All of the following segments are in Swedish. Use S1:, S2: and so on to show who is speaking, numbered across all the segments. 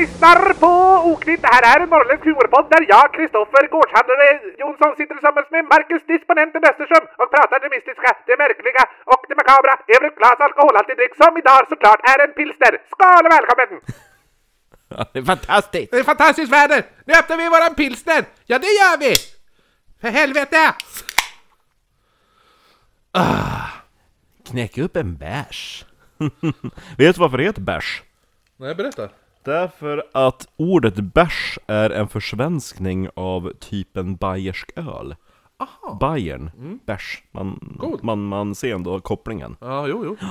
S1: lyssnar på Oknytt. Det här är en norrländsk humorpodd där jag, Kristoffer Gårdshandlare Jonsson, sitter tillsammans med Marcus, disponenten Östersund och pratar det mystiska, det märkliga och det makabra över ett glas alkoholhaltig dryck som idag såklart är en pilsner. Skål och välkommen!
S2: Ja, det är fantastiskt!
S1: Det är fantastiskt väder! Nu öppnar vi våran pilsner! Ja, det gör vi! För helvete!
S2: Ah, Knäck upp en bärs.
S3: Vet du varför det heter bärs?
S1: Nej, berätta.
S3: Därför att ordet bärs är en försvenskning av typen bayersk öl. Aha. Bayern,
S1: Mm.
S3: bärs. Man,
S1: God.
S3: man, man ser ändå kopplingen.
S1: Ja, jo, jo.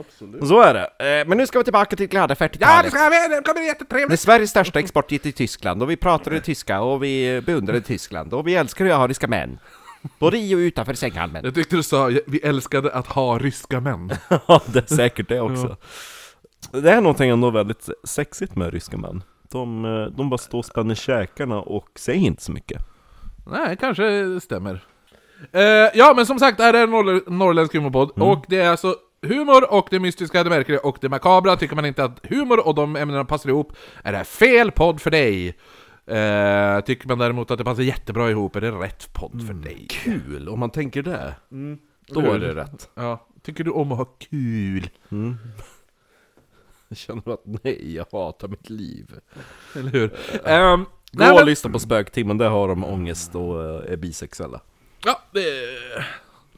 S1: Absolut.
S3: Så är det. Eh, Men nu ska vi tillbaka till glada 40-talet.
S1: Ja, det ska vi! Det kommer bli
S2: Det är
S1: jättetrevligt!
S2: Sveriges största exportgift till Tyskland och vi pratade tyska och vi beundrade Tyskland och vi älskar ariska män. Både i och utanför sänghalmen.
S1: Jag tyckte du sa vi älskade att ha ryska män.
S3: Ja, det är säkert det också. Det är någonting ändå väldigt sexigt med ryska män. De, eh, de bara står och spänner käkarna och säger inte så mycket.
S1: Nej, kanske stämmer. Eh, ja, men som sagt, det här är en norr- norrländsk humorpodd, och det är alltså humor och det mystiska, det märkliga och det makabra. Tycker man inte att humor och de ämnena passar ihop, är det här fel podd för dig. Eh, tycker man däremot att det passar jättebra ihop, är det rätt podd för dig.
S2: Kul, om man tänker det.
S1: Då är det rätt. Ja. Tycker du om att ha kul?
S2: Jag känner att nej, jag hatar mitt liv.
S1: Eller hur? Ehm,
S3: Gå
S1: nej,
S3: och
S1: men,
S3: lyssna på Spöktimmen, där har de ångest och eh, är bisexuella.
S1: ja, det,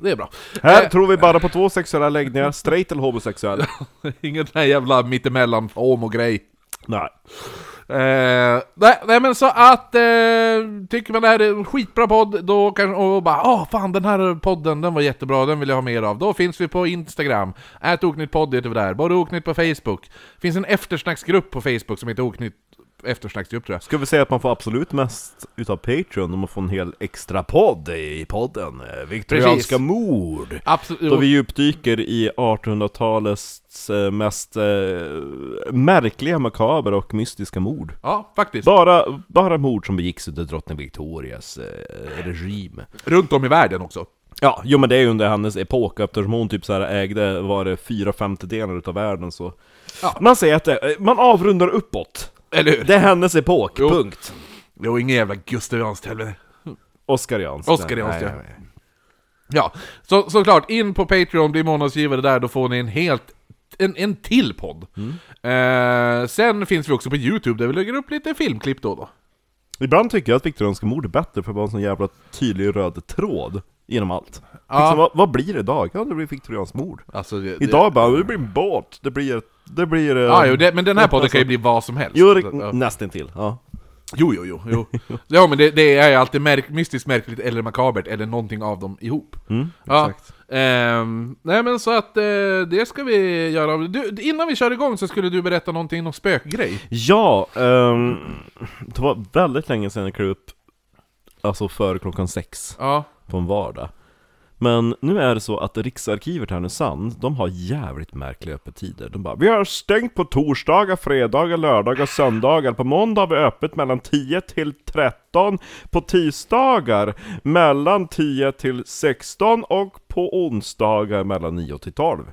S1: det är bra.
S3: Här
S1: Eh,
S3: tror vi bara på två sexuella läggningar, straight eller homosexuell.
S1: Ingen sån här jävla mittemellan homo-grej.
S3: Nej.
S1: Eh, nej, nej men så att, eh, tycker man det här är en skitbra podd, då kan och bara ah fan den här podden, den var jättebra, den vill jag ha mer av. Då finns vi på Instagram, ät oknytt podd heter vi där, bara oknytt på Facebook. Finns en eftersnacksgrupp på Facebook som heter oknytt eftersnacksgrupp tror jag.
S3: Ska vi säga att man får absolut mest utav Patreon om man får en hel extra podd i podden? eh, Viktorianska
S1: Precis.
S3: mord! Då
S1: Absolut.
S3: vi djupdyker i 1800-talets eh, mest eh, märkliga, makabra och mystiska mord.
S1: Ja, faktiskt.
S3: Bara, bara mord som begicks under drottning Victorias eh, regim.
S1: Runt om i världen också.
S3: Ja, jo men det är ju under hennes epok eftersom hon typ så här ägde, var det fyra femtedelar utav världen så...
S1: Ja.
S3: Man säger att det, eh, man avrundar uppåt.
S1: Eller hur?
S3: Det är hennes epok,
S1: Jo.
S3: punkt.
S1: Jo, ingen jävla Gustav Jans helvete.
S3: Oscar Jans.
S1: Oscar
S3: Nej,
S1: Jans,
S3: nej,
S1: ja.
S3: nej.
S1: Ja, så, såklart, in på Patreon, bli månadsgivare där, då får ni en helt en, en till podd.
S3: Mm.
S1: Eh, sen finns vi också på Youtube där vi lägger upp lite filmklipp då och då.
S3: Ibland tycker jag att viktorianska mord är bättre för det var en sån jävla tydlig röd tråd genom allt.
S1: Ja.
S3: Liksom, vad, vad blir det idag? Ja, det blir viktorianskt mord.
S1: Alltså, det,
S3: Idag bara, det blir en båt, det blir... Det blir... eh,
S1: Det, ja, jo, det, men den här podden kan ju bli vad som helst.
S3: Jo,
S1: Så, ja.
S3: det- nästan till. Ja.
S1: Jo, jo, jo. jo. Så, ja, men det, det är ju alltid märk, mystiskt märkligt eller makabert eller någonting av dem ihop.
S3: Mm,
S1: ja. Ehm, nej men så att eh, det ska vi göra. Du, innan vi kör igång så skulle du berätta någonting om spökgrej.
S3: Ja, ehm, det var väldigt länge sedan jag klev upp Alltså före klockan sex
S1: Ja.
S3: på en vardag Men nu är det så att Riksarkivet här i Härnösand, de har jävligt märkliga öppettider De bara Vi har stängt på torsdagar, fredagar, lördagar, söndagar På måndag har vi öppet mellan 10 till 13 På tisdagar mellan 10 till 16 Och på onsdagar mellan 9 till 12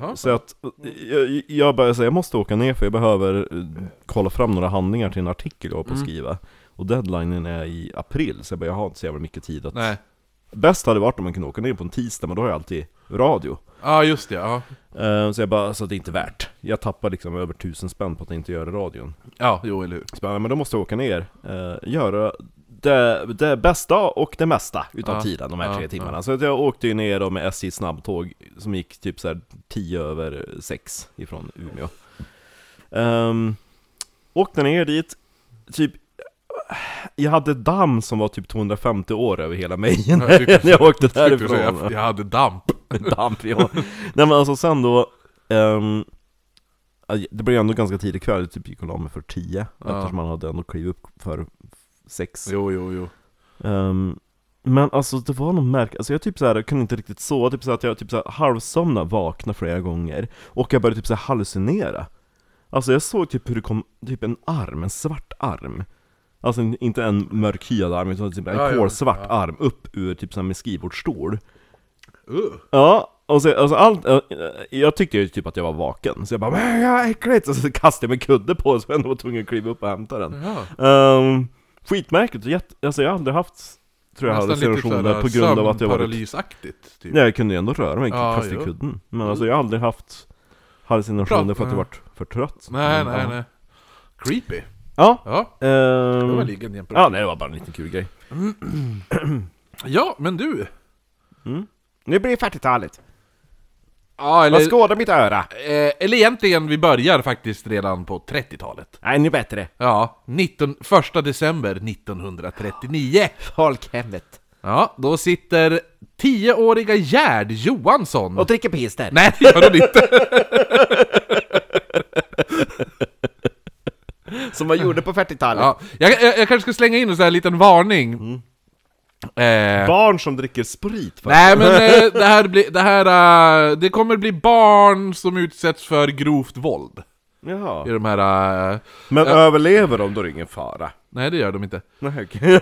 S1: Jaha.
S3: så att jag, jag började säga jag måste åka ner för jag behöver eh, kolla fram några handlingar till en artikel jag var på att skriva Och deadlinen är i april, så jag, bara, jag har inte så jävla mycket tid att...
S1: Nej.
S3: Bäst hade varit om man kunde åka ner på en tisdag, men då har jag alltid radio
S1: Ja, just det. Ja,
S3: Eh, Så jag bara, så det är inte värt Jag tappar liksom över tusen spänn på att inte göra radion
S1: ja jo, eller hur.
S3: Så bara, men då måste jag åka ner, eh, göra det, det bästa och det mesta utav
S1: Ja.
S3: tiden, de här
S1: Ja,
S3: tre
S1: ja.
S3: timmarna Så att jag åkte ju ner då med SJ snabbtåg som gick typ så här 10 över 6 ifrån Umeå um, Åkte ner dit, typ jag hade damm som var typ 250 år över hela mig när jag åkte
S1: Därifrån. typ Jag,
S3: därifrån
S1: jag hade damp.
S3: Damp, ja. Nej men alltså sen då, ehm, aj, det blev ändå ganska tidig kväll, jag typ gick och la mig för tio,
S1: Ja.
S3: eftersom man hade ändå klivit upp för sex.
S1: Jo, jo, jo.
S3: Ehm, men alltså det var något märkligt, alltså jag typ såhär, kunde inte riktigt sova, typ såhär att jag typ såhär halvsomnade, vaknade flera gånger, och jag började typ såhär hallucinera. Alltså jag såg typ hur det kom, typ en arm, en svart arm. Alltså en- inte en mörkhyad arm, utan typ en
S1: Ja, ja.
S3: kolsvart
S1: Ja.
S3: arm upp ur typ såhär min skrivbordsstol.
S1: Uh.
S3: Ja, Och så, alltså allt, eh, jag tyckte ju typ att jag var vaken, så jag bara "Men, ja, äckligt! Och så kastade jag mig kudde på så jag ändå var tvungen att kliva upp och hämta den.
S1: Ja.
S3: Um, skitmärkligt, jätte, alltså jag har aldrig haft, tror jag,
S1: Nästan lite
S3: hallucinationer
S1: såhär
S3: på grund av att jag varit...
S1: sömnparalysaktigt. Typ.
S3: Nej, jag kunde ju ändå röra mig,
S1: Ja,
S3: kasta i
S1: jo. Mm.
S3: kudden. Men alltså jag har aldrig haft hallucinationer
S1: Bra.
S3: för att jag
S1: Ja.
S3: varit för trött.
S1: Nej,
S3: Men,
S1: nej,
S3: Mm, ja.
S1: nej. Creepy.
S3: Ja,
S1: Ja, det var
S3: ehm,
S1: ligan jämt.
S3: ja nej, det var bara en liten kul grej.
S1: Ja, men du.
S4: Nu blir det 40-talet.
S1: Eh, Ja,
S4: Vad
S1: eller,
S4: skådar mitt öra?
S1: eh, eller egentligen, vi börjar faktiskt redan på 30-talet.
S4: Nej, nu bättre.
S1: Ja, 19, 1 december 1939.
S4: Folkhemmet.
S1: Ja, då sitter 10-åriga Gerd Johansson.
S4: Och dricker pister.
S1: Nej, det gör hon inte.
S4: Som man gjorde på 40-talet.
S1: Ja, jag, jag, jag kanske ska slänga in en sån här liten varning.
S3: Mm.
S1: Eh,
S3: Barn som dricker sprit faktiskt.
S1: Nej men eh, det här blir, det här, eh, det kommer bli barn som utsätts för grovt våld I
S3: Jaha.
S1: de här, eh,
S3: Men överlever de då är det ingen fara.
S1: nej det gör de inte
S3: Nej, okej.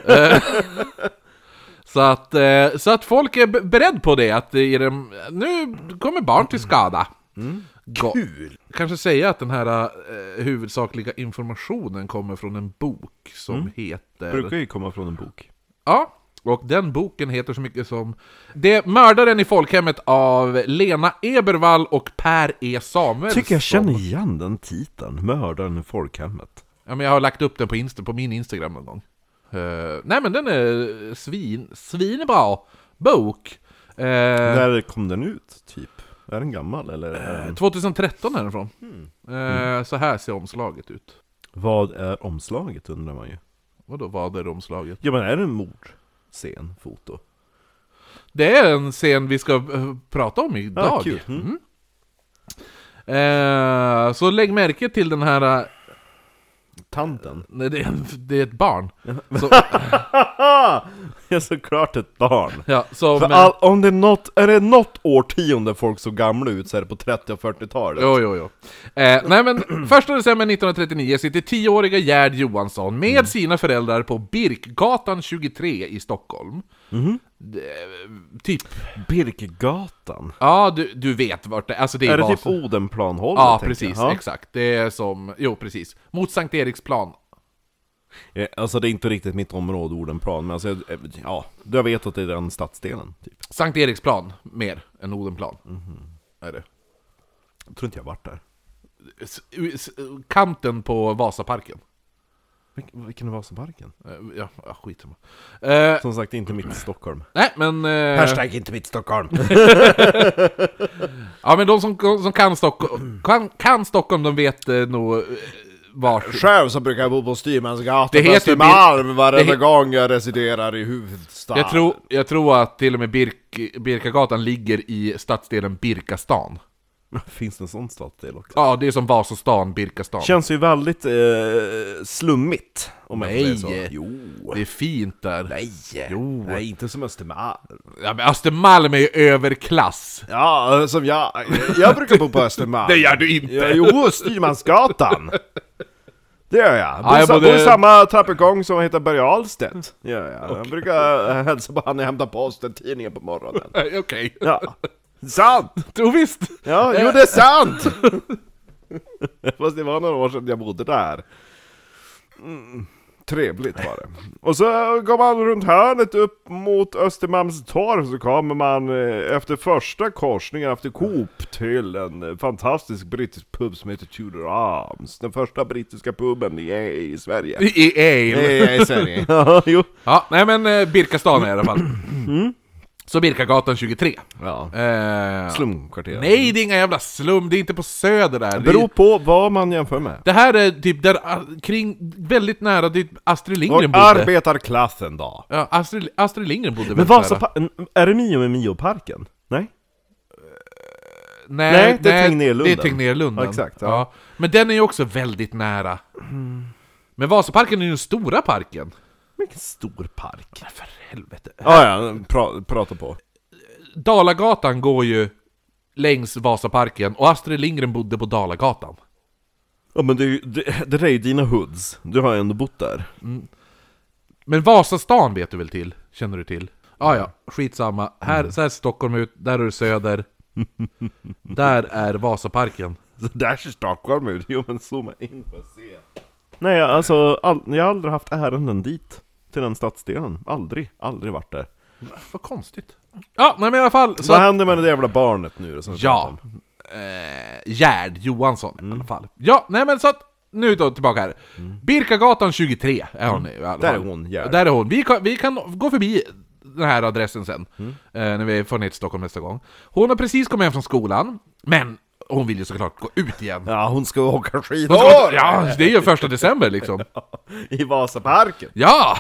S1: Så att, eh, så att folk är be- beredd på det, att i dem, nu kommer barn till skada
S3: Mm.
S1: Go-
S4: Kul!
S1: Kanske säga att den här eh, huvudsakliga informationen kommer från en bok som heter...
S3: Mm. Brukar ju komma från en bok.
S1: Ja, och den boken heter så mycket som Det är Mördaren i folkhemmet av Lena Ebervall och Per E Samuelsson.
S3: Tycker jag känner igen den titeln, Mördaren i folkhemmet.
S1: Ja, men jag har lagt upp den på, Insta, på min Instagram någon gång. Eh, nej men den är svin, svinbra bok! Eh, Eh.
S3: När kom den ut, typ? Är den gammal eller? är den-
S1: 2013 är den från.
S3: Hmm. Mm.
S1: Eh, så här ser omslaget ut.
S3: Vad är omslaget undrar man ju.
S1: Vadå, vad är omslaget?
S3: Ja men är det en mordscen, foto?
S1: Det är en scen vi ska eh, prata om idag.
S3: Ah, kul. Mm.
S1: Mm. Eh, så lägg märke till den här... eh,
S3: Tanten?
S1: Nej, det, är en, det är ett barn. Så,
S3: Haha! Det är såklart ett barn!
S1: ja, som,
S3: För all, om det är något, är det något årtionde folk såg gamla ut så är det på 30 och 40-talet.
S1: Jo, jo, jo. Eh, nej men, 1 december 1939 sitter 10-åriga Gerd Johansson med
S3: Mm.
S1: sina föräldrar på Birkgatan 23 i Stockholm.
S3: Mm-hmm.
S1: Det- typ,
S3: Birkgatan?
S1: ja du, du vet vart det alltså det är.
S3: Är det
S1: vad
S3: typ
S1: som-
S3: Odenplanhållet?
S1: Ja,
S3: tänker
S1: precis,
S3: jag? Ja.
S1: exakt. Det är som, jo precis. Mot Sankt Eriksplan.
S3: Eh, Alltså det är inte riktigt mitt område, Odenplan, men alltså, jag- eh, ja, jag vet att det är den stadsdelen. Typ.
S1: Sankt Eriksplan, mer än Odenplan.
S3: Mm-hmm.
S1: Är det.
S3: Jag tror inte jag varit där.
S1: S- u- s- kanten på Vasaparken.
S3: Vil- Vilken var som parken?
S1: Eh, Ja, ja skit samma. eh,
S3: Som sagt, inte mitt i Stockholm.
S1: Nej men... eh,
S4: Hashtag inte mitt Stockholm.
S1: Ja men de som, som kan, Stockholm, kan, kan Stockholm, de vet eh, nog eh, vart...
S4: Själv så brukar jag bo på
S1: Det
S4: Styrmansgatan
S1: heter
S4: på Östermalm varenda
S1: det he-
S4: gång jag residerar i huvudstaden.
S1: Jag tror, jag tror att till och med Birk, Birkagatan ligger i stadsdelen Birkastan.
S3: Finns det en sån stadsdel också?
S1: Ja, det är som Vasastan, Birkastan.
S3: Känns ju väldigt eh, slummigt, om jag får säga
S1: Nej.
S3: så. Jo.
S1: Det är fint där.
S4: Nej!
S1: Jo.
S4: Nej, inte som Östermalm.
S1: Ja, men Östermalm är ju överklass.
S4: Ja, eh, som jag. Jag brukar bo på Östermalm.
S1: Det gör du inte.
S4: Ja, jo, Styrmansgatan. Det gör jag. Bor,
S1: Ja, jag
S4: sa-
S1: bodde-
S4: bor i samma trappuppgång som heter Börje Ahlstedt. Ja, ja. Jag brukar eh, hälsa på han när jag hämtar posten, tidningen på morgonen.
S1: Nej, Okej.
S4: Ja. Sant!
S1: Jo, visst.
S4: Ja,
S1: Eh.
S4: jo det är sant! Fast det var några år sedan jag bodde där. Mm, trevligt var det. Och så går man runt hörnet upp mot Östermalmstorg så kommer man eh, efter första korsningen efter Coop till en eh, fantastisk brittisk pub som heter Tudor Arms. Den första brittiska puben i, i Sverige.
S1: I Ale.
S4: i Sverige.
S3: Ja, jo.
S1: Ja, nej men eh, Birkastan är i alla fall. Mm. Så Birkagatan 23.
S3: Ja.
S1: Eh,
S3: Slumkvarteret.
S1: nej, det är inga jävla slum, det är inte på Söder där. Det är-
S3: Beror på vad man jämför med.
S1: Det här är typ där, ah, kring, väldigt nära dit Astrid
S3: Och
S1: Lindgren bodde.
S3: arbetarklassen då?
S1: ja, Astrid, Astrid Lindgren bodde
S3: Men
S1: väl
S3: Vasa,
S1: nära.
S3: är det Mio med Mioparken? Nej?
S1: Nej,
S3: Nej, det är
S1: Det
S3: Tegnérlunden.
S1: är Tegnérlunden.
S3: Ja, exakt, ja.
S1: Men den är ju också väldigt nära. Men Vasaparken är ju den stora parken.
S3: Vilken stor park.
S1: För helvete.
S3: Ah, ja, pra, prata på.
S1: Dalagatan går ju längs Vasaparken och Astrid Lindgren bodde på Dalagatan.
S3: Ja men det, är ju- det, det där är ju dina hoods, du har ju ändå bott där.
S1: Men Vasastan
S3: Mm.
S1: vet du väl till? Känner du till? Ah, ja, skitsamma. Här, så här ser Stockholm ut, där är det Söder. Där är Vasaparken.
S5: Så där ser Stockholm ut. Jo men zooma in för att se.
S3: Nej, alltså all, jag har aldrig haft ärenden dit. Till den stadsdelen. Aldrig, aldrig varit där.
S1: Vad konstigt. Ja, nej men i alla fall. Så
S5: Vad
S1: att,
S5: händer med det jävla barnet nu då? som vi
S1: ja. Eh, Gerd Johansson
S3: Mm.
S1: i alla fall. Ja, nej men så att. Nu då tillbaka här. Birkagatan 23 är hon i alla
S3: Mm. Där är
S1: fall.
S3: hon, Gerd.
S1: Där är hon. Vi kan, vi kan gå förbi den här adressen sen,
S3: Mm.
S1: eh, när vi får ner till Stockholm nästa gång. Hon har precis kommit hem från skolan, men hon vill ju såklart gå ut igen.
S3: Ja, hon ska åka
S1: Hon
S3: skidor!
S1: ska gå- ja, det är ju första december liksom.
S3: I Vasaparken!
S1: Ja!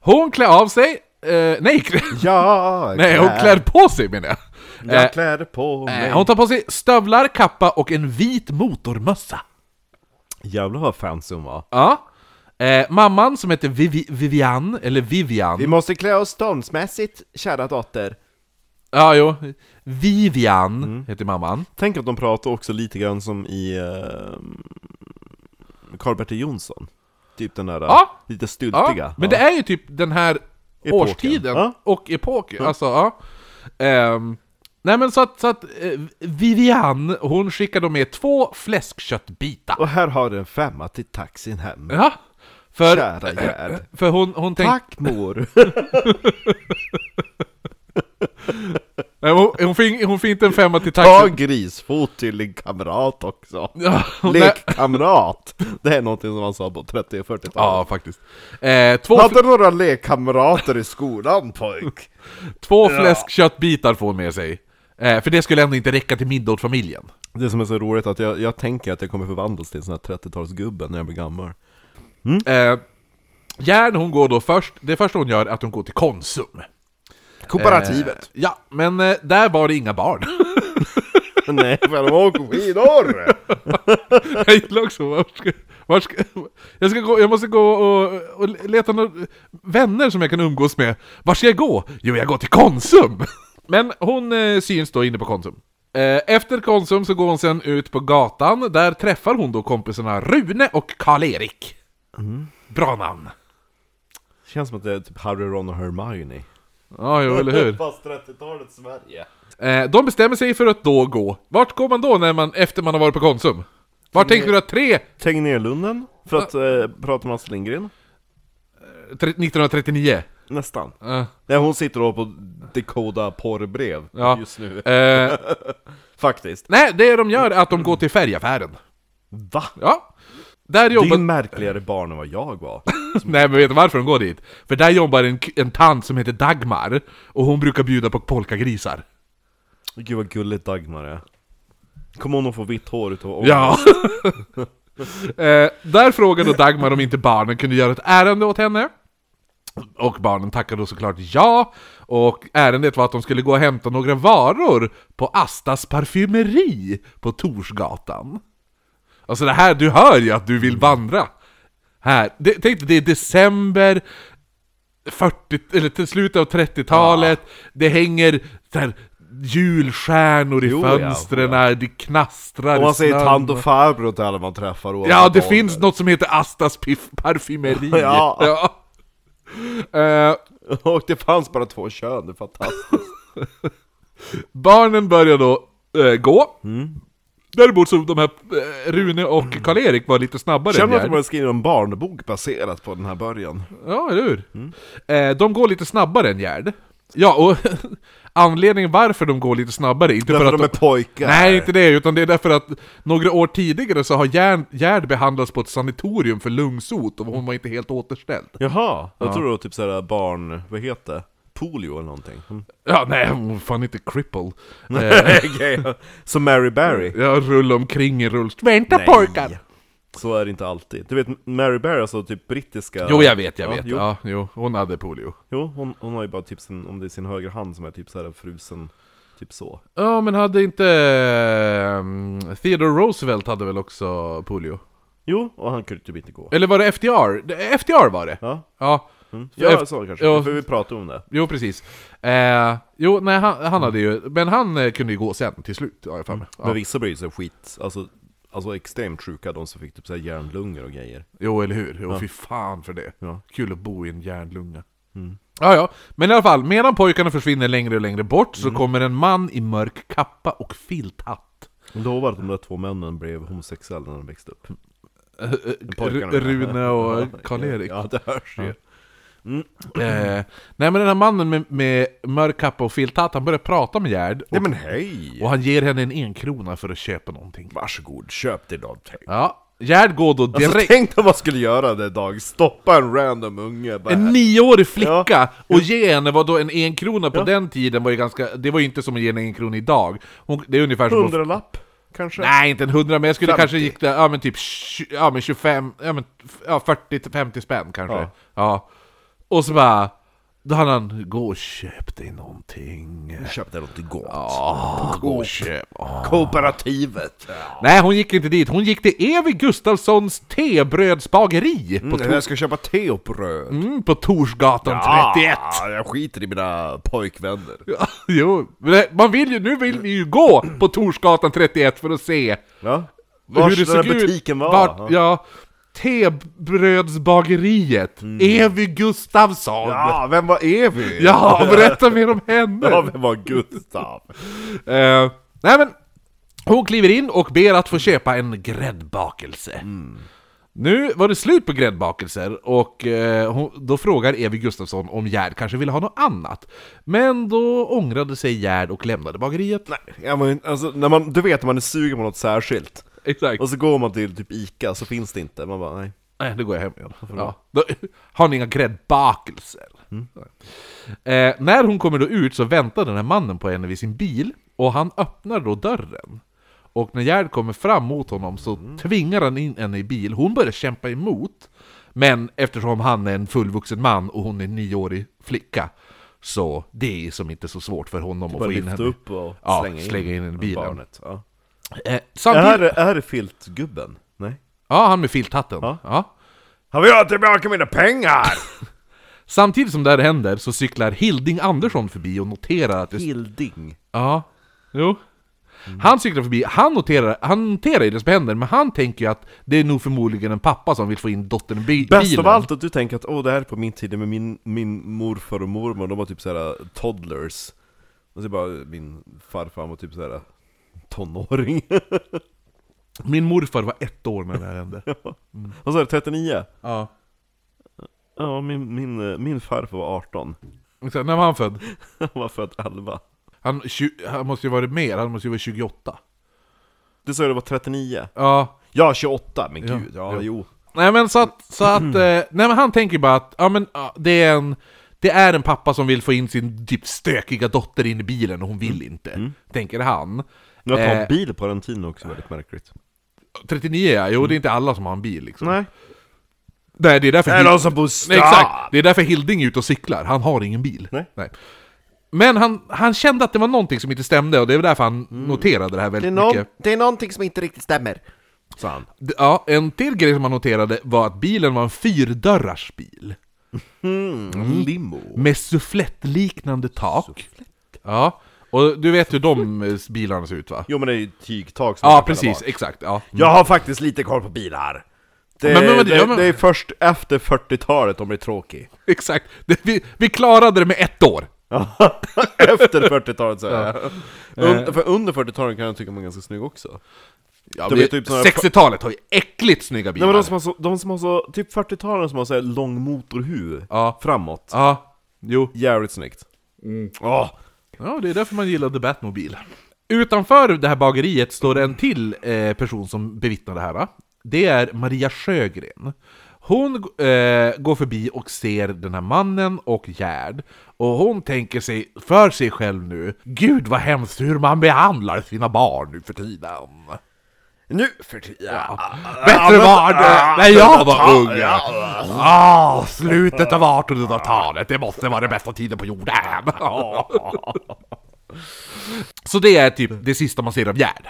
S1: Hon klär av sig, eh, nej, klä-
S3: Ja!
S1: nej, hon klär på sig menar jag. Eh,
S3: Jag klär på mig!
S1: Eh, Hon tar på sig stövlar, kappa och en vit motormössa.
S3: Jävlar vad fancy hon var!
S1: Ja. Eh, mamman som heter Vivi Vivian, eller Vivian.
S3: måste klä oss ståndsmässigt, kära dotter!
S1: ja, jo. Vivian heter mamman.
S3: Tänk att de pratar också lite grann som i Karl-Bertil Jonsson. Typ den där
S1: Ja.
S3: lite
S1: Ja.
S3: styltiga.
S1: Men det är ju typ den här
S3: Epoken.
S1: årstiden
S3: Ja.
S1: och epoken. Alltså, ja. Ehm, nej men så att, så att eh, Vivian, hon skickar då med två fläskköttbitar.
S3: Och här har du en femma till taxin hem.
S1: Ja. För,
S3: Kära Gerd.
S1: för hon, hon tänkte...
S3: eh, Tack mor!
S1: Nej, Hon, hon, fick, hon fick inte en femma till
S3: Ta
S1: taxin.
S3: en grisfot till din kamrat också.
S1: Ja, hon-
S3: Lekkamrat! Det är någonting som man sa på 30 och 40-talet.
S1: Ja, faktiskt. Eh, två,
S3: Hade du några lekkamrater i skolan pojk?
S1: två fläskköttbitar får hon med sig. Eh, för det skulle ändå inte räcka till middag åt familjen.
S3: Det som är så roligt är att jag, jag tänker att jag kommer förvandlas till en sån här 30-talsgubbe när jag blir gammal.
S1: Eh, Järn, hon går då först, det första hon gör är att hon går till Konsum.
S3: Kooperativet!
S1: Eh, ja, men eh, där var det inga barn.
S3: Nej,
S5: pratar om. Men de åker skidor!
S1: jag gillar också, var ska, var ska, jag, ska gå, jag måste gå och, och leta några vänner som jag kan umgås med. Var ska jag gå? Jo, jag går till Konsum! Men hon eh, syns då inne på Konsum. Eh, efter Konsum så går hon sen ut på gatan, där träffar hon då kompisarna Rune och Karl-Erik.
S3: Mm.
S1: Bra namn!
S3: Känns som att det är typ Harry, Ron och Hermione.
S1: Ja, jo, eller hur?
S3: Fast 30-talet Sverige.
S1: Eh, de bestämmer sig för att då gå. Vart går man då när man, efter man har varit på Konsum? Vart tänker du att tre,
S3: Tegnérlunden, för att eh, prata med Astrid Lindgren.
S1: tre, 1939?
S3: Nästan.
S1: Eh,
S3: Nej, hon sitter då på Dekoda porrbrev
S1: Ja.
S3: just nu.
S1: eh,
S3: Faktiskt.
S1: Nej, det de gör är att de går till färgaffären.
S3: Va?
S1: Ja. Där
S3: Det är
S1: jobbar...
S3: ju märkligare barn än vad jag var.
S1: Nej, men vet du varför de går dit? För där jobbar en, k- en tant som heter Dagmar, och hon brukar bjuda på polkagrisar.
S3: Gud vad gulligt Dagmar är. Kommer hon att få vitt hår utav
S1: Ja. eh, där frågar då Dagmar om inte barnen kunde göra ett ärende åt henne. Och barnen tackar då såklart ja. Och ärendet var att de skulle gå och hämta några varor på Astas parfymeri på Torsgatan. Alltså det här, du hör ju att du vill vandra. Här. Det, tänk dig, det är december, 40, eller till slutet av 30-talet, det hänger så här, julstjärnor i
S3: Jo, ja,
S1: fönstren, det knastrar
S3: Om man
S1: i
S3: säger
S1: snön.
S3: tant och farbror till alla man träffar oavsett
S1: Ja, det
S3: ålder.
S1: finns något som heter Astas piff- parfymeri.
S3: Ja.
S1: Eh,
S3: Och det fanns bara två kön, det är fantastiskt.
S1: barnen börjar då eh, gå.
S3: Mm.
S1: Däremot så de här eh, Rune och Karl-Erik var lite snabbare
S3: Känner att
S1: än
S3: de
S1: Gerd.
S3: borde skriva en barnbok baserat på den här början.
S1: Ja, eller hur?
S3: Mm.
S1: Eh, de går lite snabbare än Gerd. Ja, och anledningen varför de går lite snabbare, inte
S3: Därför
S1: för att
S3: de är pojkar.
S1: Nej, inte det, utan det är därför att några år tidigare så har Gerd- Gerd behandlats på ett sanatorium för lungsot och hon var inte helt återställd.
S3: Jaha, jag tror det var typ såhär barn... Vad heter det? Polio eller någonting. Mm.
S1: Ja, nej, hon var fan inte crippled. Eh, Mm.
S3: Okej. Som Mary Barry.
S1: Jag rullar omkring i rullstol. Vänta
S3: Nej.
S1: pojkar!
S3: Så är det inte alltid. Du vet, Mary Barry, alltså typ brittiska...
S1: Jo, jag vet, jag
S3: Ja,
S1: vet.
S3: Jo,
S1: Ja, jo. Hon hade polio.
S3: jo hon, hon har ju bara typ sin, om det är sin högra hand som är typ såhär frusen, typ så.
S1: Ja, men hade inte... ehm, Theodore Roosevelt hade väl också polio?
S3: Jo, och han kunde typ inte gå.
S1: Eller var det FDR? Det- FDR var det!
S3: Ja,
S1: Ja,
S3: mm.
S1: För
S3: ja
S1: eft-
S3: så kanske.
S1: eh, ja.
S3: För vi pratade om det.
S1: jo precis. Eh, jo, nej, han, han hade ju... Men han eh, kunde ju gå sen till slut, har jag för mig.
S3: Mm. Men
S1: Ja.
S3: vissa blir ju så skit, alltså, alltså extremt sjuka, de som fick typ såhär järnlungor och grejer.
S1: Jo, eller hur? Jo, fy fan för det.
S3: Ja.
S1: Kul att bo i en järnlunga. Ja, ja. Men i alla fall, medan pojkarna försvinner längre och längre bort så kommer en man i mörk kappa och filthatt.
S6: De lovar att de där två männen blev homosexuella när de växte upp.
S1: Eh, eh,
S6: Pojkarna.
S1: Ru- Rune och eh, Karl-Erik.
S6: Ja, det hörs ju.
S1: Eh, nej men den här mannen med, med mörk kappa och filthatt, han börjar prata med Gerd och,
S3: Nej men hej!
S1: och han ger henne en enkrona för att köpa någonting.
S3: Varsågod, köp dig någonting.
S1: Ja, Gerd går då direkt...
S3: Alltså tänk dig vad man skulle göra den dag, stoppa en random unge bara,
S1: En nioårig flicka och ge henne vad då en enkrona på den tiden var ju ganska... Det var ju inte som att ge en enkrona idag. Hon, det är ungefär som... att-
S3: hundralapp kanske?
S1: Nej, inte en hundra, men jag skulle
S3: 50.
S1: kanske gick där, ja men typ tju- ja, men 25, ja men f- ja, 40-50 spänn kanske. Ja.
S3: Ja.
S1: Och så bara, då hade han, gå och köp dig någonting.
S3: Köp dig något gott.
S1: Ja, gå och köp. Ja.
S3: Kooperativet.
S1: Nej, hon gick inte dit. Hon gick till Evi Gustafssons tebrödsbageri på,
S3: Mm, Jag ska köpa te och bröd.
S1: mm, på Torsgatan 31.
S3: Ah, jag skiter i mina pojkvänner.
S1: Ja, jo, men det- man vill ju, nu vill vi ju gå på Torsgatan 31 för att se
S3: Ja. Vars den där butiken var?
S1: Vart, ja, Tebrödsbageriet, Evy Gustafsson. Ja.
S3: Mm. Ja, vem var Evi?
S1: berätta mer om henne!
S3: Ja, vem var Gustav?
S1: Eh, nej men, hon kliver in och ber att få köpa en gräddbakelse.
S3: Mm.
S1: Nu var det slut på gräddbakelser och eh, hon, då frågar Evi Gustafsson om Gerd kanske ville ha något annat. Men då ångrade sig Gerd och lämnade bageriet. Nej,
S3: Ja, men, alltså, när man, du vet när man är sugen på något särskilt,
S1: exakt.
S3: och så går man till typ Ica så finns det inte, man bara nej.
S1: Nej, nu går jag hem igen. Ja. Då, har ni inga gräddbakelser?
S3: Mm.
S1: Eh, när hon kommer då ut så väntar den här mannen på henne vid sin bil och han öppnar då dörren. Och när Gerd kommer fram mot honom så
S3: Mm.
S1: tvingar han in henne i bil. Hon börjar kämpa emot. Men eftersom han är en fullvuxen man och hon är en nioårig flicka så det är som inte så svårt för honom att
S3: Bara
S1: få in
S3: lyfta
S1: henne.
S3: upp och
S1: Ja,
S3: slänga in,
S1: slänga in den i bilen.
S3: barnet. Ja.
S1: Eh,
S3: Är, här,
S1: samtidigt...
S3: är det filtgubben? Nej.
S1: Ja, han med filthatten.
S3: Ja.
S1: Ja.
S3: Han vill ha tillbaka mina pengar!
S1: Samtidigt som det här händer så cyklar Hilding Andersson förbi och noterar att det...
S3: Hilding.
S1: Ja, jo.
S3: Mm.
S1: Han cyklar förbi, han noterar, han noterar ju det som händer, men han tänker ju att det är nog förmodligen en pappa som vill få in dottern i bi- bilen.
S3: Bäst av allt att du tänker att åh, det här är på min tid med min, min morfar och mormor, de var typ såhär toddlers Och så bara min farfar han var typ såhär tonåring
S1: Min morfar var ett år när det här hände.
S3: Vad sa du, 39?
S1: ja.
S3: Ja, min, min, eh, min farfar var 18
S1: Och sen, när var han född?
S3: Han var född 11
S1: Han, tju- han måste ju varit mer, han måste ju vara 28.
S3: Du sa ju det var 39?
S1: Ja,
S3: Ja, 28, men
S1: Ja.
S3: gud, ja, jo,
S1: Nej men så att, så att eh, nej men han tänker bara att, ja men ja, det är en det är en pappa som vill få in sin typ stökiga dotter in i bilen och hon vill
S3: Mm.
S1: inte, tänker han.
S3: Men att ha
S1: Eh.
S3: en bil på den tiden är också väldigt märkligt
S1: 39 ja, jo det är inte alla som har en bil liksom.
S3: Mm. Nej,
S1: Nej, det är därför...
S3: det är
S1: Hil-
S3: någon som bor i stan!
S1: Nej, exakt! Det är därför Hilding är ute och cyklar, han har ingen bil.
S3: Nej.
S1: Men han, han kände att det var någonting som inte stämde och det är väl därför han noterade det här
S3: Mm. Det är,
S1: väldigt
S3: någon,
S1: mycket.
S3: det är någonting som inte riktigt stämmer Sa han
S1: D- Ja, en till grej som han noterade var att bilen var en fyrdörrars bil.
S3: Mm. Limo
S1: Med sufflettliknande tak. Ja, och du vet hur de eh, bilarna ser ut va?
S3: Jo men det är ju tygtak som
S1: Ja,
S3: man kan fälla
S1: precis,
S3: bak.
S1: exakt. Ja.
S3: Jag har faktiskt lite koll på bilar. Det,
S1: Men- men vad-
S3: det,
S1: ja, men-
S3: det är först efter 40-talet de blir tråkiga.
S1: Exakt. Det, vi, vi klarade det med ett år.
S3: efter 40-talet säger jag. Un, för under 40-talet kan jag tycka man är ganska snygg också.
S1: Ja,
S3: Det
S1: men
S3: var typ såna här-
S1: 60-talet har ju äckligt snygga
S3: Nej
S1: bilar.
S3: men de som har så, de som har så typ 40-talen som har så här lång motorhuv
S1: Ja.
S3: framåt.
S1: Ja, jo.
S3: Jävligt snyggt.
S1: Mm.
S3: Åh,
S1: Ja, det är därför man gillade Batmobil. Utanför det här bageriet står det en till eh, person som bevittnar det här. va? Det är Maria Sjögren. Hon eh, går förbi och ser den här mannen och Gerd. Och hon tänker sig, för sig själv nu, Gud vad hemskt hur man behandlar sina barn nu för tiden.
S3: nu för tiden!
S1: Bättre
S3: Ah, men- Ah,
S1: var det när jag var ung!
S3: ja.
S1: Ah, slutet av 1800-talet, det måste vara den bästa tiden på jorden! Så det är typ det sista man ser av Gerd.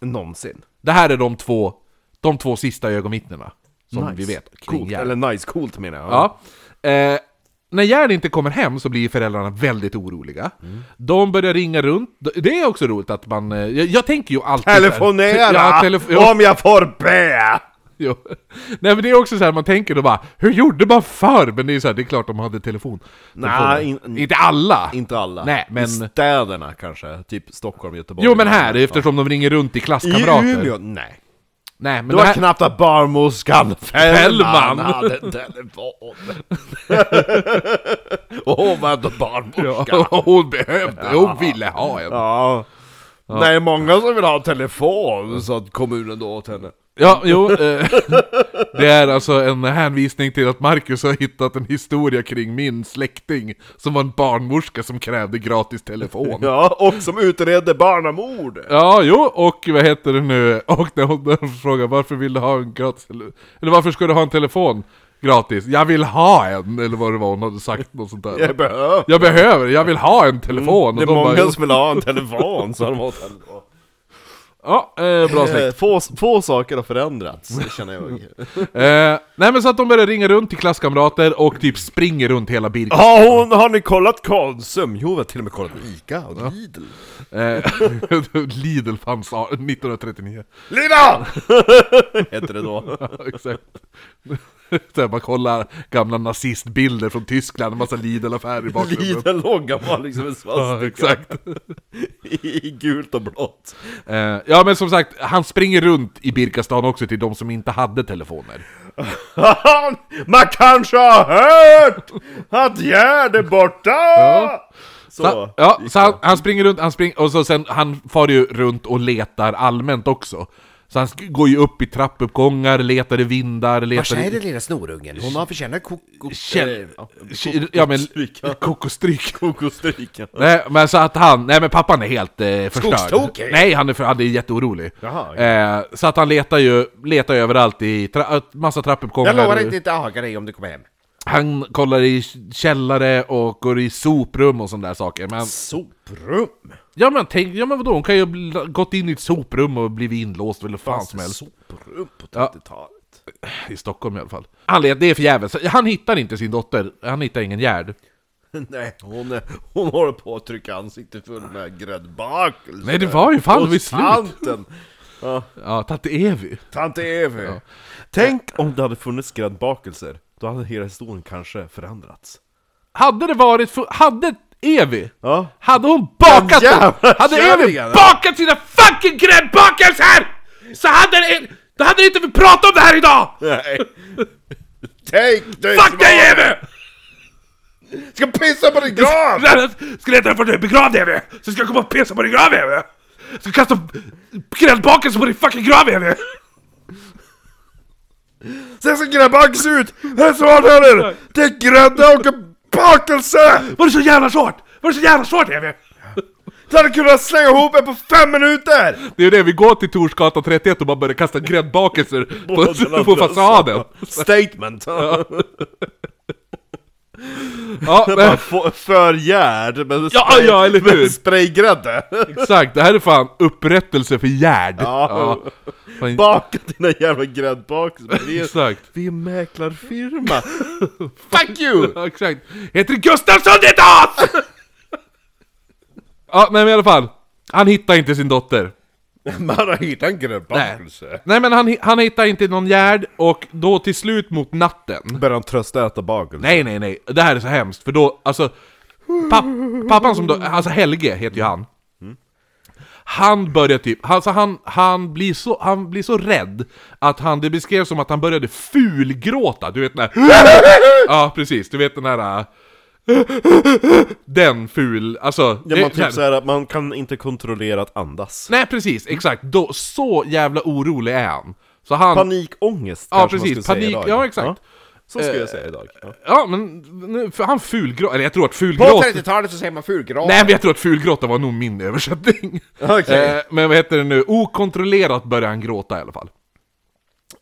S3: Någonsin.
S1: Det här är de två, de två sista ögonvittnena som vi vet kring
S3: Coolt,
S1: Gerd.
S3: eller nice, coolt menar jag.
S1: Ja. Eh, när Gerd inte kommer hem så blir föräldrarna väldigt oroliga.
S3: Mm.
S1: De börjar ringa runt. Det är också roligt att man... eh, Jag, jag tänker ju alltid...
S3: Telefonera!
S1: Ja, telef- ja,
S3: om jag får be!
S1: jo. Nej men det är också så här man tänker då bara, hur gjorde man förr? Men det är ju så här, det är klart de hade telefon.
S3: Nej,
S1: Telefoner.
S3: in-
S1: inte alla!
S3: Inte alla.
S1: Nej, men-
S3: I städerna kanske. Typ Stockholm, Göteborg.
S1: jo men här,
S3: Ja.
S1: eftersom de ringer runt i
S3: I
S1: klasskamrater.
S3: Umeå? Nej.
S1: Nej men
S3: Det
S1: det
S3: var
S1: här...
S3: knappt att barnmorskan
S1: Fällman
S3: Fällman hade en telefon. Och hon var ändå barnmorska.
S1: Ja, hon behövde, hon ville ha en.
S3: Ja. Nej, många som vill ha en telefon, så att kommunen då åt henne.
S1: Ja, jo. Eh, det är alltså en hänvisning till att Marcus har hittat en historia kring min släkting som var en barnmorska som krävde gratis telefon. Ja,
S3: Ja, och som utredde barnamord.
S1: jo, och vad heter det nu? Och när hon frågar varför vill du ha en gratis tele- Eller varför ska du ha en telefon gratis? Jag vill ha en! Eller vad det var hon hade sagt, något sånt där.
S3: Jag behöver.
S1: Jag behöver, jag vill ha en telefon!
S3: Mm, Det är
S1: Och de
S3: många
S1: bara,
S3: som vill ha en telefon, så de åt henne då.
S1: Ja, eh, bra släkt.
S3: Eh, Få, få saker har förändrats, känner jag.
S1: Eh, nej men så att de börjar ringa runt till klasskamrater och typ springer runt hela Birka.
S3: Ja, hon, har ni kollat Konsum? Jo, vi har till och med kollat Ica och Lidl.
S1: Eh, Lidl fanns ja, 1939.
S3: Lina! Hette det då.
S1: Ja, exakt. Så här, man kollar gamla nazistbilder från Tyskland, en massa Lidl-affärer i bakgrunden.
S3: Lidl långa var liksom en
S1: Ja,
S3: svastika
S1: exakt.
S3: i, i gult och blått.
S1: Eh, ja men som sagt, han springer runt i Birkastan också till de som inte hade telefoner.
S3: Man kanske har hört att Gerd är borta! Så.
S1: Så, ja, så han, han springer runt, han springer, och så sen, han far ju runt och letar allmänt också. Så han sk- går ju upp i trappuppgångar, letar i vindar, letar i...
S7: lilla snorungen? Hon har förtjänat eh, koko...
S1: Käll... Ja men...
S3: Kokosstryka.
S1: Kokosstryk.
S3: Kokosstryka.
S1: Nej men så att han, nej men pappan är helt eh, förstörd.
S7: Skogstokig.
S1: Nej han är, för, han är jätteorolig.
S3: Jaha.
S1: eh, så att han letar ju, letar överallt i tra- äh, massa trappuppgångar.
S7: Jag lovar att inte aga dig om du kommer hem.
S1: Han kollar i källare och går i soprum och sådana där saker. Men,
S3: Soprum!
S1: ja men tänk, ja men vadå, hon kan ju ha bl- gått in i ett soprum och blivit inlåst eller fan som helst.
S3: Soprum på
S1: Ja.
S3: 30-talet.
S1: I Stockholm i alla fall. Han letar, det är för jävligt. Så Han hittar inte sin dotter, han hittar ingen Gerd.
S3: Nej, hon, är, hon håller på att trycka ansiktet full med gräddbakelse.
S1: Nej det var ju fan vid
S3: Hos
S1: slut.
S3: tanten!
S1: Ja, tante Evi.
S3: Tante Evi! Tänk om det hade funnits gräddbakelser, då hade hela historien kanske förändrats.
S1: Hade det varit, fu- hade Evi
S3: Ja.
S1: Hade hon bakat
S3: Den
S1: dem?
S3: jävla
S1: Hade Evi
S3: kärringen, va?
S1: bakat sina fucking gräddbakelser! Så hade det... Då hade inte vi pratat om det här idag!
S3: Nej. Take this
S1: Fuck dig Evi!
S3: Ska pissa på din grav!
S1: Ska leta efter dig, begrav dig Evi! Så ska jag komma och pissa på din grav Evi! Ska kasta gräddbakelser på din fucking grav Evi!
S3: Sen ska gräddbakelse ut! Det är svårt hörni! Det är grädde och en bakelse!
S1: Var det så jävla svårt? Var det så jävla svårt Evi?
S3: Du hade kunnat slänga ihop en på fem minuter!
S1: Det är ju det, vi går till Torsgatan 31 och bara börjar kasta gräddbakelser på, på fasaden.
S3: Statement!
S1: Ja, men,
S3: För- För Gerd, men
S1: Ja, ja, eller hur?
S3: med spraygrädde!
S1: exakt, det här är fan upprättelse för Gerd.
S3: Ja.
S1: Fan,
S3: Baka dina jävla gräddbakelser! Vi är-
S1: Exakt.
S3: Vi är mäklarfirma! Fuck you!
S1: Ja, exakt. Heter det Gustafsson ditt as! ja, nej men i alla fall. Han hittar inte sin dotter.
S3: Man har hittat en
S1: Nej,
S3: gräddbakelse!
S1: nej men han, hi- han hittar inte någon Gerd och då till slut mot natten.
S3: Börjar han trösta äta bakelse?
S1: Nej, nej, nej. Det här är så hemskt för då, alltså. Papp, pappan som då, alltså Helge heter ju han.
S3: Mm.
S1: Han börjar typ, alltså han, han, blir så, han blir så rädd att han, det beskrevs som att han började fulgråta, du vet den här... ja, precis, du vet den här... äh, Den ful, alltså...
S3: Ja,
S1: det-
S3: man
S1: så här-
S3: typ såhär att man kan inte kontrollera att andas.
S1: Nej, precis, exakt. Då, så jävla orolig är han. Så han...
S3: Panikångest
S1: ja,
S3: kanske man
S1: precis.
S3: skulle
S1: Panik,
S3: säga idag.
S1: ja exakt. Eh, Ja.
S3: Så skulle jag säga idag. Ja.
S1: men nu- för han fulgråt, eller jag tror att
S7: På
S1: fulgråt...
S7: 30-talet så säger man fulgran.
S1: Nej men jag tror att fulgråta var nog min översättning.
S7: Okej.
S1: Eh, men vad heter det nu? Okontrollerat börjar han gråta i alla fall.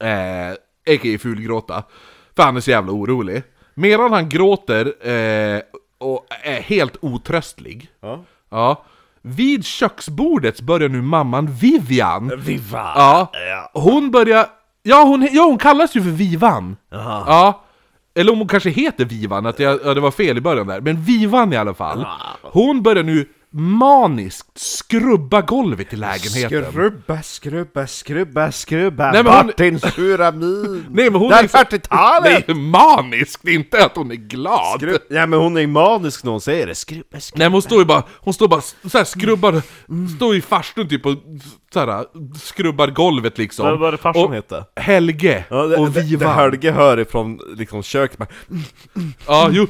S1: Eh, A.k.a. fulgråta. För han är så jävla orolig. Medan han gråter eh, och är helt otröstlig.
S3: Ja.
S1: Ja. Vid köksbordet börjar nu mamman Vivian.
S3: Viva!
S1: Ja. Hon börjar... Ja hon, ja, hon kallas ju för Vivan. Ja. Eller om hon kanske heter Vivan, att jag, ja, det var fel i början där. Men Vivan i alla fall. Hon börjar nu maniskt skrubba golvet i lägenheten.
S8: Skrubba, skrubba, skrubba, skrubba.
S1: Nej, men hon-
S8: Martin Suramin.
S1: Nej, men hon
S8: Den
S1: är-
S8: 40-talet!
S1: Det är maniskt, inte att hon är glad!
S8: Skrubb... Nej men hon är manisk när hon säger det. Skrubba, skrubba.
S1: Nej men hon står ju bara, hon står bara så här skrubbar, står i farstun typ och så här, skrubbar golvet liksom.
S3: Vad var det farsan
S1: Och
S3: hette?
S1: Helge
S3: Ja, det,
S1: och
S3: och vi det, det
S1: Vivan.
S3: Helge hör ifrån liksom köket bara,
S1: ja, jo.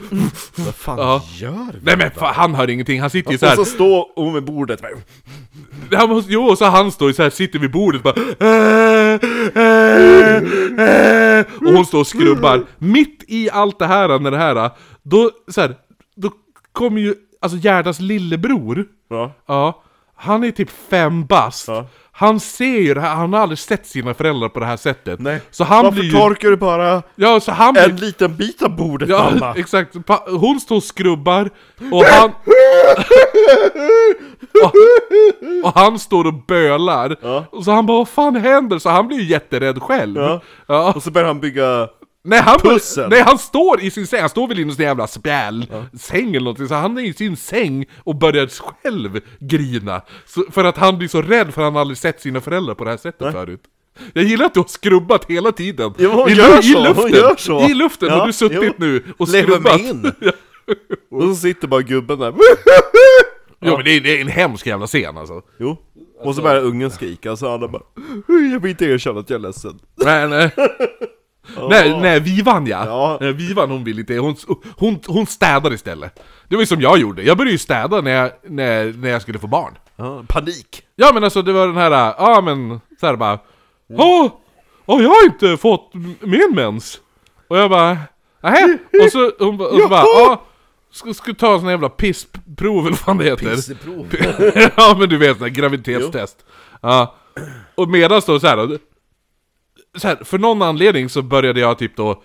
S8: Vad fan
S1: Ja.
S8: gör vi?
S1: Nej men fan, han hör ingenting, han sitter ju så här.
S3: Och så står hon vid bordet bara,
S1: Han måste, jo, och så han står ju så här, sitter vid bordet bara "Äh, äh, äh." Och hon står och skrubbar. Mitt i allt det här, när det här, då så här, då kommer ju, alltså Gerdas lillebror.
S3: ja.
S1: Ja, han är typ fem bast.
S3: Ja.
S1: Han ser ju det här, han har aldrig sett sina föräldrar på det här sättet.
S3: Nej.
S1: Så han
S3: Varför
S1: blir ju...
S3: torkar du bara
S1: Ja, så han
S3: en
S1: blir...
S3: liten bit av bordet
S1: Ja,
S3: mamma?
S1: exakt. Pa- Hon står och skrubbar och han... och, och han står och bölar. Och så han bara 'Vad fan händer?' Så han blir ju jätterädd själv.
S3: Ja.
S1: Ja.
S3: Och så börjar han bygga
S1: Nej, han,
S3: Pussel.
S1: nej, han står i sin säng, han står väl inne i sin jävla spjäl, säng eller någonting, så han är i sin säng och börjar själv grina. Så, för att han blir så rädd för att han aldrig sett sina föräldrar på det här sättet förut. Jag gillar att du har skrubbat hela tiden.
S3: Jo, hon
S1: I,
S3: gör
S1: lu-
S3: så,
S1: I
S3: hon
S1: luften,
S3: gör så.
S1: I luften
S3: Ja,
S1: har du suttit
S3: jo.
S1: nu och
S8: Lever
S1: skrubbat.
S8: mig in.
S1: Ja,
S3: och så sitter bara gubben där
S1: Jo, men det är, det är en hemsk jävla scen alltså.
S3: Jo. Och så börjar ungen skrika och så han bara Jag vill inte erkänna att jag är ledsen.
S1: Nej, nej. Nej, nej, eh, vi vann ja.
S3: Ja.
S1: Nej, Vi vann, hon vill inte. Hon, hon, hon städar istället. Det var ju som jag gjorde. Jag började ju städa när jag, när, när jag skulle få barn.
S3: Ja, panik.
S1: Ja men alltså det var den här, ja men så här bara Åh! Åh jag har inte fått m- min mens! Och jag bara Nähä? Och så hon ba- och så bara ja Ska, ska ta en sån jävla pissprov eller vad fan det heter
S8: Pisseprov.
S1: Ja men du vet sån här graviditetstest Ja Och medans då så här, så här För någon anledning så började jag typ då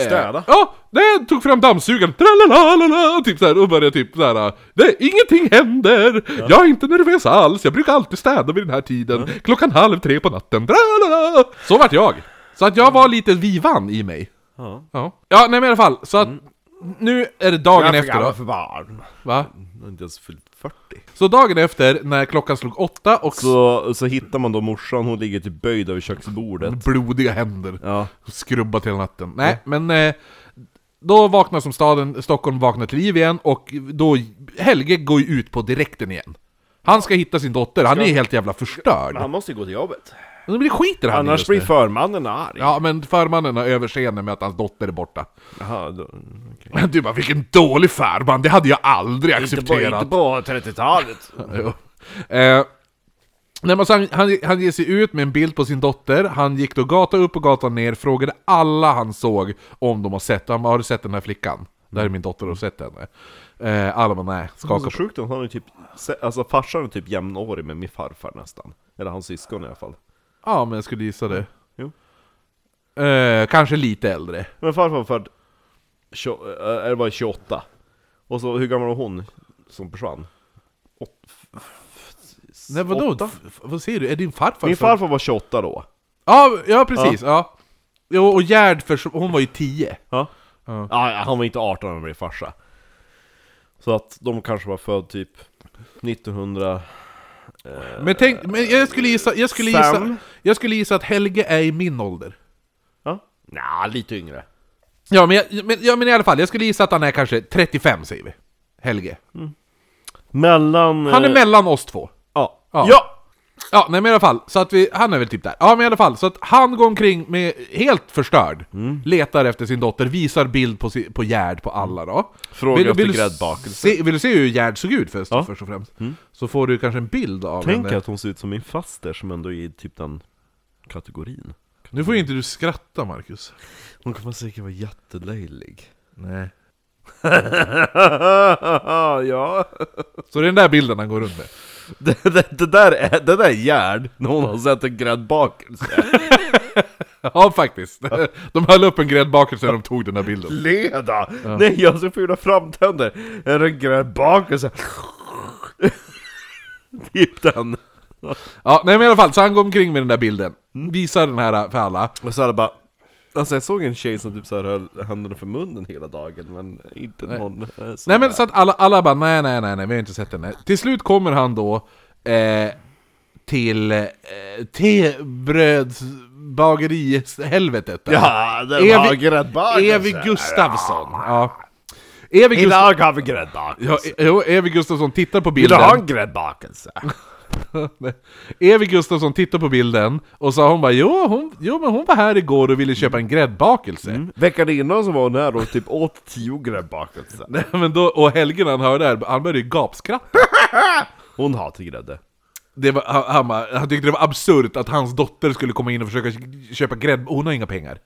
S3: Städa.
S1: Ja, nej, jag tog fram dammsugaren, tralalalala, typ såhär, och började typ såhär Nej, ingenting händer! Jag är inte nervös alls, jag brukar alltid städa vid den här tiden, klockan halv tre på natten, tralala! Så vart jag! Så att jag var lite vivan i mig.
S3: Ja. Mm.
S1: Ja, ja nej men i alla fall, så att nu är det dagen efter då,
S8: för barn.
S1: va?
S3: Han har inte ens fyllt 40.
S1: Så dagen efter, när klockan slog åtta och
S3: Så, så hittar man då morsan, hon ligger typ böjd över köksbordet.
S1: blodiga händer,
S3: Ja.
S1: skrubbat hela natten. Nej, men eh, då vaknar som staden, Stockholm vaknar till liv igen och då Helge går ju ut på direkten igen. Han ska hitta sin dotter, han är helt jävla förstörd.
S3: Men han måste ju gå till jobbet.
S1: Men det skiter han i
S3: Annars
S1: just nu.
S3: blir förmannen arg.
S1: Ja, men förmannen har överseende med att hans dotter är borta.
S3: Jaha, då, okej.
S1: Men du bara, vilken dålig förman, det hade jag aldrig accepterat.
S3: på 30-talet.
S1: Jo. Eh, nej, men så han, han, han ger sig ut med en bild på sin dotter, han gick då gata upp och gata ner, frågade alla han såg om de har sett Han bara, har du sett den här flickan? Där är min dotter, har du sett henne? Eh, alla bara, nej, skakar
S3: Så sjukt att han är typ, se- alltså farsan är typ jämnårig med min farfar nästan. Eller hans syskon i alla fall.
S1: Ja, men jag skulle gissa det.
S3: Jo.
S1: Eh, kanske lite äldre.
S3: Men farfar var född, tjo- eh, eller var 28. Och så hur gammal var hon som försvann? Åt,
S1: Nej, vadå?
S3: åtta?
S1: F- vad säger du? Är din farfar
S3: Min
S1: född?
S3: farfar var 28 då.
S1: Ja, ja precis. Ja. Jo, och Gerd, förs- hon var ju 10.
S3: Ja.
S1: Ja.
S3: Ja, han var inte 18 när han blev farsa. Så att de kanske var född typ 1900...
S1: Men tänk, men jag skulle gissa, jag skulle gissa,
S3: Fem.
S1: jag skulle gissa att Helge är i min ålder.
S3: Ja?
S8: Nja, lite yngre.
S1: Ja men, jag, men, ja, men i alla fall, jag skulle gissa att han är kanske 35 säger vi. Helge.
S3: Mellan...
S1: Han är
S3: eh,
S1: mellan oss två.
S3: Ja.
S1: Ja. Ja, nej men i alla fall, så att vi, han är väl typ där. Ja men i alla fall, så att han går omkring med, helt förstörd,
S3: Mm.
S1: letar efter sin dotter, visar bild på, si, på Gerd på alla då.
S3: Frågar efter
S1: du
S3: gräddbakelse.
S1: se, vill du se hur Gerd såg ut först,
S3: Ja. Mm.
S1: först och främst? Så får du kanske en bild av
S3: Tänk
S1: henne.
S3: att hon ser ut som min faster som ändå är i typ den kategorin.
S1: Nu får ju inte du skratta Marcus.
S3: Hon kommer säkert vara jättelöjlig.
S1: Nej.
S3: ja.
S1: Så det är den där bilden han går runt med.
S3: Det, det, det där är, det där är Gerd, när hon har sett en gräddbakelse.
S1: Ja faktiskt. De höll upp en gräddbakelse när de tog den där bilden.
S3: Leda! Nej, jag har så fula framtänder! Är det en gräddbakelse? typ den.
S1: Ja, nej men i alla fall, så han går omkring med den där bilden. Visar den här för alla.
S3: Och så är det bara... Alltså jag såg en tjej som typ så här höll händerna för munnen hela dagen, men inte
S1: Nej.
S3: någon... eh, sån
S1: Nej men
S3: där.
S1: så att alla, alla bara nej, nej, nej, nej, vi har inte sett henne. Till slut kommer han då eh, till eh, tebrödsbagerihelvetet. där.
S3: Ja, det
S1: Evi-
S3: var gräddbagelse!
S1: Evi Gustafsson. Ja. Evi Gustafsson.
S3: Idag har vi gräddbakelse!
S1: Ja, eh, jo, Evi Gustafsson tittar på
S3: Vill du
S1: bilden.
S3: ha en gräddbakelse?
S1: Evi Gustafsson tittar på bilden och sa hon bara jo, hon, jo men hon var här igår och ville köpa en gräddbakelse.
S3: Mm. Veckan innan så var hon här och typ åt tio gräddbakelser.
S1: Nej, men då, och Helge när han hörde det här, han började ju gapskratta.
S3: Hon hatar grädde.
S1: Det var, han, han, bara- han tyckte det var absurt att hans dotter skulle komma in och försöka köpa grädd... Hon har inga pengar.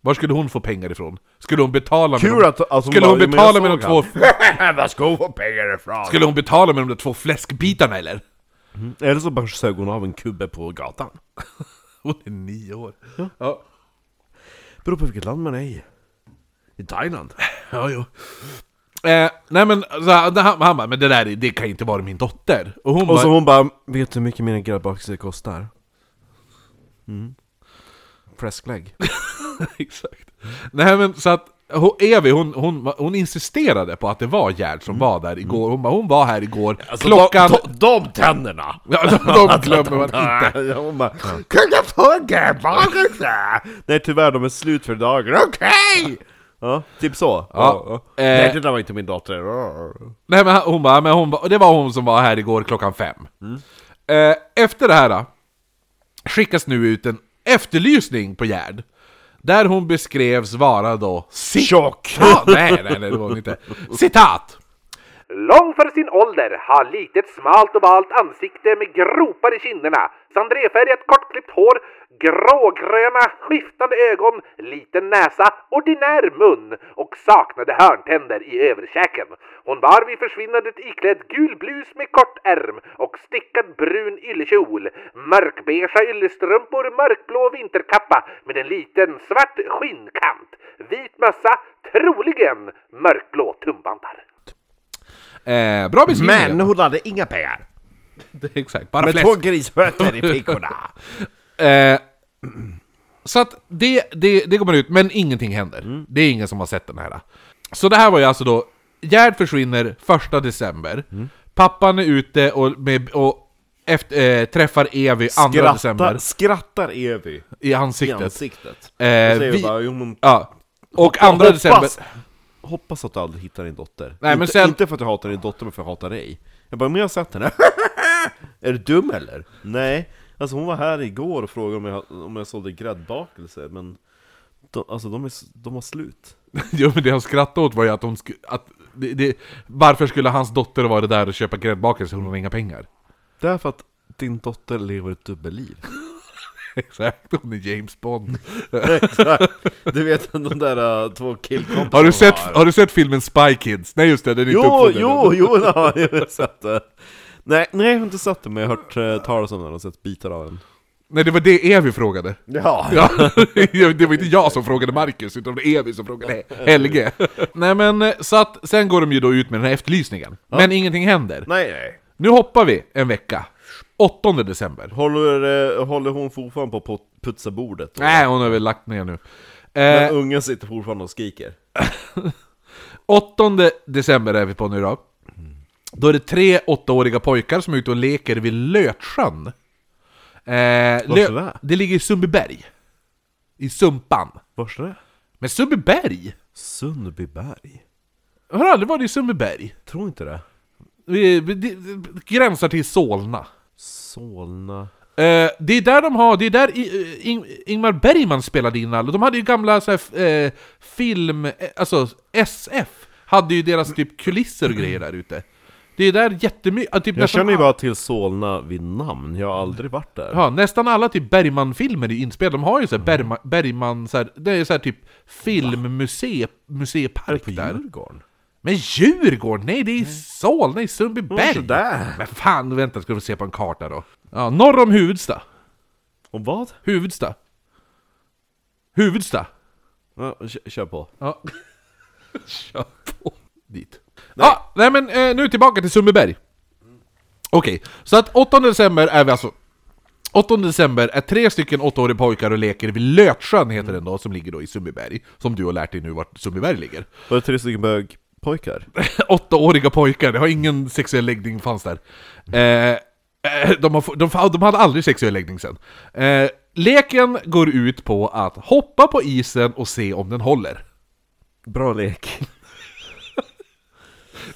S1: Var skulle hon få pengar ifrån? Skulle hon betala med
S3: Kul
S1: de,
S3: att- alltså, att hon
S1: Skulle hon
S3: bara, "Jo, men
S1: betala
S3: jag
S1: med de två...
S3: såg Var ska hon få pengar ifrån?
S1: Skulle hon betala med de där två fläskbitarna eller?
S3: Eller så bara sög hon av en kubbe på gatan.
S1: Hon är nio år. Ja,
S3: Beror på vilket land man är i. I Thailand.
S1: ja jo. Eh, nej men så, han, han, han bara, men det där är- det kan inte vara min dotter. Och hon
S3: Och
S1: bara,
S3: så hon bara, vet du hur mycket mina gräddbakelser kostar? Mm. Fläsklägg.
S1: Exakt. Nej men så att hon, Evi, hon, hon, hon insisterade på att det var Gerd som var där igår. Hon, bara, hon var här igår, klockan...
S3: Mm. De, Alltså, de, de tänderna!
S1: Ja, de, de glömmer man inte.
S3: Hon bara, kan jag få en gräddbakelse? Nej tyvärr, de är slut för dagen. Okej! Ja, typ så.
S1: Ja.
S3: Nej,
S1: Eh,
S3: det där var inte min dotter.
S1: nej men hon bara, men hon bara, det var hon som var här igår klockan fem.
S3: Mm.
S1: Eh, efter det här då, skickas nu ut en efterlysning på Gerd. Där hon beskrevs vara då... Cit-
S3: Tjock!
S1: Ja, nej, nej, nej, det var hon inte. Citat!
S9: Lång för sin ålder, har litet smalt ovalt ansikte med gropar i kinderna, sandréfärgat kortklippt hår, grågröna skiftande ögon, liten näsa, ordinär mun och saknade hörntänder i överkäken. Hon var vid försvinnandet iklädd gul blus med kort ärm och stickad brun yllekjol, mörkbeiga yllestrumpor, mörkblå vinterkappa med en liten svart skinnkant, vit mössa, troligen mörkblå tumbantar.
S1: Eh, bra beskrivning.
S3: Men hon hade inga pengar.
S1: Exakt, bara
S3: Med
S1: fläsk.
S3: två grisfötter i fickorna.
S1: Eh, så att det, det, det kommer ut, men ingenting händer.
S3: Mm.
S1: Det är ingen som har sett den här. Så det här var ju alltså då, Gerd försvinner 1 december,
S3: Mm.
S1: pappan är ute och, med, och efter, eh, träffar Evi 2
S3: Skrattar,
S1: december
S3: skrattar Evi
S1: i
S3: i
S1: ansiktet.
S3: ansiktet.
S1: Eh,
S3: Då säger vi...
S1: vi,
S3: bara, jo, men
S1: ja. Och 2
S3: hoppas.
S1: december...
S3: Hoppas att du aldrig hittar din dotter.
S1: Nej, men
S3: inte,
S1: sen-
S3: inte för att jag hatar din dotter, men för att jag hatar dig. Jag bara, men jag har sett henne. är du dum eller? Nej. Alltså hon var här igår och frågade om jag, om jag sålde gräddbakelser, men de, alltså de, är, s- de har slut.
S1: Jo men det han skrattade åt var ju att hon sku, att det, det, Varför skulle hans dotter vara där och köpa gräddbakelse om hon har inga pengar?
S3: Därför att din dotter lever ett dubbelliv.
S1: Exakt, hon är James Bond.
S3: Exakt. du vet de där äh, två killkompisarna
S1: Har du, sett,
S3: har.
S1: har du sett filmen Spy Kids? Nej just det, den är inte
S3: Jo,
S1: uppfunnen än.
S3: jo, jo, det har jag har sett det. Nej, nej, jag har inte sett det, men jag har hört eh, talas om den och sett bitar av den.
S1: Nej det var det Evi frågade.
S3: Ja.
S1: Ja, det var inte jag som frågade Marcus, utan det var Evi som frågade Helge. Nej men eh, så att, sen går de ju då ut med den här efterlysningen. Men ingenting händer.
S3: Nej, nej.
S1: Nu hoppar vi en vecka. 8 december.
S3: Håller, eh, håller hon fortfarande på att put- putsa bordet?
S1: Nej, hon har väl lagt ner nu.
S3: Men
S1: Eh,
S3: ungen sitter fortfarande och skriker.
S1: 8 december är vi på nu då. Då är det tre åttaåriga pojkar som är ute och leker vid Lötsjön. Eh,
S3: är
S1: Lö-
S3: det?
S1: det ligger i Sundbyberg. I Sumpan.
S3: Vars är det?
S1: Men Sundbyberg?
S3: Sundbyberg?
S1: Jag har aldrig varit i Sundbyberg.
S3: Tror inte det.
S1: Vi- vi- det- det Gränsar till Solna.
S3: Solna...
S1: Eh, det är där de har, det är där I, eh, Ing, Ingmar Bergman spelade in alla. De hade ju gamla så här, f- eh, film, eh, alltså SF, hade ju deras typ kulisser och grejer där ute. Det är där jättemycket, ja, typ
S3: Jag
S1: nästan
S3: känner ju
S1: all-
S3: bara till Solna vid namn, jag har aldrig varit där.
S1: Ja, nästan alla typ Bergman-filmer är inspelade, de har ju så här Bergman, Bergman så här, det är så här typ filmmuseipark där.
S3: Djurgården?
S1: Men Djurgården? Nej, det är i Solna, i Sundbyberg!
S3: Sådär!
S1: Men fan, vänta, ska vi se på en karta då. Ja, norr om Huvudsta.
S3: Och vad?
S1: Huvudsta. Huvudsta.
S3: Ja, kö- Kör på.
S1: Ja. Kör på. Dit. Nej. Ah, nej men eh, nu tillbaka till Sundbyberg. Okej, så att 8 december är vi alltså... 8 december är tre stycken åttaåriga pojkar och leker vid Lötsjön, heter den då, som ligger då i Sundbyberg. Som du har lärt dig nu vart Sundbyberg ligger.
S3: Var det tre stycken bögpojkar?
S1: åttaåriga pojkar, det har ingen sexuell läggning fanns där. Eh, eh, de, har, de, de hade aldrig sexuell läggning sen. Eh, leken går ut på att hoppa på isen och se om den håller.
S3: Bra lek.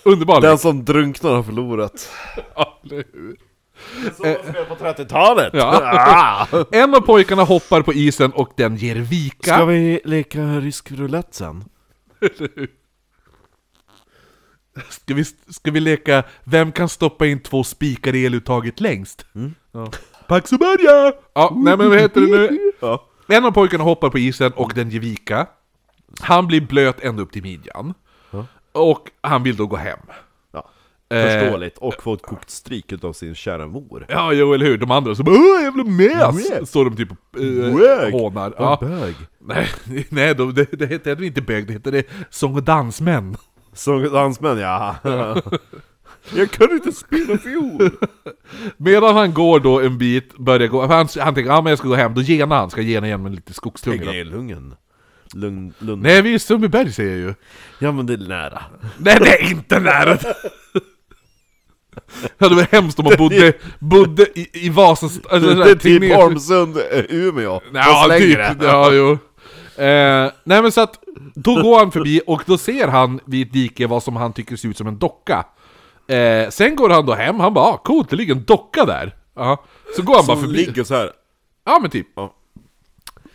S1: Underbar
S3: Den
S1: lek.
S3: som drunknar har förlorat.
S1: Ja, eller hur?
S3: På Ah. 30-talet!
S1: Eh. Ja. En av pojkarna hoppar på isen och den ger vika.
S3: Ska vi leka rysk roulette sen?
S1: Ska vi, ska vi leka Vem kan stoppa in två spikar i eluttaget längst?
S3: Mm.
S1: Ja. Pax och börja! Ja, nej men vad heter det nu?
S3: Ja.
S1: En av pojkarna hoppar på isen och den ger vika. Han blir blöt ända upp till midjan. Och han vill då gå hem.
S3: Ja.
S1: Eh,
S3: Förståeligt, och få ett kokt stryk utav sin kära mor.
S1: Ja, jo eller hur. De andra så bara Åh, jävla mes! Står de typ och
S3: Bög!
S1: eh, hånar. Ja.
S3: Bög!
S1: Nej, nej de, det, det heter det inte bög, det heter det sång och dansmän.
S3: Som dansmän, ja.
S2: Jag kan inte spela fiol!
S1: Medan han går då en bit, börjar gå, för han, han tänker ah, men jag ska gå hem, då genar han, ska gena igen med lite skogstunga då.
S3: Gnelungen. Lugn, lugn.
S1: Nej, vi är i Sundbyberg säger jag ju.
S3: Ja men det är nära.
S1: Nej, det är inte nära! Det hade varit hemskt om man bodde, bodde i, i Vasas... Alltså,
S3: Det är typ Ormsund, eh, Umeå.
S1: Ja,
S3: Fast
S1: typ.
S3: längre.
S1: Ja, jo. Eh, nej men så att, då går han förbi och då ser han vid ett dike vad som han tycker ser ut som en docka. Eh, sen går han då hem, han bara ah, coolt, det ligger en docka där. Ja. Så går han bara
S3: Som
S1: förbi.
S3: ligger så här.
S1: Ja men typ.
S3: Ja.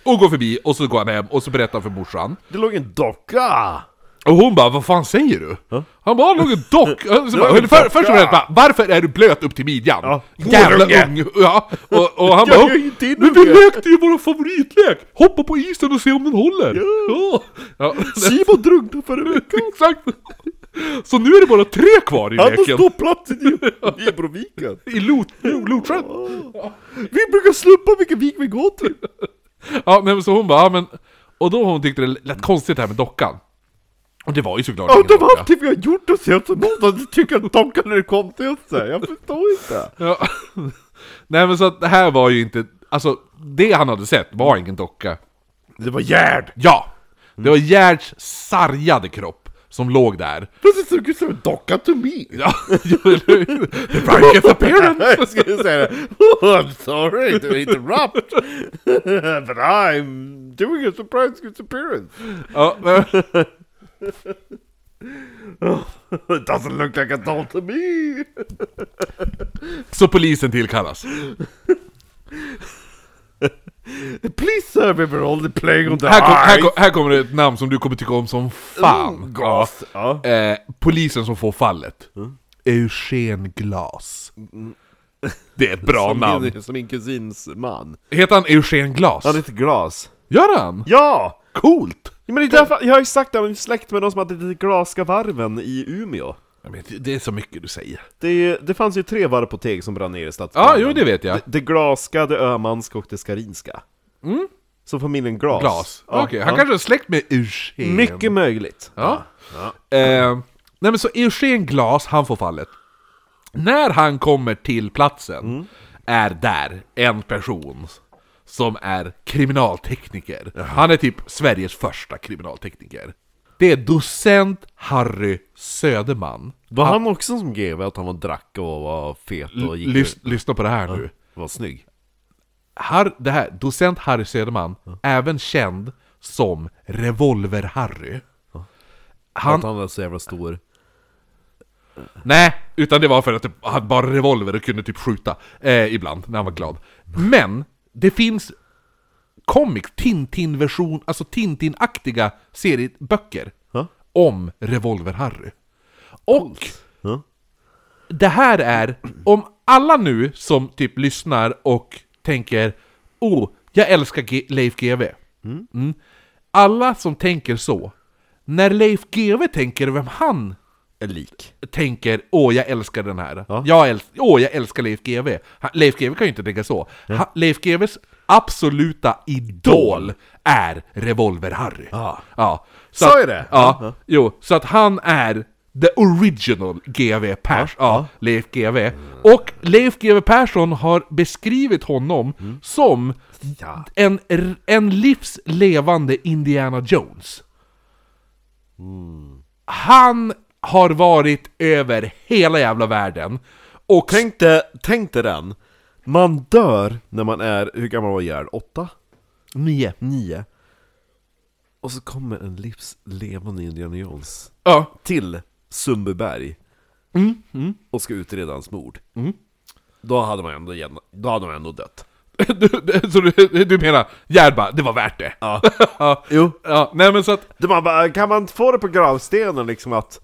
S1: Och går förbi och så går han hem och så berättar han för morsan.
S3: Det låg en docka!
S1: Och hon bara 'Vad fan säger du?' Han bara 'Någon dock' Alltså, så bara,
S3: låg en
S1: för,
S3: docka.
S1: Först och främst bara 'Varför är du blöt upp till midjan?'
S3: Ja.
S1: Jävla
S3: Horunge.
S1: ung! Ja. Och, och han
S3: Jag
S1: bara
S3: är inte inne
S1: 'Men vi
S3: med."
S1: lekte ju vår favoritlek! Hoppa på isen och se om den håller!' Ja! ja.
S3: Simon drunknade förra veckan!
S1: Exakt! Så nu är det bara tre kvar i
S3: Han har
S1: leken!
S3: ståplatsen i Nybroviken!
S1: I Lot- Lotsjön!
S3: Vi brukar slumpa vilken vik vi går till!
S1: Ja, nej, men så hon bara ja, men... Och då hon tyckte det lät konstigt det här med dockan. Och det var ju såklart
S3: Ja,
S1: ingen
S3: de
S1: docka.
S3: har alltid vi har gjort oss helt emot att du tycker att dockan är det konstigaste! Jag förstår inte!
S1: Ja. Nej men så att det här var ju inte, alltså det han hade sett var ingen docka.
S3: Det var Gerd!
S1: Ja! Det var Gerds sargade kropp som låg där.
S3: Fast det såg ut som en docka to me!
S1: Ja, jo, eller hur? The Franketh
S3: Jag
S1: appearance!
S3: skulle säga det. Oh, I'm sorry to interrupt! But I'm doing a surprise disappearance!
S1: Ja, men-
S3: It doesn't look like a doll to me!
S1: så polisen tillkallas.
S3: Please sir, we were only playing on the
S1: Här, kom, här,
S3: ice. Mm.
S1: kom, här kommer det ett namn som du kommer tycka om som fan. Mm, Ja. Mm.
S3: Ja.
S1: Eh, polisen som får fallet. Eugen Glas. Det är ett bra
S3: som
S1: namn.
S3: Min, som min kusins man.
S1: Heter han Eugen Glas?
S3: Han hade ett glas.
S1: Gör han?
S3: Ja!
S1: Coolt!
S3: Ja, Men det är därför, jag har ju sagt det, jag är släkt med de som hade det glaska varven i Umeå.
S1: Jag vet, det är så mycket du säger.
S3: Det, det fanns ju tre varvpotek som brann ner i
S1: Ja,
S3: stadsbranden.
S1: jo, det vet jag.
S3: Det, det glaska, det ömanska och det skarinska. Så familjen
S1: Mm.
S3: Glas.
S1: Glas.
S3: Ja,
S1: Okej, han kanske är släkt med Eugen.
S3: Mycket möjligt.
S1: Ja. Eh, nej men så Eugen Glas, han får fallet. När han kommer till platsen
S3: Mm.
S1: är där en person som är kriminaltekniker. Han är typ Sveriges första kriminaltekniker. Det är docent Harry Söderman.
S3: Var han också som GV att han var drack och var fet och gick
S1: Lys- lyssna på det här nu.
S3: var snygg?
S1: Har, det här, docent Harry Söderman, även känd som Revolver-Harry.
S3: Han... Att
S1: Han,
S3: han var så jävla stor.
S1: nej, utan det var för att det- han bara revolver och kunde typ skjuta eh, ibland när han var glad. Men, det finns comic, Tintin-version, alltså Tintin-aktiga serieböcker
S3: Ja.
S1: om Revolver-Harry. Och
S3: Ja.
S1: det här är, om alla nu som typ lyssnar och tänker Oh, jag älskar G- Leif GW. Mm. Alla som tänker så, när Leif GW tänker vem han
S3: Är lik.
S1: tänker Åh, jag älskar den här.
S3: Ja.
S1: Jag älsk- Åh, jag älskar Leif GW. Han- Leif GW kan ju inte tänka så. Ha- Leif GWs absoluta idol är Revolver-Harry.
S3: Ja.
S1: Ja.
S3: Sa
S1: att-
S3: jag det?
S1: Ja, jo. Så att han är The original GV Persson, ja, Leif GV. Och Leif GW Persson har beskrivit honom
S3: Mm.
S1: som en, r- en livslevande Indiana Jones. Han har varit över hela jävla världen. Och
S3: Tänk dig, tänk dig den. Man dör när man är, hur gammal var Gerd? Åtta? Nio. Nio. Och så kommer en livslevande Indiana Jones
S1: ja,
S3: till Sundbyberg
S1: Mm,
S3: och ska utreda hans mord. Då hade man ändå, gärna- då hade man ändå dött.
S1: du, du- så du, du menar, Gerd bara, det var värt det? Ja.
S3: Jo.
S1: ja. Nej men så att,
S3: Det man bara, kan man inte få det på gravstenen liksom att,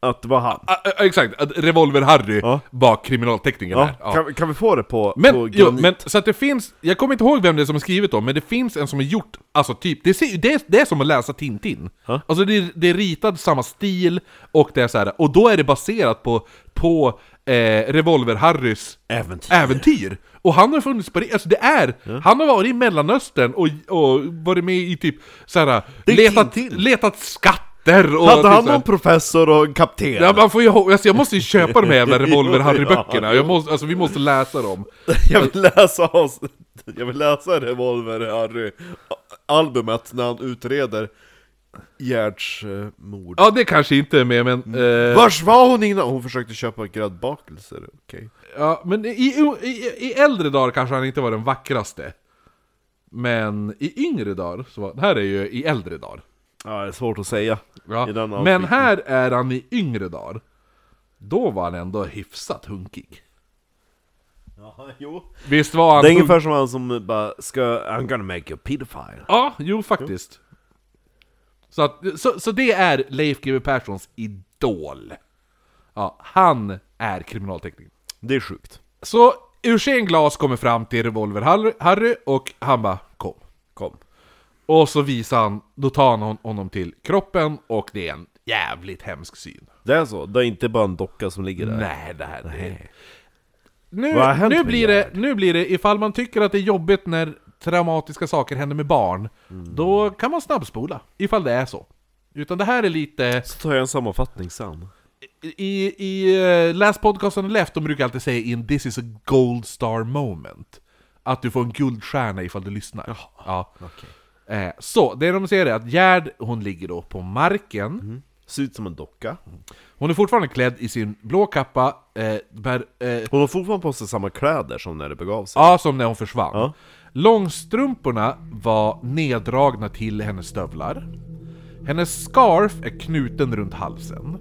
S3: att det var han?
S1: Ä- ä- Exakt, att Revolver-Harry var kriminaltekniker där. Ja.
S3: Kan, kan vi få det på, på
S1: Men, jo,
S3: granit?
S1: men, så att det finns, jag kommer inte ihåg vem det är som har skrivit dem, men det finns en som har gjort, alltså typ, det, ser, ju- det, är, det är som att läsa Tintin. Alltså det, är- det är ritat samma stil, och det är så här, och då är det baserat på, på eh, Revolver-Harrys
S3: Äventyr.
S1: äventyr. Och han har funnits på det, alltså det är, han har varit i Mellanöstern och, och varit med i typ såhär,
S3: är
S1: letat,
S3: Tintin.
S1: letat skatter och
S3: Hade
S1: typ så
S3: han
S1: här-
S3: någon professor och en kapten?
S1: Ja, man får ju, ho- alltså jag måste ju köpa de här jävla revolver-Harry-böckerna, jag måste, alltså vi måste läsa dem.
S3: Jag vill läsa hans, jag vill läsa Revolver Harry albumet när han utreder Gerds eh, mord.
S1: Ja, det kanske inte är med, men... Eh,
S3: Vars var hon innan? Hon försökte köpa gräddbakelser, okej.
S1: eh, ja, men i, i, i äldre dagar kanske han inte var den vackraste. Men i yngre dagar, så var, det här är ju i äldre dagar.
S3: Ja, det är svårt att säga.
S1: Ja.
S3: I den
S1: Men
S3: outfiten.
S1: här är han i yngre dagar. Då var han ändå hyfsat hunkig.
S3: Ja, jo.
S1: Visst var han
S3: Det är
S1: hunk-
S3: ungefär som han som bara ska, I'm gonna make you a pedophile.
S1: Ja, jo faktiskt. Så, att, så, så det är Leif GW Perssons idol. Ja, han är kriminaltekniker.
S3: Det är sjukt.
S1: Så Eugen Glas kommer fram till Revolver-Harry och han bara kom. Kom. Och så visar han, då tar han hon- honom till kroppen och det är en jävligt hemsk syn.
S3: Det är så, det är inte bara en docka som ligger där.
S1: Nej, det här det. Nu,
S3: Vad har hänt
S1: nu,
S3: med
S1: blir det, nu blir det, ifall man tycker att det är jobbigt när traumatiska saker händer med barn,
S3: Mm.
S1: då kan man snabbspola, ifall det är så. Utan det här är lite...
S3: Så tar jag en sammanfattning sen.
S1: I, i eh, Läs podcasten Left, de brukar alltid säga in 'This is a gold star moment' Att du får en guldstjärna ifall du lyssnar. ja. eh, så, det de säger är att Gerd, hon ligger då på marken.
S3: Ser ut som en docka.
S1: Mm. Hon är fortfarande klädd i sin blå kappa, eh, bär, eh,
S3: Hon har fortfarande på sig samma kläder som när det begav sig.
S1: ja, som när hon försvann. Långstrumporna var neddragna till hennes stövlar. Hennes scarf är knuten runt halsen.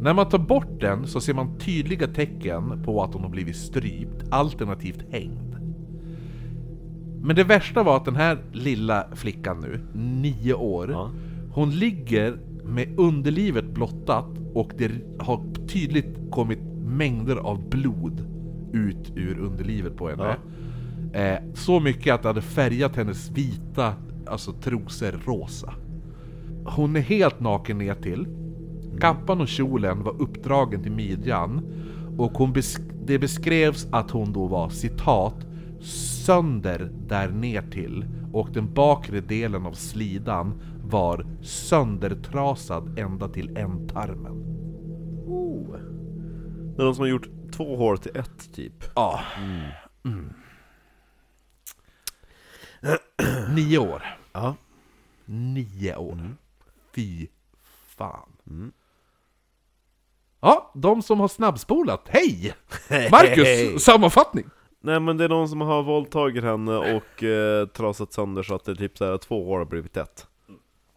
S1: När man tar bort den så ser man tydliga tecken på att hon har blivit strypt, alternativt hängd. Men det värsta var att den här lilla flickan nu, nio år, hon ligger med underlivet blottat och det har tydligt kommit mängder av blod ut ur underlivet på henne. Eh, så mycket att det hade färgat hennes vita alltså trosor rosa. Hon är helt naken ner till. Kappan och kjolen var uppdragen till midjan och hon besk- det beskrevs att hon då var citat sönder där ner till och den bakre delen av slidan var söndertrasad ända till ändtarmen.
S3: Det är de som har gjort två hår till ett typ.
S1: Ja. Mm. Nio år. Mm.
S3: Ja.
S1: Nio år. Fy fan. Mm. Ja, de som har snabbspolat. Hej! Marcus, sammanfattning.
S3: Nej men det är någon som har våldtagit henne och eh, trasat sönder så att det är typ såhär två hår har blivit ett.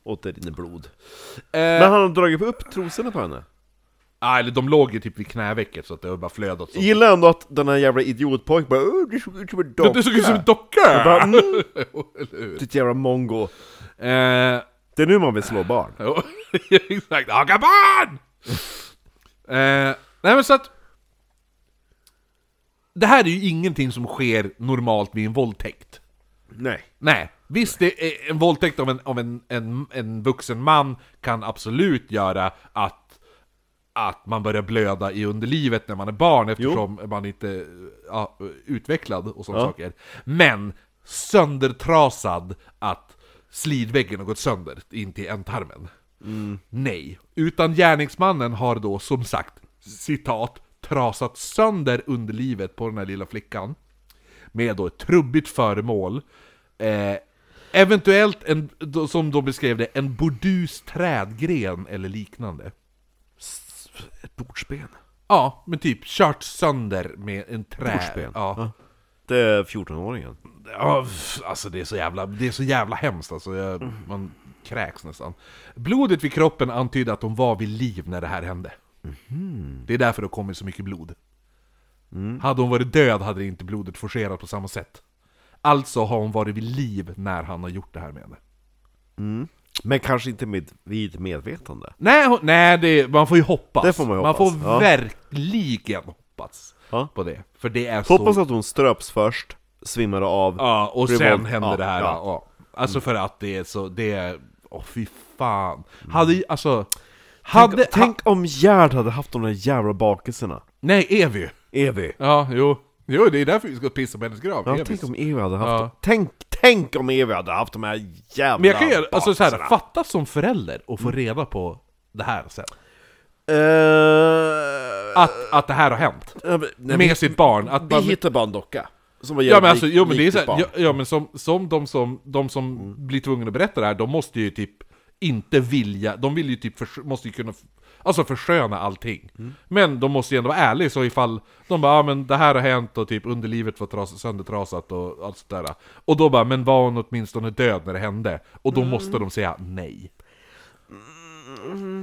S3: Och det rinner blod.
S1: Eh.
S3: Men han har dragit upp trosorna på henne.
S1: Ah, eller de låg ju typ vid knävecket så att det var bara flödat. Så.
S3: Gillar ändå att den här jävla idiotpojken bara "Åh, du såg ut som en
S1: Du
S3: docka.
S1: såg ut som en docka!
S3: Bara, mm, ditt jävla mongo.
S1: Eh,
S3: Det är nu man vill slå barn.
S1: jo, Exakt, aga barn! eh, nej men så att... Det här är ju ingenting som sker normalt vid en våldtäkt.
S3: Nej.
S1: Nej, visst det är en våldtäkt av en, av en, en, en vuxen man kan absolut göra att, att man börjar blöda i underlivet när man är barn eftersom man inte är ja, utvecklad och sådana saker. Men söndertrasad att slidväggen har gått sönder in till ändtarmen. Nej. Utan gärningsmannen har då som sagt, citat, trasat sönder underlivet på den här lilla flickan. Med då ett trubbigt föremål. Eh, eventuellt, en, då- som då beskrev det, en burdus trädgren eller liknande.
S3: Ett bordsben.
S1: Ja, men typ kört sönder med en trä...
S3: Bordsben.
S1: Ja.
S3: Det är 14-åringen.
S1: Ja, pff, alltså det är så jävla, det är så jävla hemskt alltså. Jag, man kräks nästan. Blodet vid kroppen antydde att hon var vid liv när det här hände. Det är därför det har kommit så mycket blod. Hade hon varit död hade det inte blodet forcerat på samma sätt. Alltså har hon varit vid liv när han har gjort det här med henne.
S3: Men kanske inte med, vid medvetande.
S1: Nej, hon, nej det, man får ju hoppas.
S3: Det får man ju
S1: man
S3: hoppas,
S1: får
S3: ja.
S1: verkligen hoppas
S3: Ja.
S1: på det. För det är så
S3: Hoppas att hon ströps först, svimmade av.
S1: Ja, och
S3: Revolt.
S1: sen hände
S3: Ja,
S1: det här.
S3: ja. Mm.
S1: Ja. Alltså för att det är så, det är... Åh fy fan. Hade ju- alltså... Hade...
S3: Mm. tänk,
S1: ha,
S3: tänk om Gerd hade haft de där jävla bakelserna.
S1: nej, Evy.
S3: Evy.
S1: Ja, jo. Jo, det är därför vi ska pissa på hennes grav.
S3: Ja,
S1: Evys.
S3: tänk om Evy hade haft
S1: Ja.
S3: dem. Tänk, tänk om Evy hade haft de här jävla
S1: Men jag kan ju, alltså så här,
S3: bakelserna.
S1: fatta som förälder och få reda på det här sen.
S3: Eh,
S1: Att, att det här har hänt.
S3: ja, men- nej,
S1: Ah, med
S3: men-
S1: sitt barn. Att
S3: Vi
S1: man,
S3: hittar bara en docka. Som var
S1: ja men
S3: jävligt
S1: alltså, jo men
S3: lik
S1: det är så
S3: ditt barn.
S1: här, ja, ja men som, som de som, de som blir tvungna att berätta det här, de måste ju typ inte vilja, de vill ju typ, förs- måste ju kunna, f- alltså försköna allting. Men de måste ju ändå vara ärliga, så ifall de bara ah, men det här har hänt och typ underlivet var tras, söndertrasat och allt sådär. Och då bara, men var hon åtminstone död när det hände? Och då måste de säga nej.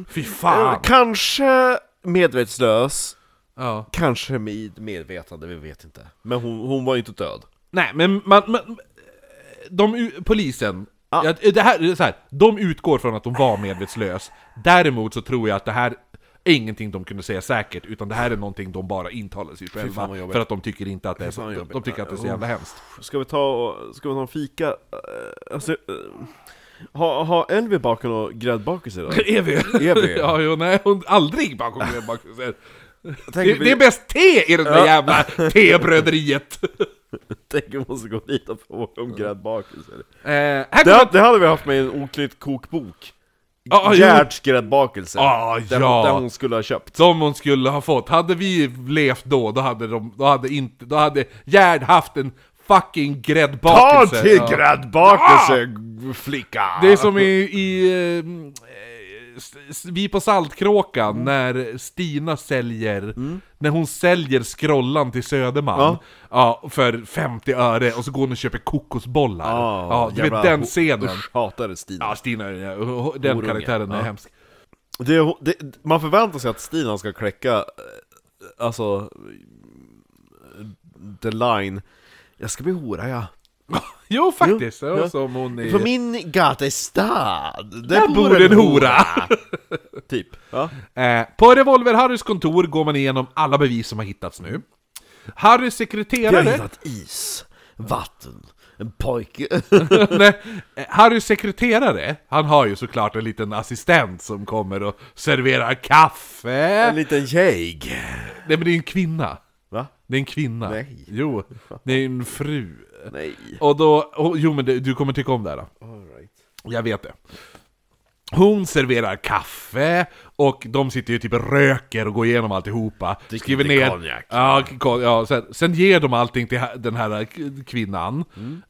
S1: Fy fan!
S3: Kanske medvetslös,
S1: Ja.
S3: kanske med medvetande, vi vet inte. Men hon, hon var ju inte död.
S1: Nej, men man... man de, u- polisen... Ja, det här, så här, de utgår från att de var medvetslös. Däremot så tror jag att det här är ingenting de kunde säga säkert, utan det här är någonting de bara intalar sig själva.
S3: fan vad jobbigt.
S1: För att de tycker inte att det är så,
S3: fan vad
S1: de,
S3: jobbigt.
S1: de tycker att det är så jävla hemskt.
S3: Ska vi ta och, ska vi ta en fika? Eh, Alltså, eh, ha, ha Elvi bakat och gräddbakelse idag?
S1: Evy!
S3: Evy.
S1: ja, jo, nej, hon aldrig bakom det bakom sig. Det,
S3: Tänk,
S1: det är bäst te i det där
S3: Ja.
S1: jävla tebröderiet!
S3: tänk vi måste gå dit och fråga om gräddbakelser.
S1: Eh, här
S3: Det,
S1: kommer...
S3: det hade vi haft med i en oklytt kokbok.
S1: Ah, jo.
S3: Gerds gräddbakelse.
S1: Ah,
S3: Den,
S1: ja.
S3: den hon skulle ha köpt.
S1: Som hon skulle ha fått. Hade vi levt då, då hade de, då hade inte, då hade Gerd haft en fucking
S2: Ta
S1: gräddbakelse.
S2: till
S1: Ja. Ah!
S2: gräddbakelse flicka!
S1: Det är som i, i ehm, eh, s- s- Vi på Saltkråkan när Stina säljer, när hon säljer skrollan till Söderman ja. för 50 öre och så går hon och köper kokosbollar.
S3: Ah,
S1: ja, du
S3: jävla-
S1: vet den scenen.
S3: Usch, hatar Stina.
S1: Ja, Stina, ja, den
S3: Horunge.
S1: karaktären
S3: Ja.
S1: är hemsk.
S3: Det, det, man förväntar sig att Stina ska kläcka, eh, alltså, eh, the line Jag ska bli hora ja.
S1: Jo, faktiskt.
S3: Jo,
S1: det var
S3: ja.
S1: Som hon i...
S3: På min gata i stad, där,
S1: bor en hora.
S3: typ. Ja.
S1: Eh, på Revolver-Harrys kontor går man igenom alla bevis som har hittats nu. Harrys
S3: Vi har
S1: sekreterare...
S3: hittat is, vatten, en pojke.
S1: Nej, eh, Harrys sekreterare, han har ju såklart en liten assistent som kommer och serverar kaffe.
S3: En liten jäg.
S1: Nej men det är en kvinna.
S3: Va?
S1: Det är en kvinna.
S3: Nej.
S1: Jo, det är en fru.
S3: Nej.
S1: Och då... Och, jo men det, du kommer tycka om det här. Då. Jag vet det. Hon serverar kaffe och de sitter ju typ och röker och går igenom alltihopa.
S3: Dricker
S1: skriver
S3: lite
S1: ner...
S3: konjak.
S1: Ja, kon- ja sen, sen ger de allting till ha- den här k- kvinnan.
S3: Mm.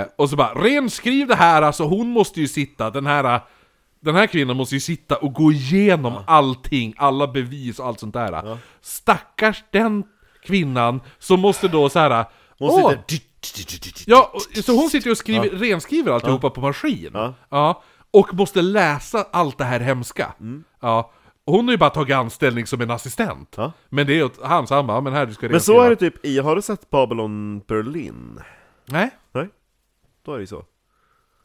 S1: Eh, och så bara renskriv det här, alltså hon måste ju sitta, den här... Den här kvinnan måste ju sitta och gå igenom allting, alla bevis och allt sånt där. Stackars den kvinnan som måste då så här.
S3: Hon
S1: "Åh,
S3: sitter...
S1: Ja, och- så hon sitter ju och skriver, renskriver alltihopa på maskin. Ja. Och måste läsa allt det här hemska.
S3: Mm.
S1: Ja. Och Hon har ju bara tagit anställning som en assistent.
S3: Ja.
S1: Men det är åt han, så han bara, "Ja, men här du ska
S3: Men så
S1: renskriva."
S3: är det typ i, har du sett Babylon Berlin?
S1: Nej?
S3: Nej? Då är det ju så.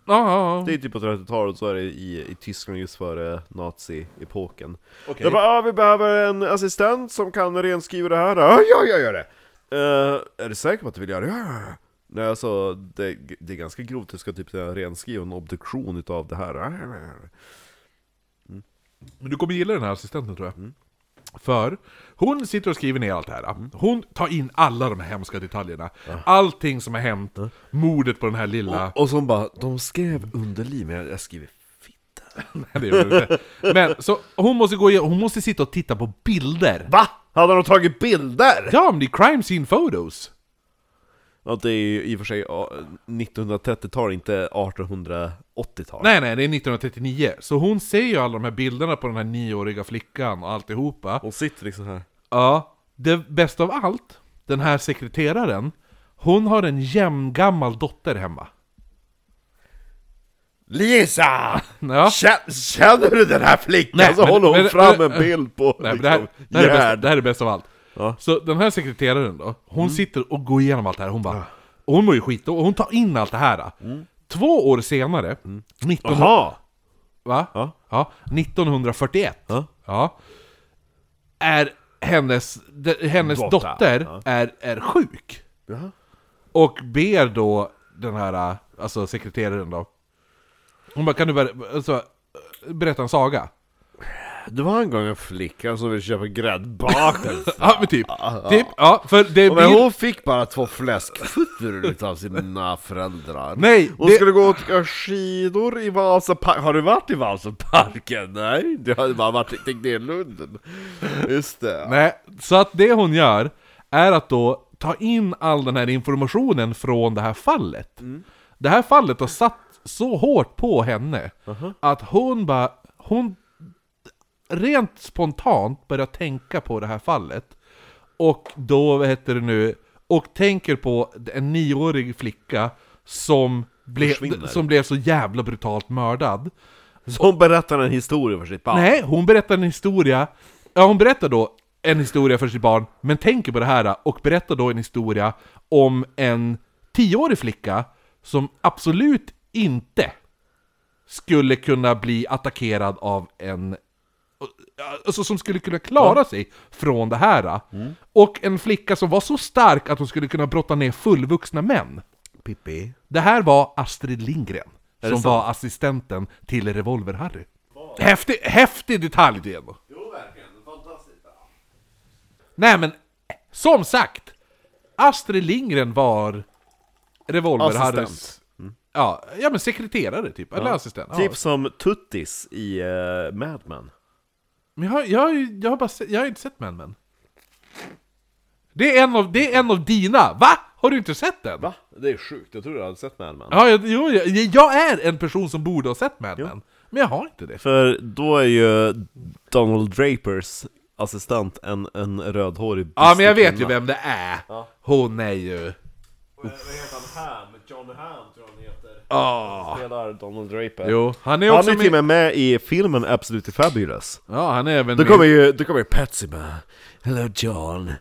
S1: Ja, ja, ja.
S3: Det är typ på 30-talet så är det i, i Tyskland just före nazi-epoken.
S1: Okej.
S3: Det var ah, vi behöver en assistent som kan renskriva det här. Ja, ja, jag gör det! Eh, är du säker på att du vill göra det? Ja, ja, ja. Nej, alltså det, det är ganska grovt. Du ska typ renskriva en obduktion utav det här. Ja, ja, ja.
S1: Men du kommer gilla den här assistenten tror jag.
S3: Mm.
S1: För hon sitter och skriver ner allt det här. Hon tar in alla de här hemska detaljerna. Allting som har hänt, mordet på den här lilla...
S3: Och så hon bara, de skrev underliv, men jag, jag skriver fitta.
S1: Nej, det gjorde hon inte. Men så hon måste gå igenom, hon måste sitta och titta på bilder.
S3: Va? Hade de tagit bilder?
S1: Ja, men det är crime scene photos!
S3: Ja, det är ju i och för sig ja, 1930-tal, inte 1880-tal.
S1: Nej, nej, det är 1939. Så hon ser ju alla de här bilderna på den här nioåriga flickan och alltihopa.
S3: Hon sitter liksom här.
S1: Ja, det bästa av allt, den här sekreteraren, hon har en jämngammal dotter hemma.
S3: Lisa!
S1: Ja.
S3: Känner, känner du den här flickan?
S1: Nej,
S3: så
S1: men-
S3: Alltså, håller hon
S1: men-
S3: fram
S1: men-
S3: en bild på
S1: Nej, men det, här,
S3: liksom,
S1: det, här är
S3: Gerd.
S1: bäst, det här är bäst av allt.
S3: Ja. Mm.
S1: Så den här sekreteraren då, hon sitter och går igenom allt det här, hon bara... Och hon mår ju skit, och hon tar in allt det här.
S3: Mm.
S1: Två år senare, 19...
S2: Jaha!
S1: Va?
S3: Ja.
S1: 1941.
S3: Ja.
S1: Ja. Är hennes, de, hennes
S3: Dotter.
S1: dotter, är, är sjuk. Och ber då den här, alltså sekreteraren då. Hon bara, kan du ber- alltså, berätta en saga?
S3: Det var en gång en flicka som ville köpa gräddbakelse.
S1: Ja, men typ. typ ja, för det
S3: Men
S1: blir...
S3: hon fick bara två fläskfötter utav sina föräldrar.
S1: Nej,
S3: Hon
S1: det-
S3: skulle gå och åka skidor i Vasaparken. Har du varit i Vasaparken? Nej, du har ju bara varit riktigt ner i Lunden. Just det.
S1: Nej, så att det hon gör är att då ta in all den här informationen från det här fallet. Det här fallet har satt så hårt på henne att hon bara, hon rent spontant börjar tänka på det här fallet. Och då, vad heter det nu, och tänker på en nioårig flicka som blev,
S3: Försvinner.
S1: som blev så jävla brutalt mördad.
S3: Så hon berättar en historia för sitt barn.
S1: Nej, hon berättar en historia. Ja, hon berättar då en historia för sitt barn, men tänker på det här och berättar då en historia om en tioårig flicka som absolut inte skulle kunna bli attackerad av en... Alltså som skulle kunna klara sig från det här. Och en flicka som var så stark att hon skulle kunna brotta ner fullvuxna män.
S3: Pippi.
S1: Det här var Astrid Lindgren, som
S3: sant?
S1: var assistenten till Revolver-Harry. Häftig, häftig detalj det ändå. Nej men, som sagt! Astrid Lindgren var Revolver-Harrys...
S3: Assistent.
S1: Ja, ja men sekreterare typ, eller assistent. Ja.
S3: Typ som Tuttis i uh, Mad Men.
S1: Men jag, har- jag, har ju- jag, har bara se, jag har inte sett Mad Men. Det är, en av, det är en av dina, va? Har du inte sett den?
S3: Va? Det är sjukt, jag tror du hade sett Mad Men.
S1: Ja, jag, jo, jag, jag är en person som borde ha sett Mad Men, men jag har inte det.
S3: För då är ju Donald Drapers assistent en, en rödhårig
S1: Ja men jag vet ju
S3: kvinna.
S1: vem det är! Hon är ju...
S3: Vad heter han? Ham? John Ham tror jag han heter.
S1: Ja.
S3: Spelar Donald Draper.
S1: Jo, han är
S3: Han
S1: också
S3: är till och
S1: med...
S3: med med i filmen Absolutely Fabulous.
S1: Ja, han är även
S3: Då
S1: med...
S3: kommer ju, då kommer ju Patsy med. Hello John.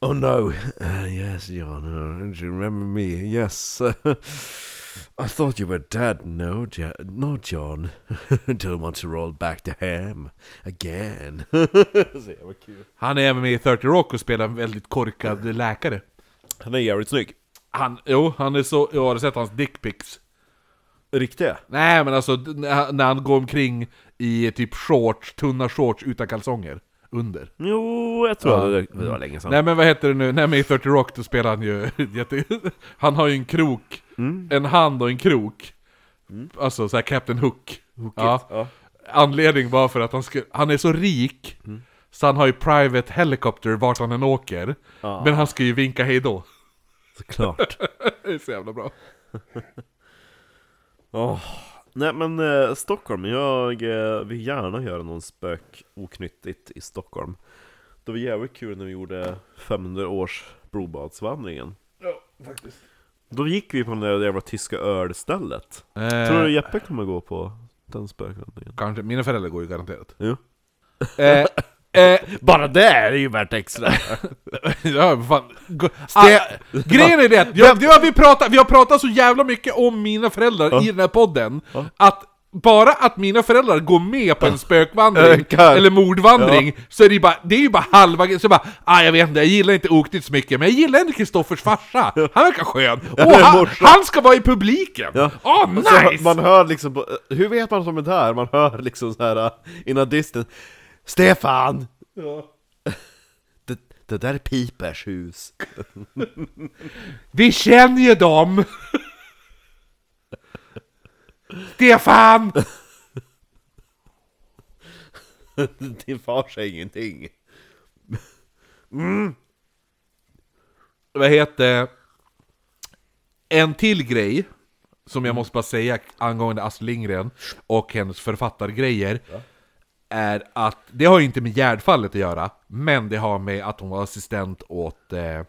S3: Oh no. Uh, yes John. Uh, do you remember me? Yes. I thought you were dead. No, ja no John. Don't want to roll back the ham again. Så jävla kul.
S1: Han är även med i 30 Rock och spelar en väldigt korkad läkare.
S3: Han är jävligt snygg.
S1: Han, jo, han är så... Jag har du sett hans dickpics?
S3: Riktiga.
S1: Nej men alltså, d- när han- när han går omkring i typ shorts, tunna shorts utan kalsonger. Under.
S3: Jo, jag tror det, det var länge sedan.
S1: Nej men vad heter det nu? Nej men i 30 Rock då spelar han ju jätte... Han har ju en krok,
S3: Mm.
S1: en hand och en krok. Alltså så här Captain Hook. Ja.
S3: ja.
S1: Anledning var för att han, skulle, han är så rik,
S3: Mm.
S1: så han har ju private helicopter vart han än åker. Men han ska ju vinka hejdå.
S3: Såklart.
S1: Det är så jävla bra.
S3: Nej men eh, Stockholm, jag eh, vill gärna göra någon spök oknyttigt i Stockholm. Det var jävligt kul när vi gjorde 500 års brobadsvandringen. Ja, faktiskt. Då gick vi på det där jävla tyska ölstället. Tror du
S1: Eh,
S3: Jeppe kommer gå på den spökvandringen?
S1: kanske, mina föräldrar går ju garanterat.
S3: Jo.
S1: Eh, eh,
S3: Bara det är ju värt extra!
S1: Ja, vad fan. Gå- Ah, grejen är det att jag, det har vi, pratat, vi har pratat så jävla mycket om mina föräldrar i den här podden, att bara att mina föräldrar går med på en spökvandring,
S3: Ökar.
S1: eller mordvandring, så är det ju bara, det är ju bara halva grejen. Så bara, ah, jag vet inte, jag gillar inte Oknytt så mycket, men jag gillar ändå Kristoffers farsa. Han verkar skön.
S3: det
S1: Och
S3: är
S1: han,
S3: morsan.
S1: han ska vara i publiken! Åh, nice!
S3: Så man hör liksom, på- hur vet man som är där? Man hör liksom så här eh, innan disten Stefan! Det, det där är Pipers hus.
S1: Vi känner ju dem! Stefan!
S3: Din far säger ingenting.
S1: vad heter En till grej som
S3: Mm.
S1: jag måste bara säga angående Astrid Lindgren och hennes författargrejer är att det har ju inte med Gärdfallet att göra, men det har med att hon var assistent åt... Eh,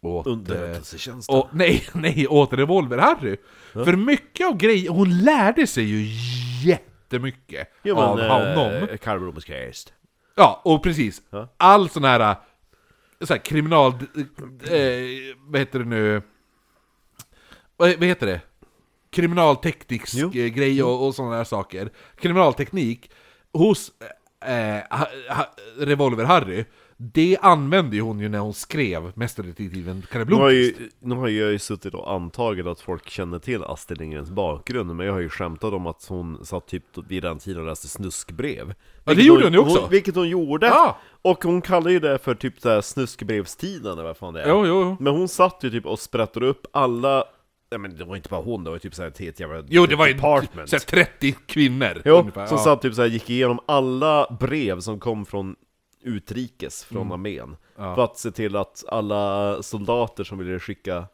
S1: åt
S3: Underrättelsetjänsten.
S1: och, nej, nej, åt Revolver-Harry! För mycket av grejer, hon lärde sig ju jättemycket
S3: Jo,
S1: av
S3: men,
S1: honom.
S3: eh, Karl Roberts Christ.
S1: Ja, och precis. All sån här, äh, så här kriminal... Eh, vad heter det nu? Vad, vad heter det? Kriminalteknisk
S3: Jo.
S1: eh, grej och, och sådana där saker. Kriminalteknik hos eh, ha, ha, Revolver-Harry, det använde ju hon ju när hon skrev Mästerdetektiven Kalle
S3: Nu har,
S1: Blomkvist.
S3: ju, nu har jag ju suttit och antagit att folk känner till Astrid Lindgrens bakgrund, men jag har ju skämtat om att hon satt typ vid den tiden och läste snuskbrev.
S1: det
S3: Vilket
S1: gjorde hon ju också.
S3: vilket hon gjorde!
S1: Ja.
S3: Och hon kallar ju det för typ så här snuskbrevstiden eller vad fan det är.
S1: Jo, jo, jo.
S3: Men hon satt ju typ och sprättade upp alla, nej men det var inte bara hon, det var ju typ såhär till ett jävla
S1: Jo, det var ju
S3: department.
S1: så här 30 kvinnor.
S3: Jo,
S1: ungefär,
S3: som
S1: ja.
S3: satt typ såhär, gick igenom alla brev som kom från utrikes, från
S1: Mm.
S3: armén. För att se till att alla soldater som ville skicka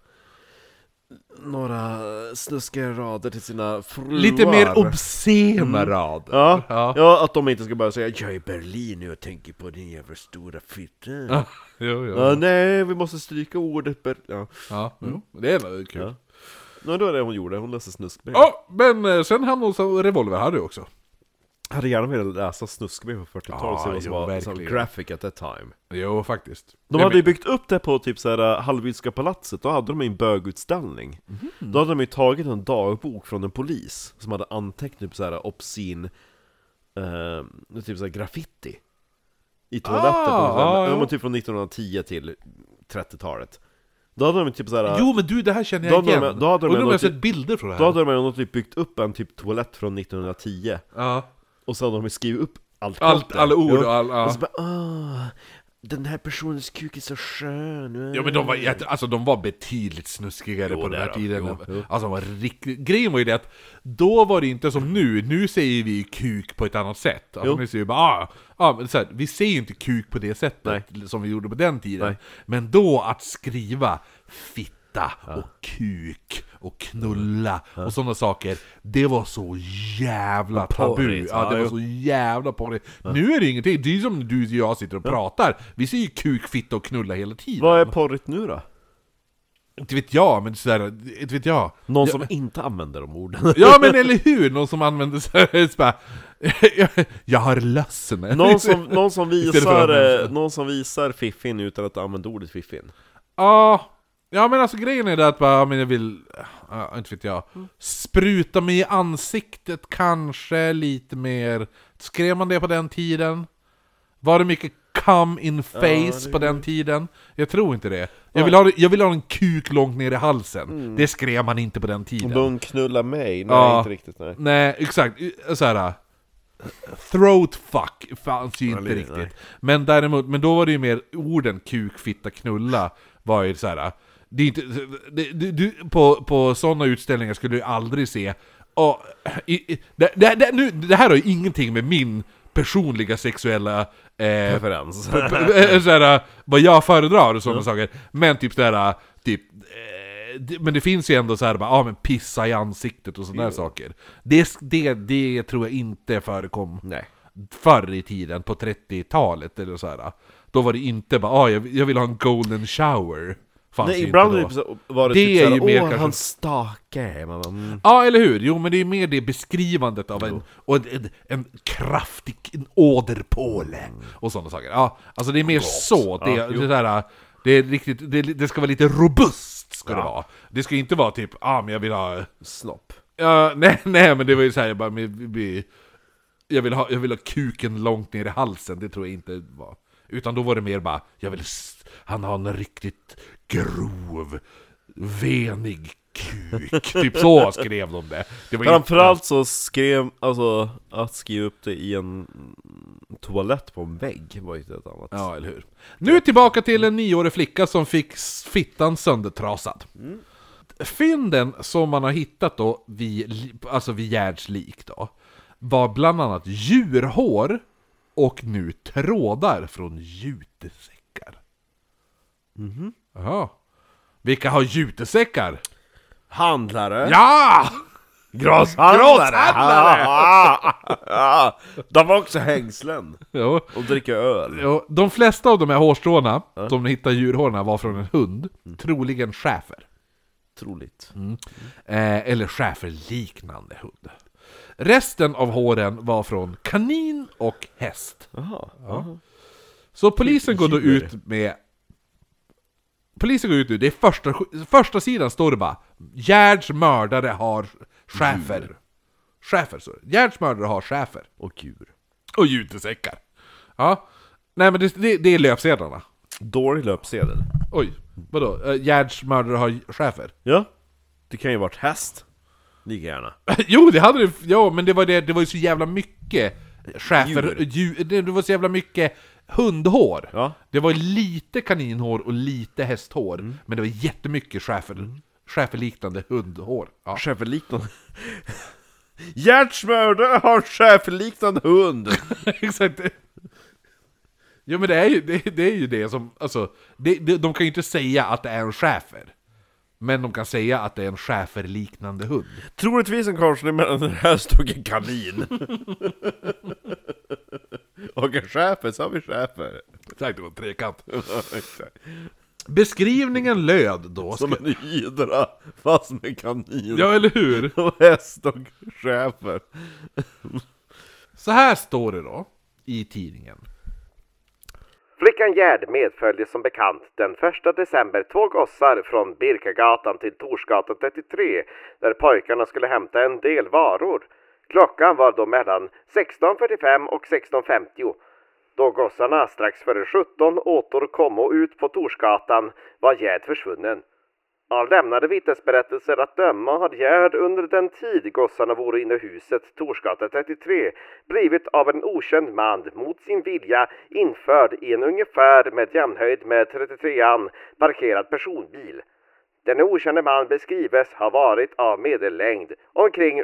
S3: några snuskiga rader till sina fruar.
S1: Lite mer obscena rader.
S3: Mm. Ja,
S1: Ja.
S3: ja. att de inte ska börja säga 'Jag är i Berlin nu och tänker på din jävla stora fitta' ja.
S1: Jo, jo.
S3: Nej, vi måste stryka ordet Berlin. Ja.
S1: Ja, jo. Det är väl kul.
S3: Ja. Nej, det var det hon gjorde, hon läste snuskbrev.
S1: Ja, men eh, sen hamnade hon hos Revolver-Harry också.
S3: Hade gärna velat läsa snuskbrev på 40-talet,
S1: Ja,
S3: så det var som
S1: jo,
S3: var som
S1: verkligen.
S3: graphic at that time.
S1: Jo, faktiskt.
S3: De hade ju byggt upp det på typ såhär Hallwylska palatset, då hade de ju en bögutställning
S1: Mhm.
S3: Då hade de ju tagit en dagbok från en polis som hade antecknat typ såhär obscen, eh, typ såhär graffiti I toaletten,
S1: Ah,
S3: på, såhär,
S1: ja,
S3: ja,
S1: ja.
S3: men typ från 1910 till 30-talet Då hade de ju typ såhär,
S1: Jo, men du, det här känner
S3: Då
S1: jag
S3: hade de-
S1: igen.
S3: då hade de
S1: Undrar om jag har
S3: ändå
S1: sett bilder från det
S3: då
S1: här.
S3: hade de ju ändå typ byggt upp en typ toalett från 1910
S1: Ja.
S3: Och så hade de ju skrivit upp allt
S1: Allt-
S3: klotter.
S1: alla ord
S3: Jo.
S1: och all- ja.
S3: och så bara åh, den här personens kuk är så skön
S1: Ja men de var, jätte- alltså, de var betydligt snuskigare på den här
S3: det är de.
S1: tiden.
S3: Jo, jo.
S1: Alltså de var riktigt... Grejen var ju det att då var det inte som nu, nu säger vi ju kuk på ett annat sätt. Alltså,
S3: Jo.
S1: nu säger vi bara ah, ah, men så här, vi säger ju inte kuk på det sättet som vi gjorde på den tiden.
S3: Nej.
S1: Men då att skriva fitta och kuk och knulla och sådana saker, det var så jävla tabu.
S3: porrigt,
S1: Ja, det
S3: ja,
S1: var
S3: jo.
S1: så jävla porrigt. Nu är det ingenting, det är ju som du och jag sitter och pratar. Vi säger ju kuk, fitta och knulla hela tiden.
S3: Vad är porrigt nu då?
S1: Inte vet jag, men sådär, inte vet jag.
S3: Någon som inte använder de orden.
S1: Ja men eller hur, någon som använder såhär, så bara, jag har lössen.
S3: Någon som, någon, som
S1: Istället för
S3: visar,
S1: de här.
S3: eh, någon som visar fiffin utan att använda ordet fiffin.
S1: Ja, ja men alltså grejen är det att bara, ja, men jag vill, ja, inte vet jag,
S3: Mm.
S1: spruta mig i ansiktet kanske lite mer. Skrev man det på den tiden? Var det mycket come in face på den tiden? Jag tror inte det. Jag vill, ha, jag vill ha en kuk långt ner i halsen. Det skrev man inte på den tiden.
S3: Mm. De knullar mig? Nej,
S1: Ja.
S3: inte riktigt. Nej.
S1: Nej, exakt. Såhär... äh, Throat fuck fanns ju inte
S3: det-
S1: riktigt.
S3: nej.
S1: Men däremot, men då var det ju mer orden kuk, fitta, knulla var ju såhär... Det är inte, det, du, du, på, på sådana utställningar skulle du aldrig se... Och, i, i, det, det, det, nu, det här har ju ingenting med min personliga sexuella... Eh,
S3: Referens.
S1: Eh, såhär, vad jag föredrar och sådana saker. Men typ sådär, typ... eh, det- Men det finns ju ändå såhär, bara, ah, men pissa i ansiktet och sådana där saker. Det, det, det tror jag inte förekom
S3: Nej.
S1: förr i tiden, på 30-talet eller såhär. Då var det inte bara ah, jag, jag vill ha en golden shower. Fanns
S3: Nej,
S1: ju
S3: ibland
S1: Alltså, inte
S3: är
S1: då.
S3: det så- var det,
S1: Det
S3: typ
S1: är
S3: såhär,
S1: ju mer
S3: åh
S1: kanske-
S3: han stakar. Man bara, mm.
S1: Ja, eller hur? Jo, men det är mer det beskrivandet av en, och en, en, en kraftig en åderpåle och sådana saker. Ja, alltså det är mer så. Det, det, där, det, är riktigt, det, det ska vara lite robust, ska det vara. Det ska inte vara typ, ah, men jag vill ha...
S3: Snopp.
S1: Ja, nej, nej, men det var ju såhär, jag bara, men, vi- vi- jag, vill ha, jag vill ha kuken långt ner i halsen, det tror jag inte var. Utan då var det mer bara, jag vill, s- han har en riktigt grov, venig kuk. typ så skrev de det. det var inte-
S3: Framförallt så skrev, alltså att skriva upp det i en toalett på en vägg var ju ett annat.
S1: Ja, eller hur. Nu tillbaka till en nioårig flicka som fick s- fittan söndertrasad. Fynden som man har hittat då vid, li- alltså vid Gerds lik då, var bland annat djurhår och nu trådar från jutesäckar. Mhm. Jaha. Vilka har jutesäckar?
S3: Handlare!
S1: Ja!
S3: Grosshandlare! De var också hängslen
S1: Jo.
S3: och dricker öl.
S1: Jo, de flesta av de här hårstråna som ni hittar i djurhårna var från en hund, troligen schäfer.
S3: Troligt.
S1: Eh, eller schäferliknande hund. Resten av håren var från kanin och häst. Ja. Så polisen går då ut med... Polisen går ut nu, det är första, första sidan står det bara Gerds mördare har schäfer. Schäfer, så. Gerds mördare har schäfer.
S3: Och djur.
S1: Och jutesäckar. Ja. Nej men det, det, det är löpsedlarna.
S3: Dålig löpsedel.
S1: Oj, vadå? Eh, Gerds mördare har schäfer?
S3: Ja. Det kan ju varit häst. Lika gärna.
S1: Jo, det hade det. Ja, men det var, det, det var ju så jävla mycket schäfer...
S3: Djur.
S1: Djur. Det det var så jävla mycket hundhår.
S3: Ja.
S1: Det var lite kaninhår och lite hästhår. Men det var jättemycket schäfer, schäferliknande hundhår. Ja.
S3: Schäferliknande... Gerts mördare har schäferliknande hund!
S1: Exakt. Jo, men det är ju det, det, är ju det som... Alltså, det, det, de kan ju inte säga att det är en schäfer. Men de kan säga att det är en schäferliknande hund.
S3: Troligtvis en korsning mellan en häst och en kanin. och en schäfer, så har vi schäfer.
S1: Exakt, det var en trekant. Beskrivningen löd då...
S3: Som en hydra, fast med kanin.
S1: Ja, eller hur?
S3: Och häst och schäfer.
S1: Så här står det då i tidningen.
S9: Flickan Gerd medföljde som bekant den 1 december två gossar från Birkagatan till Torsgatan 33 där pojkarna skulle hämta en del varor. Klockan var då mellan 16.45 och 16.50. Då gossarna strax före 17 återkom ut på Torsgatan var Gerd försvunnen. Av lämnade vittnesberättelser att döma har Gerd under den tid gossarna vore inne i huset Torsgatan 33 blivit av en okänd man mot sin vilja införd i en ungefär med jämnhöjd med 33an parkerad personbil. Denne okände man beskrives ha varit av medellängd omkring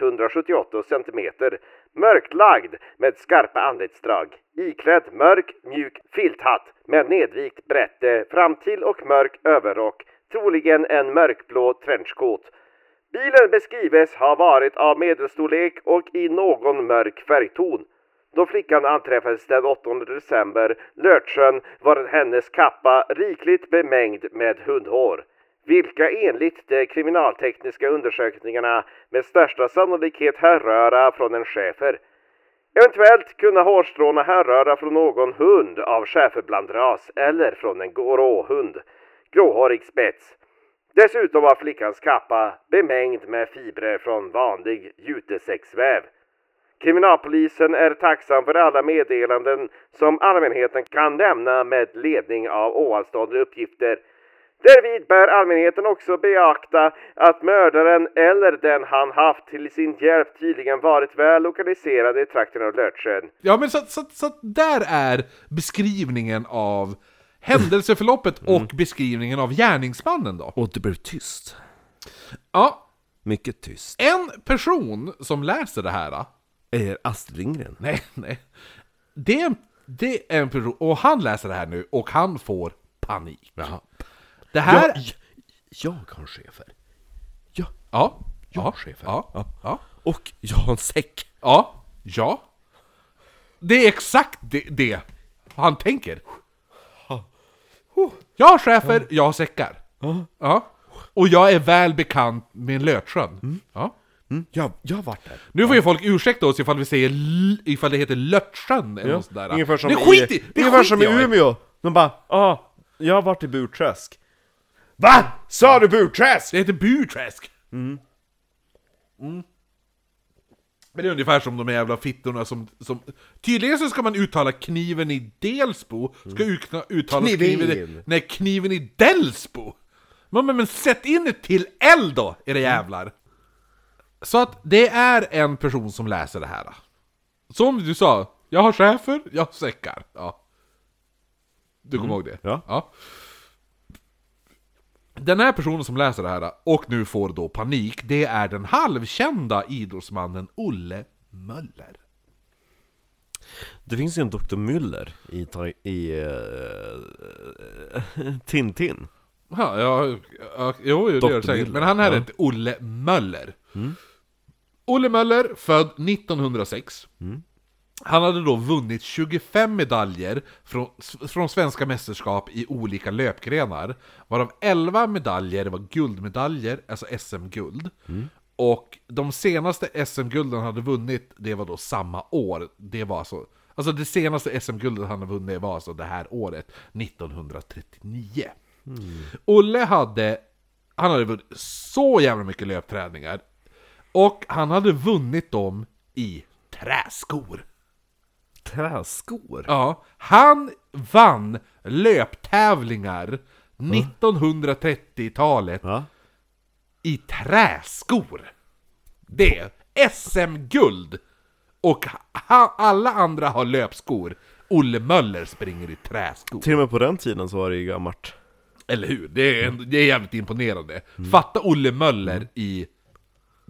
S9: 178 centimeter, mörklagd med skarpa anletsdrag, iklädd mörk mjuk filthatt med nedvikt brätte fram till och mörk överrock, troligen en mörkblå trenchcoat. Bilen beskrives ha varit av medelstorlek och i någon mörk färgton. Då flickan anträffades den 8 december, Lörtsjön, var hennes kappa rikligt bemängd med hundhår. Vilka enligt de kriminaltekniska undersökningarna med största sannolikhet härröra från en schäfer. Eventuellt kunna hårstråna härröra från någon hund av schäferblandras eller från en gråhund. Gråhårig spets. Dessutom var flickans kappa bemängd med fibrer från vanlig jutesäcksväv. Kriminalpolisen är tacksam för alla meddelanden som allmänheten kan lämna med ledning av ovanstående uppgifter. Därvid bör allmänheten också beakta att mördaren eller den han haft till sin hjälp tydligen varit väl lokaliserad i trakten av Lörtsjön.
S1: Ja, men så, så, så att där är beskrivningen av händelseförloppet och beskrivningen av gärningsmannen då.
S3: Och det blev tyst.
S1: Ja,
S3: Mycket tyst.
S1: en person som läser det här,
S3: Är Astrid Lindgren?
S1: nej, nej, det är, en, det är en person, och han läser det här nu och han får panik. Det här...
S3: Ja, j- jag har en schäfer. Ja,
S1: Ja.
S3: Jag
S1: ja,
S3: är chef här.
S1: ja, ja, ja,
S3: och jag har en säck.
S1: ja, ja. Det är exakt det, det han tänker. Jag har chefer, jag har säckar. Ja. Och jag är väl bekant med Lötsjön. Ja.
S3: Mm, jag, jag har varit där.
S1: Nu får ju folk ursäkta oss ifall vi säger l- ifall det heter Lörtsjön eller något sådär.
S3: Ungefär som
S1: det skit i,
S3: i,
S1: det
S3: ungefär
S1: skiter
S3: som i
S1: jag i.
S3: Umeå. De bara ah, jag har varit i Burträsk. Va? Sa du Burträsk?
S1: Det heter Burträsk! Mm. Men det är ungefär som de jävla fittorna som, som... Tydligen så ska man uttala kniven i Delsbo, ska ukna, uttala kniven, i...
S3: Kniven.
S1: Nej, kniven i Delsbo! Men, men, men sätt in ett till L då, era jävlar! Så att det är en person som läser det här. Som du sa, jag har schäfer, jag har säckar. Ja. Du kommer ihåg det?
S3: Ja.
S1: ja. Den här personen som läser det här och nu får då panik, det är den halvkända idrottsmannen Olle Möller.
S3: Det finns ju en Dr. Müller i, ta- i eh, Tintin.
S1: Ja, ja, ja, jo, jo, det gör det
S3: Dr.
S1: säkert.
S3: Müller,
S1: Men han här
S3: ja.
S1: heter Olle Möller. Olle Möller, född 1906. Han hade då vunnit 25 medaljer från, från svenska mästerskap i olika löpgrenar. Varav 11 medaljer var guldmedaljer, alltså SM-guld. Och de senaste SM-gulden han hade vunnit, det var då samma år. Det var alltså, alltså det senaste SM-guldet han hade vunnit var alltså det här året, 1939. Olle hade, han hade vunnit så jävla mycket löpträningar. Och han hade vunnit dem i träskor.
S3: Träskor?
S1: Ja, han vann löptävlingar 1930-talet
S3: Va?
S1: i träskor. Det är SM-guld! Och ha, alla andra har löpskor. Olle Möller springer i träskor.
S3: Till och med på den tiden så var det ju gammalt.
S1: Eller hur? Det är, det är jävligt imponerande. Fatta Olle Möller i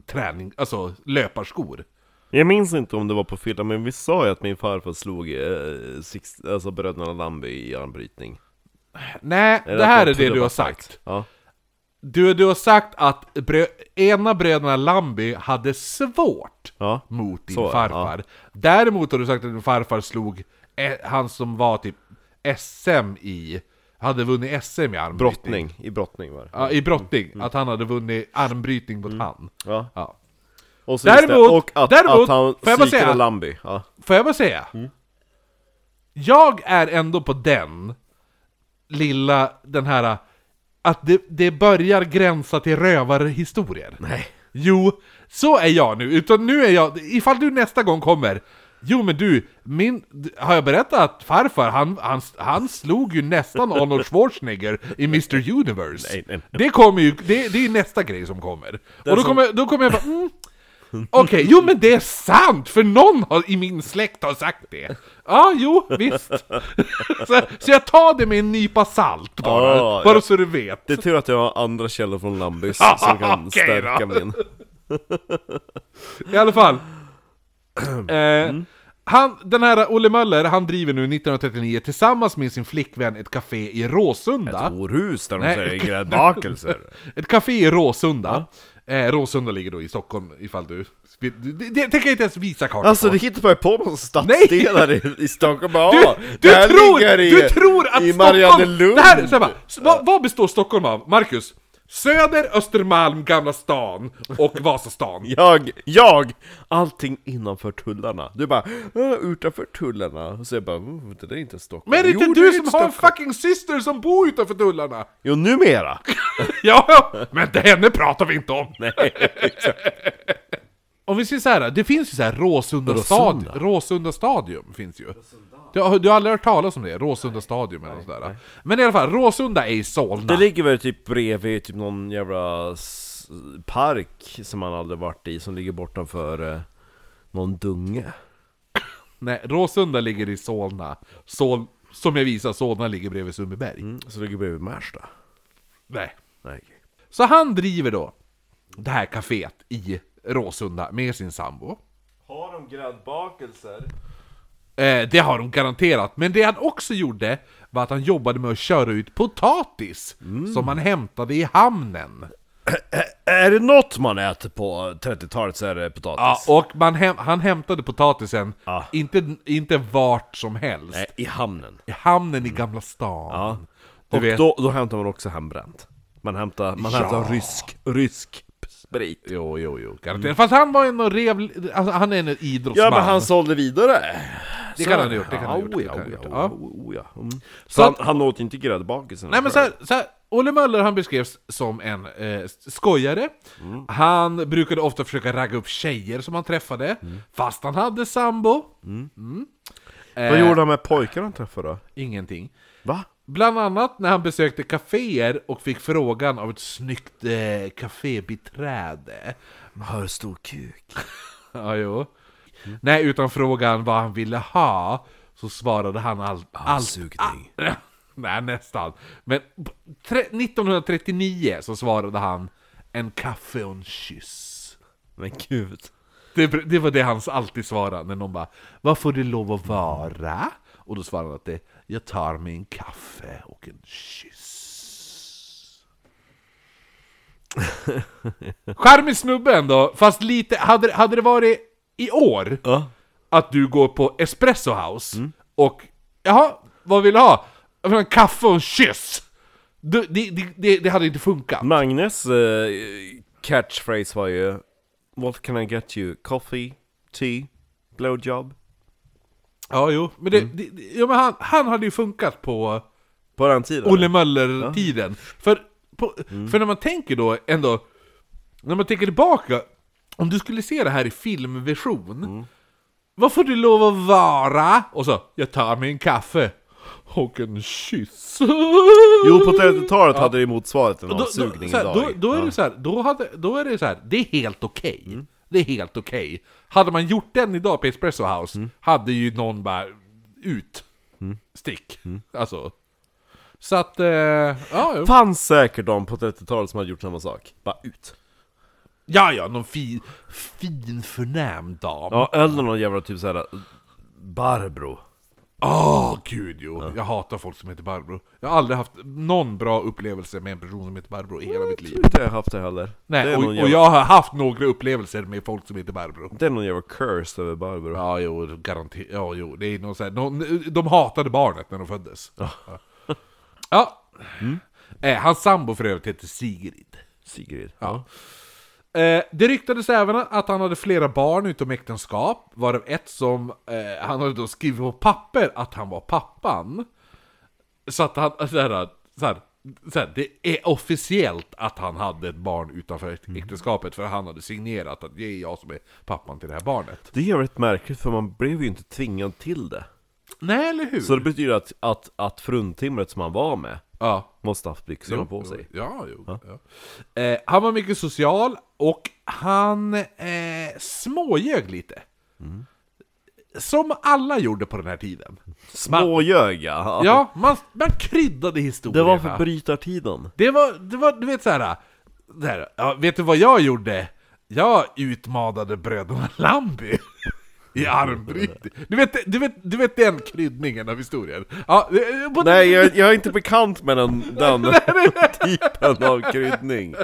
S1: träning, alltså löparskor.
S3: Jag minns inte om det var på film, men vi sa ju att min farfar slog eh, six, alltså bröderna Lamby i armbrytning.
S1: Nej,
S3: Eller
S1: det
S3: att
S1: här
S3: de
S1: är det
S3: trodde
S1: du
S3: var
S1: har
S3: fight.
S1: sagt.
S3: Ja.
S1: Du, du har sagt att brö, ena bröderna Lambi hade svårt
S3: Ja.
S1: mot din
S3: Så, ja.
S1: farfar. Däremot har du sagt att din farfar slog eh, han som var typ SM i... Hade vunnit SM i armbrytning.
S3: Brottning, i brottning var det.
S1: Ja, i brottning. Att han hade vunnit armbrytning mot han.
S3: Mm. Ja.
S1: Ja.
S3: Och, så
S1: Däremot-
S3: visste- och att,
S1: däremot,
S3: att han
S1: får jag bara
S3: psykade
S1: säga-
S3: Lamby. Ja.
S1: Får jag bara säga?
S3: Mm.
S1: Jag är ändå på den lilla, den här, att det, det börjar gränsa till rövarhistorier. Nej. Jo, så är jag nu. Utan nu är jag, ifall du nästa gång kommer, jo men du, min, har jag berättat att farfar, han, han, han slog ju nästan Arnold Schwarzenegger i Mr Universe.
S3: Nej, nej,
S1: Det kommer ju, det, det är nästa grej som kommer. Och då
S3: som-
S1: kommer, då kommer jag bara, mm, Okej, jo men det är sant! För någon har, i min släkt har sagt det! Ja, jo, visst! så, så jag tar det med en nypa salt bara,
S3: Ja,
S1: bara
S3: ja.
S1: så du vet.
S3: Det är tur att jag har andra källor från Lambys som kan
S1: Okej då.
S3: stärka min.
S1: I alla fall. Eh,
S3: Mm.
S1: han, den här Olle Möller, han driver nu 1939 tillsammans med sin flickvän ett café i Råsunda.
S2: Horhus där de
S1: Nej.
S2: säger gräddbakelser.
S1: Ett café i Råsunda. Eh, Råsunda ligger då i Stockholm, ifall du... Det, det, det tänker jag inte ens visa kartan
S3: Alltså
S1: på.
S3: du hittar bara på någon stadsdelar i, i Stockholm bara,
S1: Du,
S3: "Ah,
S1: du,
S3: det här
S1: tror,
S3: ligger i,
S1: du tror att
S3: i
S1: Stockholm...
S3: Mariannelund!
S1: Det här, så här, bara, s- vad, vad består Stockholm av, Marcus? Söder, Östermalm, Gamla stan och Vasastan.
S3: Jag, jag! Allting innanför tullarna. Du bara "Ah, utanför tullarna. Och så jag bara "Mm, det där är inte Stockholm.
S1: Men är det
S3: Jo,
S1: inte
S3: är
S1: du som har en
S3: Stockholm."
S1: fucking syster som bor utanför tullarna?
S3: Jo numera!
S1: Ja, ja, men det henne pratar vi inte om!
S3: Nej.
S1: Om vi säger så här, det finns ju så här Råsunda,
S3: Råsunda.
S1: Stadium, Råsunda stadium finns ju. Du, har- du har aldrig hört talas om det? Råsunda stadium eller något sådär. Men i alla fall, Råsunda är i Solna.
S3: Det ligger väl typ bredvid typ någon jävla s- park som man aldrig varit i som ligger bortanför eh, någon dunge.
S1: Nej, Råsunda ligger i Solna. Sol, som jag visar, Solna ligger bredvid Sundbyberg.
S3: Mm, så ligger bredvid Märsta.
S1: Nej.
S3: Nej.
S1: Så han driver då det här kaféet i Råsunda med sin sambo.
S3: Har de gräddbakelser?
S1: Eh, det har de garanterat, men det han också gjorde var att han jobbade med att köra ut potatis
S3: Mm.
S1: som han hämtade i hamnen.
S3: Är det något man äter på 30-talet så är det
S1: Ja,
S3: potatis.
S1: och man häm- han hämtade potatisen,
S3: Ja.
S1: inte, inte vart som helst,
S3: Nej, I hamnen.
S1: i hamnen i Gamla stan.
S3: Ja.
S1: Du
S3: och
S1: vet-
S3: då, då hämtar man också hembränt. Man hämtar, man hämtar rysk, rysk sprit.
S1: Jo, jo, jo, garanterat. Fast han var en och rev... Alltså, han är en idrottsman.
S3: Ja men han sålde vidare!
S1: Det
S3: Så-
S1: kan han ha gjort, det kan han ha
S3: Ja,
S1: gjort, det kan
S3: oja,
S1: han ha gjort.
S3: oja,
S1: Ja.
S3: oja, oja. Mm. Så,
S1: Så
S3: han,
S1: att-
S3: han åt inte gräddbakelsen?
S1: Nej men så här, så här, Olle Möller han beskrevs som en eh, skojare.
S3: Mm.
S1: Han brukade ofta försöka ragga upp tjejer som han träffade,
S3: Mm.
S1: fast han hade sambo. Mm.
S3: Vad
S1: Eh,
S3: gjorde han med pojkarna han träffade då?
S1: Ingenting.
S3: Va?
S1: Bland annat när han besökte kaféer och fick frågan av ett snyggt eh, kafébiträde.
S3: Har stor kuk.
S1: Ja, jo. Nej, utan frågan vad han ville ha, så svarade han allt... allt
S3: Avsugning.
S1: Ah, nej, nästan. Men tre, 1939 så svarade han en kaffe och en kyss.
S3: Men gud.
S1: Det, det var det han alltid svarade när någon bara Vad får det lov att vara? Och då svarade han att det Jag tar mig en kaffe och en kyss Charmig snubbe ändå, fast lite, hade, hade det varit i år
S10: Ja.
S1: att du går på Espresso House och Jaha, vad vill du ha? Jag vill ha en kaffe och en kyss! Du, det, det, det, det hade inte funkat.
S3: Magnes eh, catchphrase var ju What can I get you? Coffee? Tea? Blowjob?
S1: Ja, jo. Mm. Men, det, det, det- ja, men han, han hade ju funkat på
S3: På den tiden?
S1: Olle Möller-tiden. För, på, för när man tänker då ändå, när man tänker tillbaka, om du skulle se det här i filmversion, vad får du lov att vara? Och så, jag tar mig en kaffe och en kyss.
S3: Jo, på 30-talet hade det motsvarat en
S1: då, då,
S3: avsugning
S1: såhär,
S3: idag.
S1: då, då är det så då, hade, då är det så det är helt okej. Det är helt okej. Hade man gjort den idag på Espresso House, hade ju någon bara ut, stick. Alltså. Så att, eh, ja, jo.
S3: fanns säkert de på 30-talet som hade gjort samma sak. Bara ut.
S1: ja, ja, någon fin, fin förnäm dam. Åh,
S3: Ja, eller någon jävla typ såhär Barbro.
S1: gud jo. Jag hatar folk som heter Barbro. Jag har aldrig haft någon bra upplevelse med en person som heter Barbro i hela mitt liv.
S3: Inte har jag haft det heller. det,
S1: Nej,
S3: är
S1: och,
S3: någon jävla,
S1: och jag har haft några upplevelser med folk som heter Barbro.
S3: det är någon jävla curse över Barbro.
S1: Ja, jo, garanterat. Ja, jo, det är någon så här, någon, de hatade barnet när de föddes. Ja. ja. Eh, hans sambo för övrigt heter Sigrid.
S3: Sigrid.
S1: Ja. Eh, det ryktades även att han hade flera barn utom äktenskap, varav ett som eh, han hade då skrivit på papper att han var pappan. Så att han, så här, så här, så här, det är officiellt att han hade ett barn utanför äktenskapet, för han hade signerat att det är jag som är pappan till det här barnet.
S3: Det är jävligt märkligt för man blev ju inte tvingad till det.
S1: Nej, eller hur?
S3: Så det betyder att, att, att fruntimret som han var med
S1: Ja.
S3: måste haft byxorna på
S1: Jo,
S3: sig.
S1: Ja, jo. Ja. Eh, han var mycket social och han eh, småljög lite.
S3: Mm.
S1: Som alla gjorde på den här tiden.
S3: Småljög ja.
S1: Ja, man, man kryddade historierna.
S3: Det var för brytartiden.
S1: Det var, det var du vet såhär, där, ja, vet du vad jag gjorde? Jag utmanade bröderna Lambi i armbrytning. Du vet, du, vet, du vet den kryddningen av historien? Ja, eh, på-
S3: Nej, jag, jag är inte bekant med den, den typen av kryddning.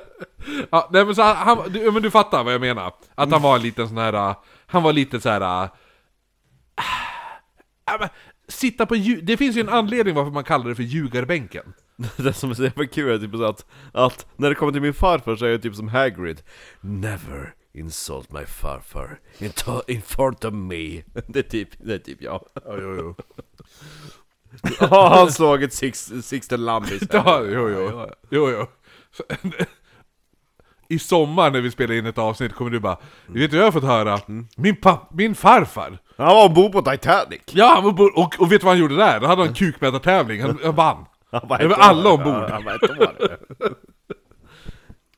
S1: Ja, nej, men, så han, han, du, men du fattar vad jag menar. Att han var en liten sån här... äh, Han var lite så här... äh, ja, men, Sitta på ljug... Det finns ju en anledning varför man kallar det för ljugarbänken.
S3: Det som är så jävla kul är typ så att, att när det kommer till min farfar så är jag typ som Hagrid Never insult my farfar in, to- in front of me Det är typ, det är typ jag Har han slagit Six- Sixten Lambis
S1: Ja, jo, jo. jo, jo. Så- I sommar när vi spelar in ett avsnitt kommer du bara Vet du vad jag har fått höra? Min, papp, min farfar!
S3: Han var ombord på Titanic!
S1: Ja, han var bo- och, och vet du vad han gjorde där? Då hade han en kukmätartävling, han, han vann!
S3: Han var
S1: Det var
S3: ett år.
S1: alla ombord.
S3: Han var ett år.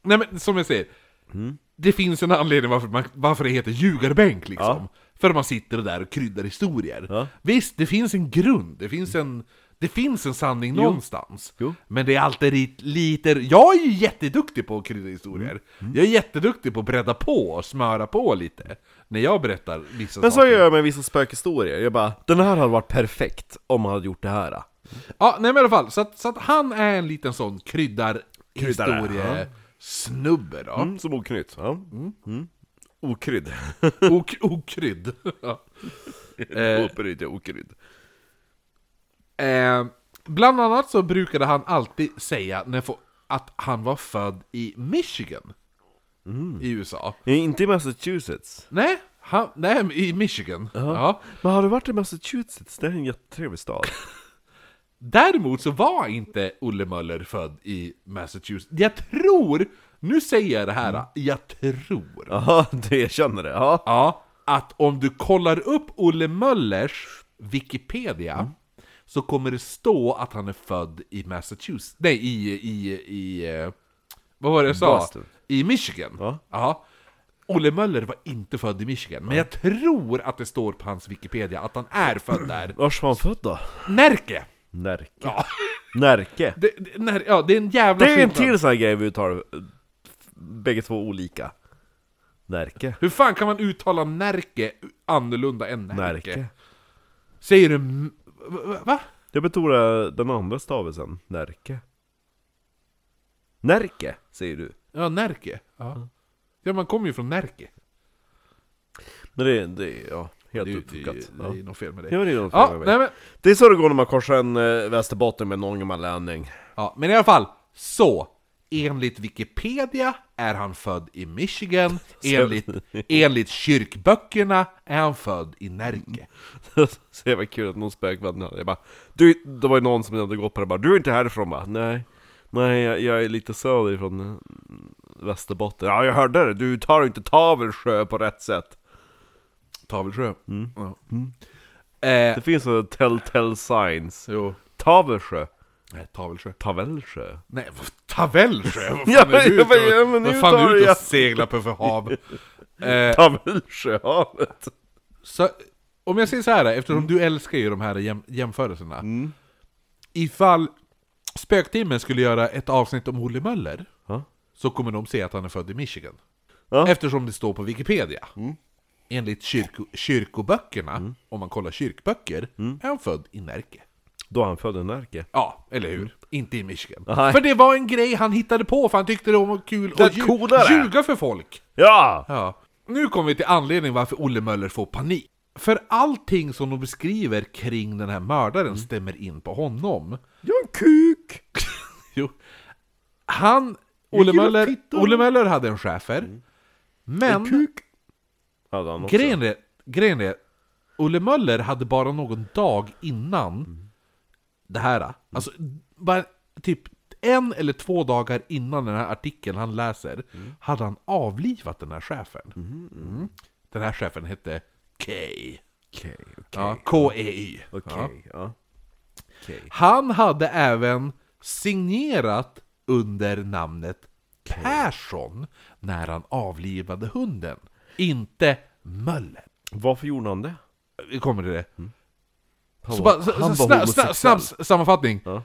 S1: Nej men som jag säger,
S3: Mm.
S1: det finns en anledning varför, man, varför det heter ljugarbänk liksom. För man sitter där och kryddar historier. Visst, det finns en grund, det finns en, det finns en sanning någonstans. Men det är alltid rit- lite... Jag är ju jätteduktig på att krydda
S3: Mm.
S1: historier. Jag är jätteduktig på att bredda på och smöra på lite. När jag berättar vissa
S3: Men så
S1: saker.
S3: gör jag med vissa spökhistorier, jag bara Den här hade varit perfekt om man hade gjort det här
S1: Ja, nej men i alla fall, så att, så att han är en liten sån kryddar historiesnubbe då.
S3: mm, Som oknytt, ja Okrydd,
S1: Ok- okrydd. Ja. Eh,
S3: okrydd, okrydd
S1: Eh, bland annat så brukade han alltid säga när fo- att han var född i Michigan. I USA.
S3: Inte i Massachusetts
S1: Nej, han, nej men i Michigan. Ja.
S3: Men har du varit i Massachusetts? Det är en jättetrevlig stad.
S1: Däremot så var inte Olle Möller född i Massachusetts. Jag tror, nu säger jag det här, jag tror.
S3: Jaha, du erkänner det? Ja.
S1: Ja, att om du kollar upp Olle Möllers Wikipedia så kommer det stå att han är född i Massachusetts. Nej, i... i, i eh, vad var det jag sa?
S3: Boston.
S1: I Michigan. Ja. Olle Möller var inte född i Michigan, men jag tror att det står på hans Wikipedia att han är född där.
S3: Vars var han född då?
S1: Närke!
S3: Närke.
S1: Ja,
S3: Närke.
S1: det, det, när, ja, det är en jävla
S3: Det är en
S1: skillnad.
S3: till sån här grej vi tar eh, bägge två olika. Närke.
S1: Hur fan kan man uttala Närke annorlunda än Närke?
S3: Närke.
S1: Säger du... m- va- va- Va?
S3: Jag betonar den andra stavelsen, Närke. Närke, säger du.
S1: Ja, Närke. Ja. ja, man kommer ju från Närke.
S3: Men det, det är ja, helt
S1: Det, är ju- det, är ju-
S3: uppfuckat.
S1: det
S3: Ja.
S1: är ju något fel med
S3: Ja,
S1: dig.
S3: men det är något
S1: Ja,
S3: fel med
S1: nej,
S3: mig.
S1: men,
S3: Det är så det går när man korsar en eh, Västerbotten med en Ångermanlänning.
S1: ja, men i alla fall. Så. Enligt Wikipedia är han född i Michigan. Enligt, enligt kyrkböckerna är han född i Närke.
S3: så det var kul att någon spökvän Jag bara, du, det var ju någon som hade gått på det bara, du är inte härifrån va? Nej, nej jag, jag är lite söderifrån eh, Västerbotten. Ja, jag hörde det, du tar inte Tavelsjö på rätt sätt.
S1: Tavelsjö. Ja.
S3: Mm. Det
S1: Eh,
S3: finns en telltale signs.
S1: jo.
S3: Tavelsjö,
S1: Nej, Tavelsjö.
S3: Tavelsjö.
S1: Nej, vad- Tavelsjö? Vad fan
S3: Ja,
S1: är du ute
S3: ja,
S1: och-
S3: ja, men
S1: Vad
S3: nu
S1: fan är
S3: tar
S1: du ute och
S3: jag-
S1: seglar på för hav? Eh,
S3: Tavelsjöhavet.
S1: Så, om jag säger så här, eftersom
S3: Mm.
S1: du älskar ju de här jäm, jämförelserna. Ifall Spöktimmen skulle göra ett avsnitt om Olle Möller,
S3: Ja.
S1: så kommer de se att han är född i Michigan.
S3: Ja. Mm.
S1: Eftersom det står på Wikipedia. Enligt kyrko, kyrkoböckerna, om man kollar kyrkböcker,
S3: Mm.
S1: är han född i Närke.
S3: Då han födde Närke.
S1: Ja, eller hur? Inte i Michigan.
S3: Mm. Nej.
S1: För det var en grej han hittade på, för han tyckte det var kul
S3: Det
S1: att
S3: coolare.
S1: lju- ljuga för folk.
S3: Ja!
S1: Ja. Nu kommer vi till anledningen varför Olle Möller får panik. För allting som de beskriver kring den här mördaren stämmer in på honom.
S3: Mm. Jag är en kuk!
S1: Jo. Han, Olle
S3: gillar Mm.
S1: Möller,
S3: fittor.
S1: Olle Möller hade en schäfer. Men
S3: Hade han också.
S1: grejen är, grejen är, Olle Möller hade bara någon dag innan
S3: Mm.
S1: det här. Alltså, bara typ en eller två dagar innan den här artikeln han läser
S3: Mm.
S1: hade han avlivat den här chefen. Mm. Den här chefen hette K.
S3: Okej,
S1: Ja, K-E-Y. Ja.
S3: okej, ja.
S1: Han hade även signerat under namnet Persson när han avlivade hunden. Inte Möller.
S3: Varför gjorde han det?
S1: Vi kommer till det.
S3: Han
S1: Så
S3: var-
S1: bara, så,
S3: han
S1: så,
S3: var
S1: snabb, snabb,
S3: homosexuell.
S1: snabb sammanfattning.
S3: Ja.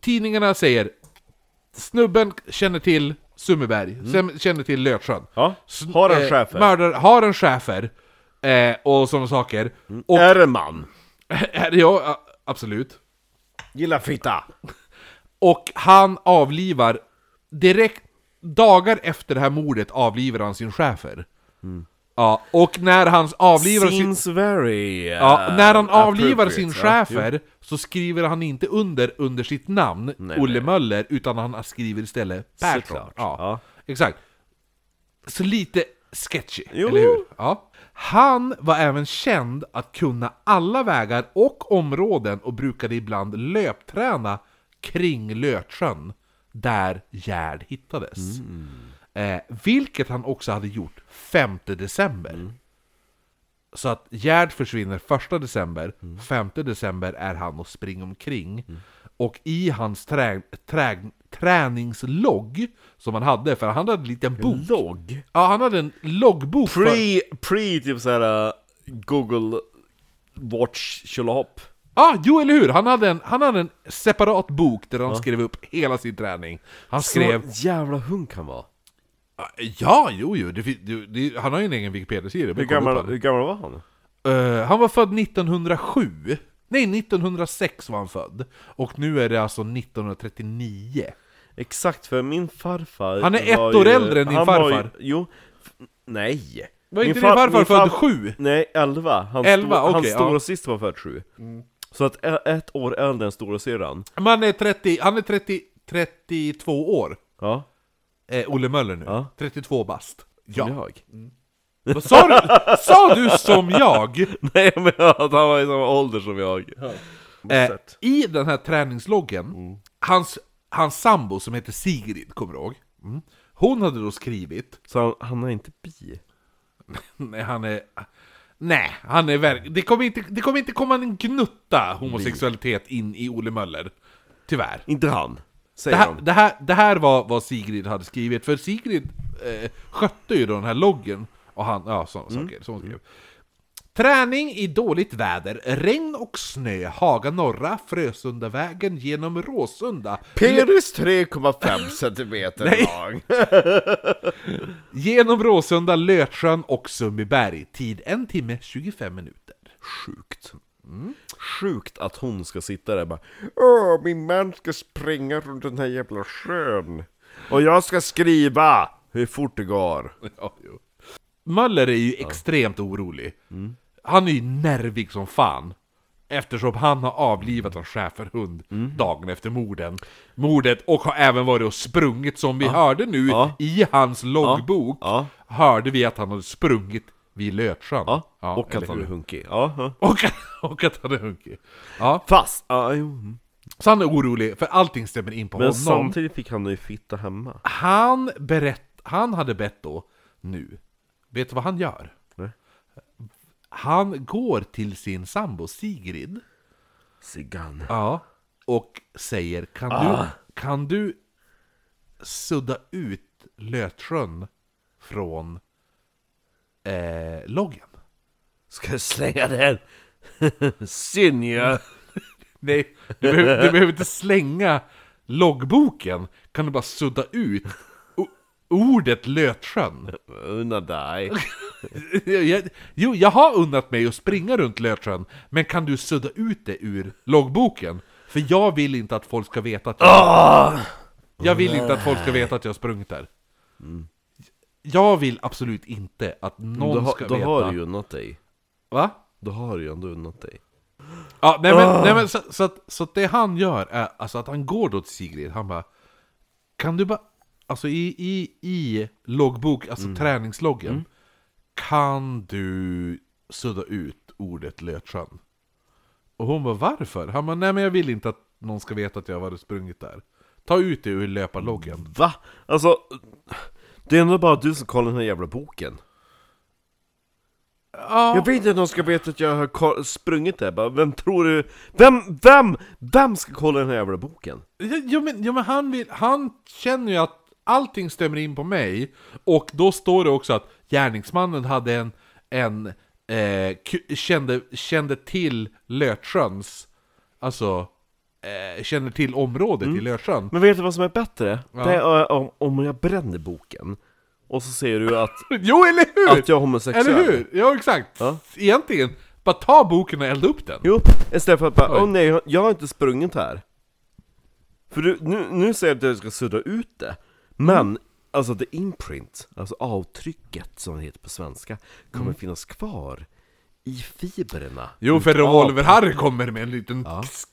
S1: Tidningarna säger Snubben känner till Summerberg,
S3: Mm.
S1: sen känner till Lötsjön.
S3: Ja,
S1: Sn-
S3: har en
S1: eh,
S3: schäfer.
S1: Mördar, har en chefer eh, och sådana saker. Och, eh,
S3: Är en man.
S1: ja, a- absolut.
S3: Gillar fitta.
S1: Och han avlivar direkt, dagar efter det här mordet avlivar han sin chefer.
S3: Mm.
S1: Ja, och när han avlivar sin...
S3: Seems very... eh,
S1: Ja, när han avlivar
S3: appropriate,
S1: sin
S3: ja.
S1: chefer så skriver han inte under under sitt namn, Olle
S3: nej.
S1: Möller, utan han skriver istället Persson. Ja,
S3: Såklart, ja.
S1: Exakt. Så lite sketchy,
S3: Jo.
S1: eller hur? Ja. Han var även känd att kunna alla vägar och områden och brukade ibland löpträna kring Lötsjön, där Gerd hittades.
S3: Mm.
S1: Eh, vilket han också hade gjort 5 december.
S3: Mm.
S1: Så att Gerd försvinner 1 december,
S3: Mm.
S1: 5 december är han och springer omkring. Och i hans trä, trä, träningslogg som han hade, för han hade en liten bok.
S3: Logg?
S1: Ja, han hade en loggbok. för-
S3: Pre, pre typ såhär eh, Google Watch kjolhopp.
S1: Ja, jo eller hur! Han hade, en, han hade en separat bok där han skrev upp hela sin träning. Han skrev...
S3: Så jävla hunk han var.
S1: Ja, jo, jo! Det, fin- det, det, han har ju en egen Wikipedia-sida.
S3: Hur
S1: men kolla upp
S3: gammal,
S1: honom.
S3: hur gammal var han?
S1: Eh, han var född 1907. Nej, 1906 var han född. Och nu är det alltså 1939.
S3: Exakt, för min farfar
S1: Han är ett
S3: var
S1: år
S3: ju-
S1: äldre än din
S3: han var
S1: farfar.
S3: Ju, jo, f- nej.
S1: Var
S3: Min
S1: inte din farfar
S3: min
S1: född
S3: farf-
S1: sju?
S3: Nej, elva. Hans,
S1: Elva,
S3: stor, hans
S1: okej, ja. Mm.
S3: stora syster var född sju. Så att e- ett år äldre än storasyrran.
S1: Men han är 30, han är 30, 32 år.
S3: Ja,
S1: Eh, Olle Möller nu.
S3: Ja.
S1: 32 bast. Ja.
S3: som jag.
S1: Vad Sa du, sa du som jag?
S3: Nej men att han var i samma ålder som jag.
S1: Eh, I den här träningsloggen, hans, hans sambo som heter Sigrid, kommer du ihåg? Mm. Hon hade då skrivit...
S3: Så han, han är inte bi.
S1: Nej, han är... Nej, han är verk... det, kommer inte, det kommer inte komma en gnutta homosexualitet in i Olle Möller. Tyvärr.
S3: Inte han,
S1: Det
S3: säger
S1: här,
S3: de.
S1: det, här, det här var vad Sigrid hade skrivit, för
S3: Mm.
S1: Sigrid eh, skötte ju då den här loggen och han, ja, sådana saker som hon skrev. Träning i dåligt väder, regn och snö, Haga norra, Frösundavägen genom Råsunda.
S3: Penis 3,5 centimeter lång.
S1: Genom Råsunda, Lötsjön och Sundbyberg. Tid 1 timme 25 minuter.
S3: Sjukt. Sjukt att hon ska sitta där och bara Åh, min man ska springa runt den här jävla sjön.
S2: Och jag ska skriva!
S3: Hur fort det går.
S1: Ja, jo. Möller är ju extremt orolig.
S3: Mm.
S1: Han är ju nervig som fan. Eftersom han har avlivat en schäferhund
S3: Mm.
S1: dagen efter morden. mordet och har även varit och sprungit som vi hörde nu
S3: Ja.
S1: i hans loggbok.
S3: Ja.
S1: Hörde vi att han hade sprungit vid Lötsjön.
S3: Ja, och
S1: eller
S3: att han
S1: hur?
S3: är hunkig. Ja, ja.
S1: och, och att han är hunkig. Ja,
S3: Fast, ja, jo. mm.
S1: så han är orolig för allting stämmer in på
S3: Men
S1: honom.
S3: samtidigt fick han ju fitta hemma.
S1: Han berätt, han hade bett då nu. Vet du vad han gör?
S3: Nej.
S1: Han går till sin sambo Sigrid
S3: Cigan.
S1: ja. Ah. och säger kan, du, kan du sudda ut Lötsjön från eh, loggen?
S3: Ska jag slänga den? Synja!
S1: Nej, du behöver, du behöver inte slänga loggboken. Kan du bara sudda ut o- ordet Lötsjön?
S3: Unna dig.
S1: Jag- Jo, jag har unnat mig att springa runt Lötsjön, men kan du sudda ut det ur loggboken? För jag vill inte att folk ska veta att
S3: Ah!
S1: jag... Jag vill inte att folk ska veta att jag har sprungit där. Jag vill absolut inte att någon
S3: Mm. Då,
S1: ska
S3: ha, då
S1: veta...
S3: har du ju unnat dig.
S1: Va?
S3: Då har du ju ändå unnat dig.
S1: Ja, nej men, nej, men så, så, att, så att det han gör är alltså att han går då till Sigrid, han bara Kan du bara, alltså i, i, i loggbok, alltså träningsloggen Kan du sudda ut ordet Lötsjön? Och hon bara varför? Han bara nej men jag vill inte att någon ska veta att jag har varit och sprungit där Ta ut det ur löparloggen
S3: Va? Alltså, det är ändå bara du som kollar den här jävla boken. Jag vill inte att någon ska veta att jag har ko- sprungit där. Bara, Vem tror du... Vem, vem, vem ska kolla den här jävla boken?
S1: Jo men, jo, men han, vill, han känner ju att allting stämmer in på mig Och då står det också att gärningsmannen hade en, en eh, ku- kände, kände till Lötsjöns Alltså eh, känner till området i Lötsjön
S3: Men vet du vad som är bättre? Det är eh, om, om jag bränner boken, och så ser du att,
S1: Jo eller hur!
S3: att jag är homosexuell.
S1: eller hur? Ja exakt!
S3: Ja.
S1: Egentligen, bara ta boken och elda upp den!
S3: Jo, istället för att bara
S1: Oj.
S3: åh nej, jag- jag har inte sprungit här. För du, nu, nu säger du att jag ska sudda ut det, men
S1: Mm.
S3: alltså the imprint, alltså avtrycket som det heter på svenska, kommer
S1: Mm.
S3: finnas kvar i fibrerna.
S1: Jo för revolver-Harry kommer med en liten sk-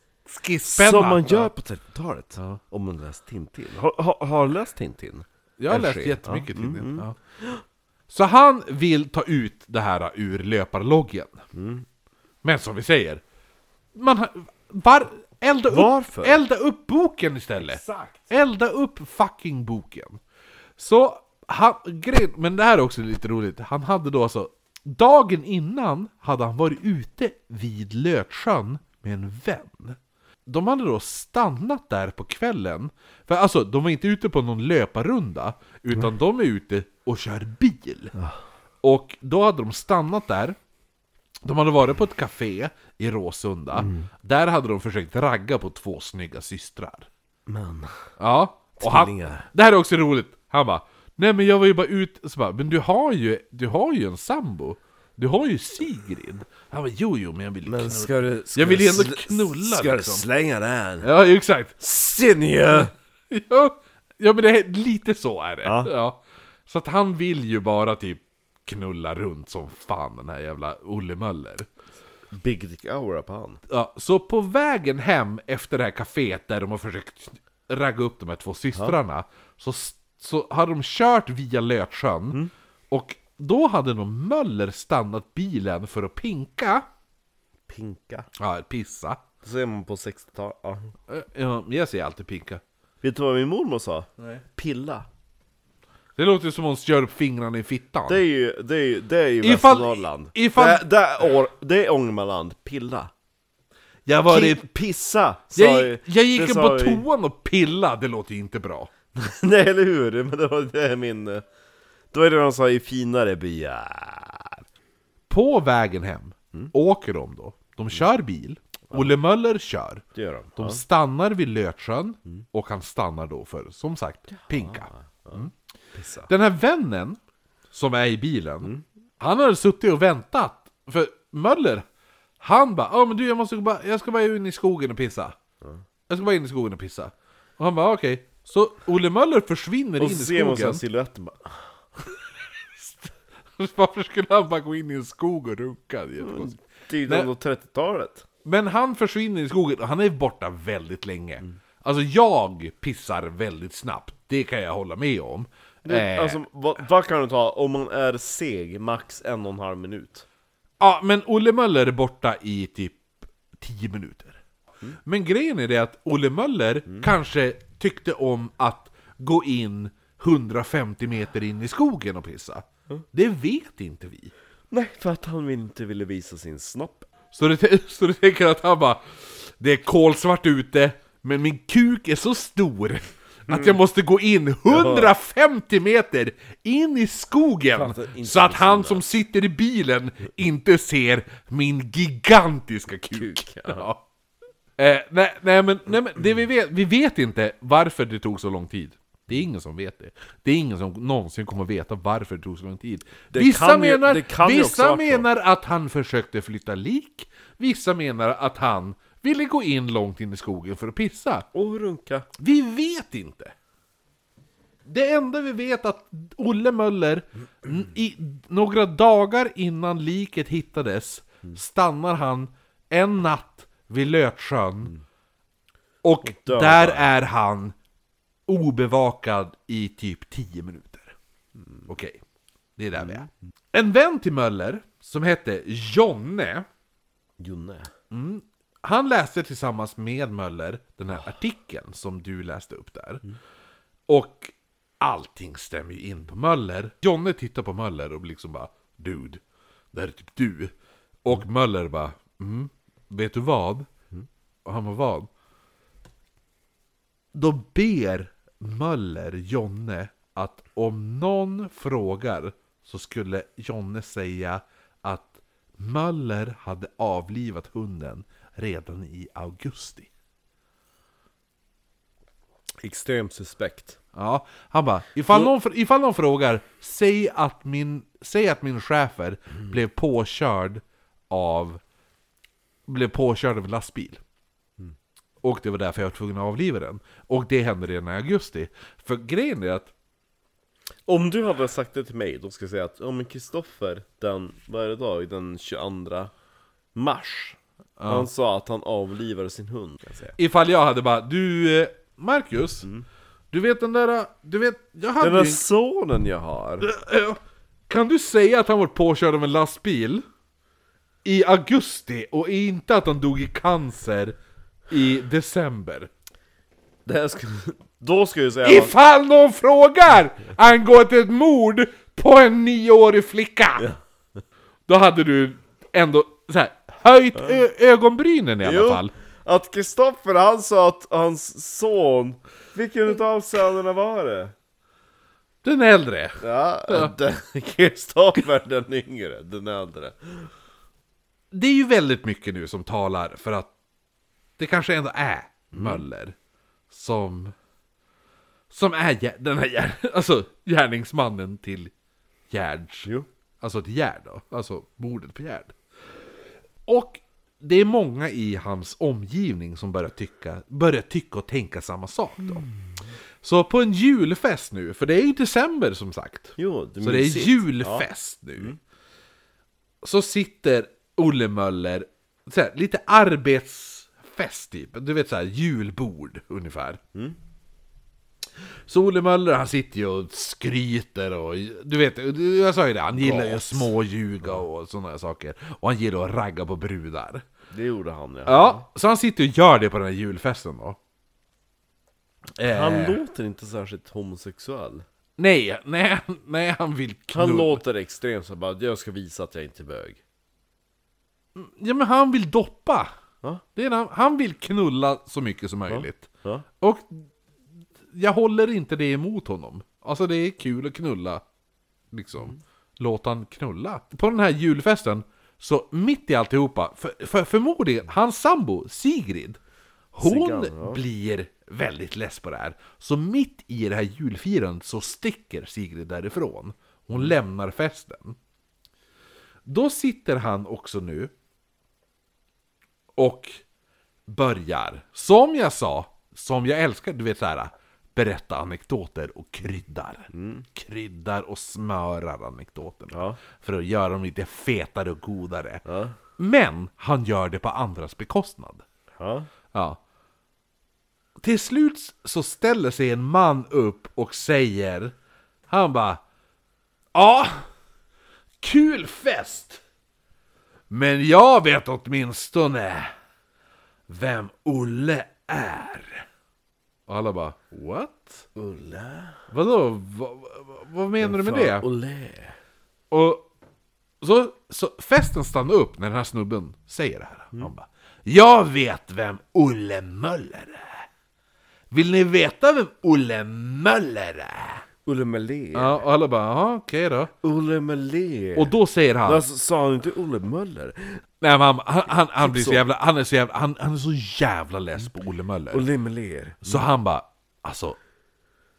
S1: skisspenna
S3: Som man gör
S1: Ja.
S3: på 30-talet, om man läst Tintin. Har, har, har du läst Tintin?
S1: Jag har
S3: Eller
S1: läst
S3: ske.
S1: jättemycket till det. Ja. Mm, Så han vill ta ut det här ur löparloggen. Men som vi säger, man har, var, elda, upp,
S3: Varför?
S1: elda upp boken istället! Elda upp fucking boken! Så, han, grejen, men det här är också lite roligt, han hade då alltså Dagen innan hade han varit ute vid Lötsjön med en vän. De hade då stannat där på kvällen. För alltså, de var inte ute på någon löparrunda, utan de är ute och kör bil. Och då hade de stannat där. De hade varit på ett café i Råsunda.
S3: Mm.
S1: Där hade de försökt ragga på två snygga systrar.
S3: Men...
S1: Ja. Och han,
S3: Tvillingar.
S1: det här är också roligt. Han bara Nej men jag var ju bara ute, så bara, men du har ju, du har ju en sambo. Du har ju Sigrid. Han bara jo jo men jag vill knulla.
S3: du...
S1: Jag vill ju ändå knulla
S3: Ska du
S1: liksom.
S3: slänga den?
S1: Ja exakt.
S3: Sinje!
S1: Ja, ja men det är lite så är det. Ja.
S3: Ja.
S1: Så att han vill ju bara typ knulla runt som fan den här jävla Olle Möller.
S3: Big Dick Hour på han.
S1: Ja, så på vägen hem efter det här kaféet där de har försökt ragga upp de här två systrarna så, så hade de kört via Lötsjön
S3: Mm.
S1: och då hade de Möller stannat bilen för att pinka,
S3: Pinka.
S1: ja pissa. Eh,
S3: Det ser man på 60-talet. Ja.
S1: Ja, jag säger alltid pinka.
S3: Vet du vad min mormor sa? Pilla.
S1: Det låter som hon kör upp fingrarna i fittan.
S3: Det är ju, det är ju, det är ju
S1: Ifall-
S3: Västernorrland.
S1: ifall-
S3: Det, det, är Or- det är Ångermanland. Pilla.
S1: jag var i
S3: Ki- pissa! sa
S1: Jag,
S3: ju-
S1: jag
S3: det
S1: gick in
S3: sa
S1: på
S3: ju-
S1: toan och pilla, det låter ju inte bra.
S3: Nej, eller hur? Men det var det är min... eh, Det var det de sa i finare byar.
S1: På vägen hem
S3: Mm.
S1: åker de då. De kör bil, Olle Möller kör.
S3: Det gör de.
S1: De stannar vid Lötsjön
S3: Mm.
S1: och han stannar då för, som sagt, pinka. Mm. Den här vännen som är i bilen,
S3: Mm.
S1: han har suttit och väntat. För Möller, han bara ah, men du jag, måste bara, jag ska bara in i skogen och pissa. Jag ska bara in i skogen och pissa. Och han bara okej. Så Olle Möller försvinner
S3: Och
S1: in i
S3: så ser man
S1: skogen.
S3: sen silhuetten bara...
S1: Varför skulle han bara gå in i en skog och runka? Det är jättekonstigt.
S3: Det är ju ändå 30-talet.
S1: Men han försvinner i skogen och han är borta väldigt länge. Alltså jag pissar väldigt snabbt, det kan jag hålla med om.
S3: Det-
S1: Eh,
S3: Alltså, vad, vad kan det ta om man är seg? Max en och en halv minut.
S1: Ja, men Olle Möller är borta i typ 10 minuter. Men grejen är det att Olle Möller kanske tyckte om att gå in 150 meter in i skogen och pissa. Det vet inte vi.
S3: Nej, för att han inte ville visa sin snopp.
S1: Så du, så du tänker att han bara Det är kolsvart ute Men min kuk är så stor Att jag måste gå in 150 meter in i skogen
S3: Framför inte
S1: Så att
S3: med
S1: han
S3: sina.
S1: som sitter i bilen inte ser min gigantiska kuk,
S3: Kuk,
S1: ja. eh, nej, nej, men, nej men det vi vet, vi vet inte varför det tog så lång tid det är ingen som vet det. Det är ingen som någonsin kommer veta varför det tog så lång tid. vissa
S3: kan ju-
S1: menar,
S3: det kan ju också
S1: vissa
S3: ha varit så.
S1: menar menar att han försökte flytta lik, vissa menar att han ville gå in långt in i skogen för att pissa.
S3: Och runka.
S1: Vi vet inte! Det enda vi vet är att Olle Möller, n- i, några dagar innan liket hittades, stannar han en natt vid Lötsjön. Och
S3: dör
S1: där är han obevakad i typ 10 minuter. Okej, det är där vi är. En vän till Möller, som hette Jonne,
S3: Jonne.
S1: han läste tillsammans med Möller den här artikeln som du läste upp där. Och allting stämmer ju in på Möller. Jonne tittar på Möller och blir liksom bara Dude, det här är typ du. Och Möller bara mm, Vet du vad? Och han bara vad? Då ber Möller Jonne att om någon frågar så skulle Jonne säga att Möller hade avlivat hunden redan i augusti.
S3: Extremt suspekt.
S1: Ja, han bara, ifall någon, fr- ifall någon frågar, säg att min, säg att min chefer blev påkörd av blev påkörd av en lastbil.
S3: Mm.
S1: Och det var därför jag var tvungen att avliva den. Och det hände redan i augusti. För grejen är att
S3: Om du hade sagt det till mig, då ska jag säga att om Kristoffer den, vad är det idag? Den 22 mars Han sa att han avlivade sin hund kan jag säga.
S1: ifall jag hade bara, du eh, Marcus, du vet den där, eh, du vet, jag hade
S3: Mm. Den där
S1: ju-
S3: sonen jag har!
S1: Eh, Kan du säga att han var påkörd av en lastbil i augusti och inte att han dog i cancer i december?
S3: Det här ska, då ska jag säga att
S1: Ifall någon frågar angående ett mord på en nioårig flicka! Då hade du ändå så här, höjt ö- ögonbrynen i alla
S3: Jo.
S1: fall.
S3: att Kristoffer han sa att hans son, vilken utav sönerna var det?
S1: Den äldre.
S3: Ja, den- Kristoffer den yngre, den äldre.
S1: Det är ju väldigt mycket nu som talar för att det kanske ändå är Möller som som är gär, den här gär, alltså gärningsmannen till Gärds. Alltså till Gärd då, alltså mordet på Gärd. Och det är många i hans omgivning som börjar tycka, börjar tycka och tänka samma sak då.
S3: Mm.
S1: Så på en julfest nu, för det är ju december som sagt.
S3: Jo, det
S1: Så det är
S3: mysigt. Mm.
S1: julfest nu. Så sitter Olle Möller, så här, lite arbetsfest typ. Du vet så här, julbord ungefär. Så Olle Möller han sitter ju och skryter och du vet, jag sa ju det, han gillar ju att småljuga och sådana här saker. Och han gillar att ragga på brudar.
S3: Det gjorde han ja.
S1: Ja, så han sitter och gör det på den här julfesten då. Eh,
S3: Han låter inte särskilt homosexuell.
S1: nej, nej, nej, han vill
S3: Han
S1: knulla.
S3: låter extremt så bara, jag ska visa att jag inte är bög.
S1: Ja men han vill doppa!
S3: Ja.
S1: Det är han, han vill knulla så mycket som möjligt.
S3: Ja.
S1: Och jag håller inte det emot honom. Alltså det är kul att knulla. Liksom. Låt han knulla. På den här julfesten Så mitt i alltihopa, för, för förmodligen, hans sambo Sigrid, hon blir väldigt less på det här. Så mitt i det här julfirandet så sticker Sigrid därifrån. Hon lämnar festen. Då sitter han också nu och börjar, som jag sa, som jag älskar, du vet så här berätta anekdoter och kryddar. Kryddar och smörar anekdoterna. För att göra dem lite fetare och godare. Men han gör det på andras bekostnad. Ja. Till slut så ställer sig en man upp och säger, han bara Ja, kul fest! Men jag vet åtminstone vem Olle är. Och alla bara, what? Olle? Vadå? Va, va, vad menar du med det?
S3: Olé.
S1: Och så, så festen stannar upp när den här snubben säger det här. Han bara, jag vet vem Olle Möller är. Vill ni veta vem Olle Möller är?
S3: Olle Möller.
S1: Ja, och alla bara, ja okej då.
S3: Olle Möller.
S1: Och då säger han,
S3: Alltså, sa han inte Olle Möller?
S1: nej men han, han, han, han blir Typ så jävla, han är så jävla, han, han är så jävla less på Olle Möller.
S3: Olle Möller.
S1: Så han bara, alltså,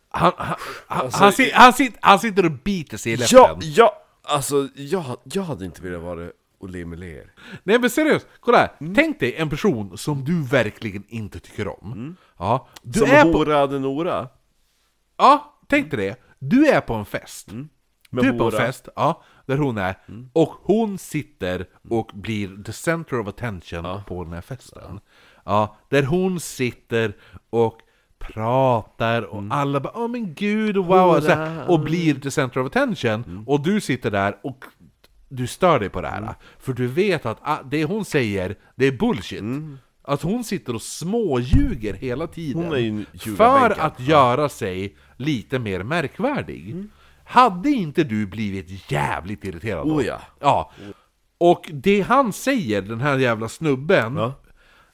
S1: han, han, han, han, sit, han, sit, han sitter och biter sig i läppen.
S3: Ja, ja, alltså jag, jag hade inte velat vara Olle Möller.
S1: Nej men seriöst, kolla här. Tänk dig en person som du verkligen inte tycker om. Ja, du
S3: Som
S1: är på,
S3: Hora Adenora.
S1: ja, tänk dig det. Du är på en fest.
S3: Mm.
S1: Du är på en
S3: hora.
S1: fest, ja, där hon är.
S3: Mm.
S1: Och hon sitter och blir the center of attention på den här festen. Ja, där hon sitter och pratar och
S3: Mm.
S1: alla bara Åh men gud, wow! Och, så här, och blir the center of attention.
S3: Mm.
S1: Och du sitter där och du stör dig på det här. För du vet att ah, det hon säger, det är bullshit. Att hon sitter och småljuger hela tiden.
S3: Mm. Hon är ju en
S1: för
S3: ljugarbänken.
S1: att göra sig lite mer märkvärdig. Hade inte du blivit jävligt irriterad då?
S3: Oh ja.
S1: ja. Och det han säger, den här jävla snubben,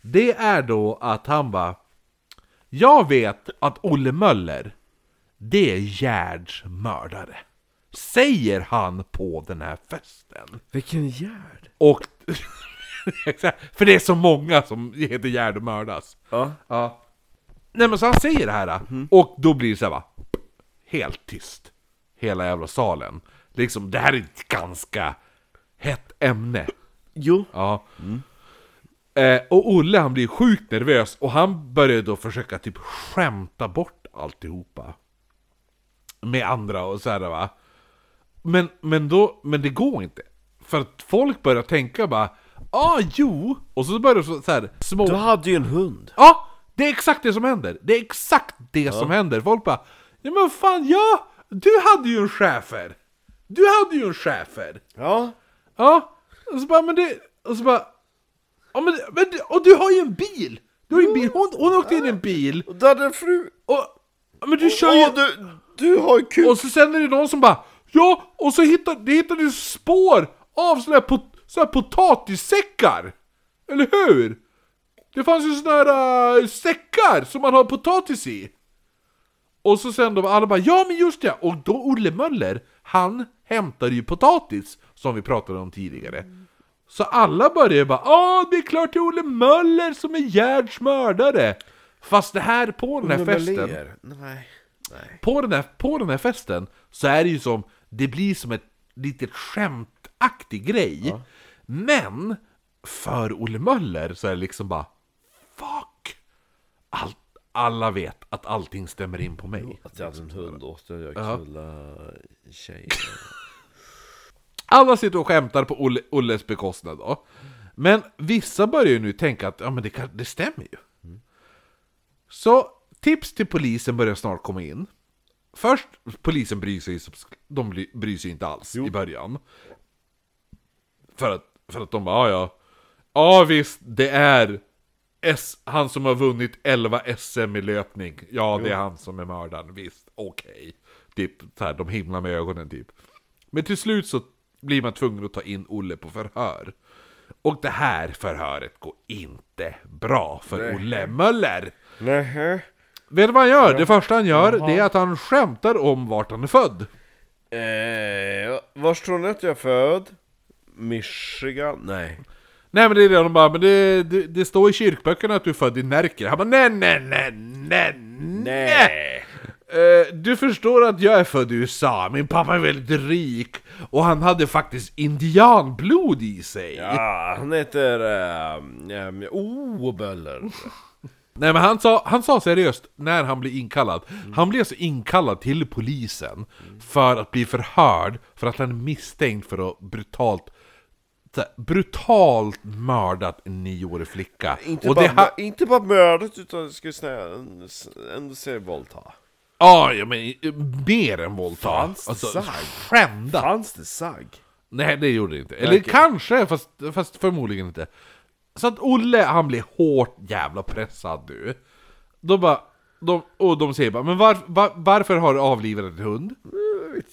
S1: det är då att han bara Jag vet att Olle Möller, det är Gerds mördare. Säger han på den här festen.
S3: Vilken Gerd.
S1: Och... Exakt, För det är så många som heter Gerd och mördas.
S3: Ja.
S1: Ja. Nej men så han säger det här och då blir det så här va, Helt tyst. Hela jävla salen. Liksom, det här är ett ganska hett ämne.
S3: Jo.
S1: Ja. Eh, och Olle han blir sjukt nervös och han börjar då försöka typ skämta bort alltihopa. Med andra och så här va. Men, men, då, men det går inte. För att folk börjar tänka bara Ah, jo! Och så börjar de så så här små...
S3: Du hade ju en hund.
S1: Ja! Det är exakt det som händer! Det är exakt det som händer! Folk bara Ja men fan ja! Du hade ju en schäfer! Du hade ju en schäfer!
S3: Ja.
S1: Ja! Och så bara, men det... Och så bara... Ja, men, men, det- och du har ju en bil! Du har ju en bil! Hon, hon åkte in i en bil!
S3: Och du hade en fru.
S1: Och... ja, Men du kör ju...
S3: Ja, du, du har ju kul.
S1: Och så sen är det någon som bara Ja, och så hittade, det hittade du spår av såna här, pot, såna här potatissäckar! Eller hur? Det fanns ju såna här äh, säckar som man har potatis i! Och så sen då var alla bara ja men just det! Och då Olle Möller, han hämtade ju potatis som vi pratade om tidigare. Så alla började bara ah det är klart det är Olle Möller som är Gerds mördare! Fast det här på den här
S3: Olle
S1: festen
S3: Möller. Nej. Nej.
S1: på den, här, på den här festen så är det ju som, det blir som ett litet skämtaktig grej. Men för Olle Möller så är det liksom bara Fuck! Allt, alla vet att allting stämmer in på mig.
S3: Att jag hade en hund och åkte jag knullade tjejer.
S1: Alla sitter och skämtar på Olle, Olles bekostnad då. Men vissa börjar ju nu tänka att ja, men det, kan, det stämmer ju. Så tips till polisen börjar snart komma in. Först, polisen bryr sig, som- de bry- bryr sig inte alls i början. För att, för att de bara, ja ja. Ja visst, det är S, han som har vunnit 11 SM i löpning. Ja, det är han som är mördaren, visst, okej. Typ så här, de himlar med ögonen typ. Men till slut så blir man tvungen att ta in Olle på förhör. Och det här förhöret går inte bra för Olle Möller.
S3: Nej.
S1: Vet du vad han gör? Det första han gör, det är att han skämtar om vart han är född.
S3: Eh, var tror ni att jag är född? Michigan? Nej.
S1: Nej men det är det de bara, men det, det, det står i kyrkböckerna att du är född i Närke. Han bara nej, nej, nej, nej, nej. Eh, Du förstår att jag är född i USA, min pappa är väldigt rik och han hade faktiskt indianblod i sig.
S3: Ja, Ah, han heter... Uh, um, oh, Böller.
S1: Nej men han sa, han sa seriöst när han blev inkallad,
S3: Mm.
S1: han blev alltså inkallad till polisen för att bli förhörd för att han är misstänkt för att brutalt så här, brutalt mördat en nioårig flicka.
S3: Inte,
S1: Och
S3: bara,
S1: det ha-
S3: inte bara mördet, utan jag skulle säga ändå säga våldta.
S1: Ja, ja, men mer än Alltså, våldta.
S3: Fanns det sagg?
S1: skända.
S3: Fanns det sagg?
S1: Nej, det gjorde det inte. Eller kanske, fast, fast förmodligen inte. Så att Olle, han blir hårt jävla pressad nu. Då bara... De, och de säger bara, men var, var, varför har du avlivat en hund?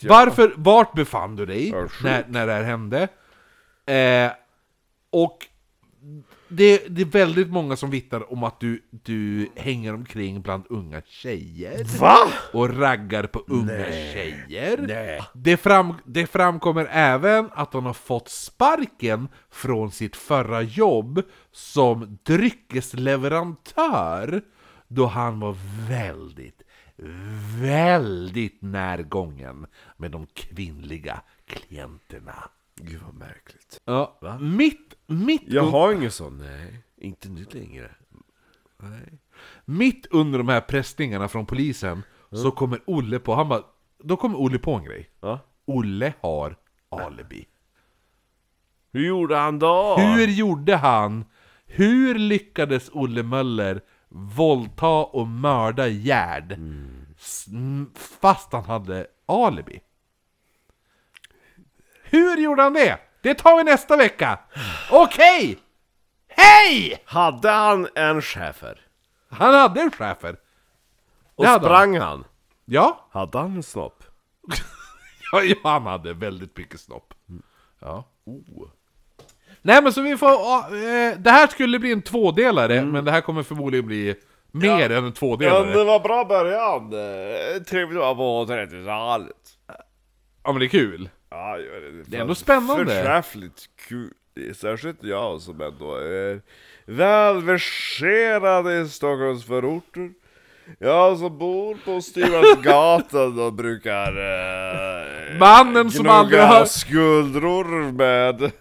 S1: Varför, vart befann du dig när, när det här hände? Eh, och det, det är väldigt många som vittnar om att du, du hänger omkring bland unga tjejer. Va? Och raggar på unga tjejer. Det, fram, det framkommer även att hon har fått sparken från sitt förra jobb som dryckesleverantör då han var väldigt, väldigt närgången med de kvinnliga klienterna.
S3: Gud vad märkligt.
S1: Ja, mitt, mitt
S3: Jag har ingen sån, nej. Inte nu längre.
S1: Mitt under de här pressningarna från polisen så kommer Olle på, han bara, då kommer Olle på en grej.
S3: Ja.
S1: Olle har alibi.
S3: Hur gjorde han då?
S1: Hur gjorde han? Hur lyckades Olle Möller våldta och mörda Gerd s- m- fast han hade alibi? Hur gjorde han det? Det tar vi nästa vecka! Okej! Hej!
S3: Hade han en schäfer?
S1: Han hade en schäfer.
S3: Och
S1: Det hade
S3: sprang han?
S1: Ja,
S3: Hade han en snopp?
S1: Ja, ja, han hade väldigt mycket snopp. Ja. Oh. Nej men så vi får... ah, eh, det här skulle bli en tvådelare, men det här kommer förmodligen bli mer än en tvådelare. Ja,
S3: var bra början. Eh, Trevligt att vara på 30-talet.
S1: men det är kul.
S3: Ja, det är,
S1: är ändå spännande.
S3: Förträffligt kul. Särskilt jag som ändå är välverserad i Stockholms förorter. Jag som bor på Styvansgatan och brukar... Eh,
S1: Mannen som
S3: gnugga
S1: aldrig har-
S3: skuldror med...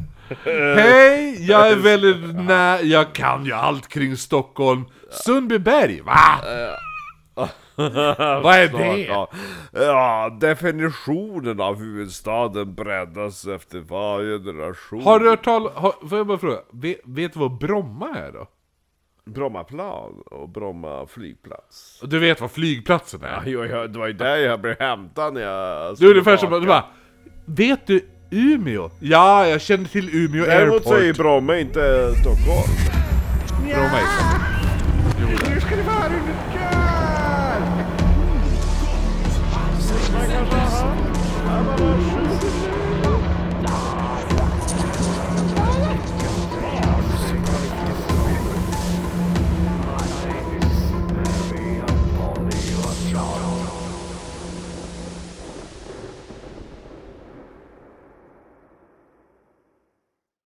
S1: Hej! Jag är väldigt nä... Jag kan ju allt kring Stockholm. Sundbyberg, va? Vad är det?
S3: Ja, ja, definitionen av huvudstaden breddas efter varje generation.
S1: Har du hört tal... Har, får jag bara fråga? Vet, vet du vad Bromma är då?
S3: Brommaplan och Bromma flygplats.
S1: Du vet vad flygplatsen är?
S3: Jo, jag, det var ju där jag blev hämtad när jag...
S1: Du är ungefär som att du bara Vet du Umeå? Ja, jag känner till Umeå
S3: Däremot
S1: Airport.
S3: så är ju Bromma inte Stockholm.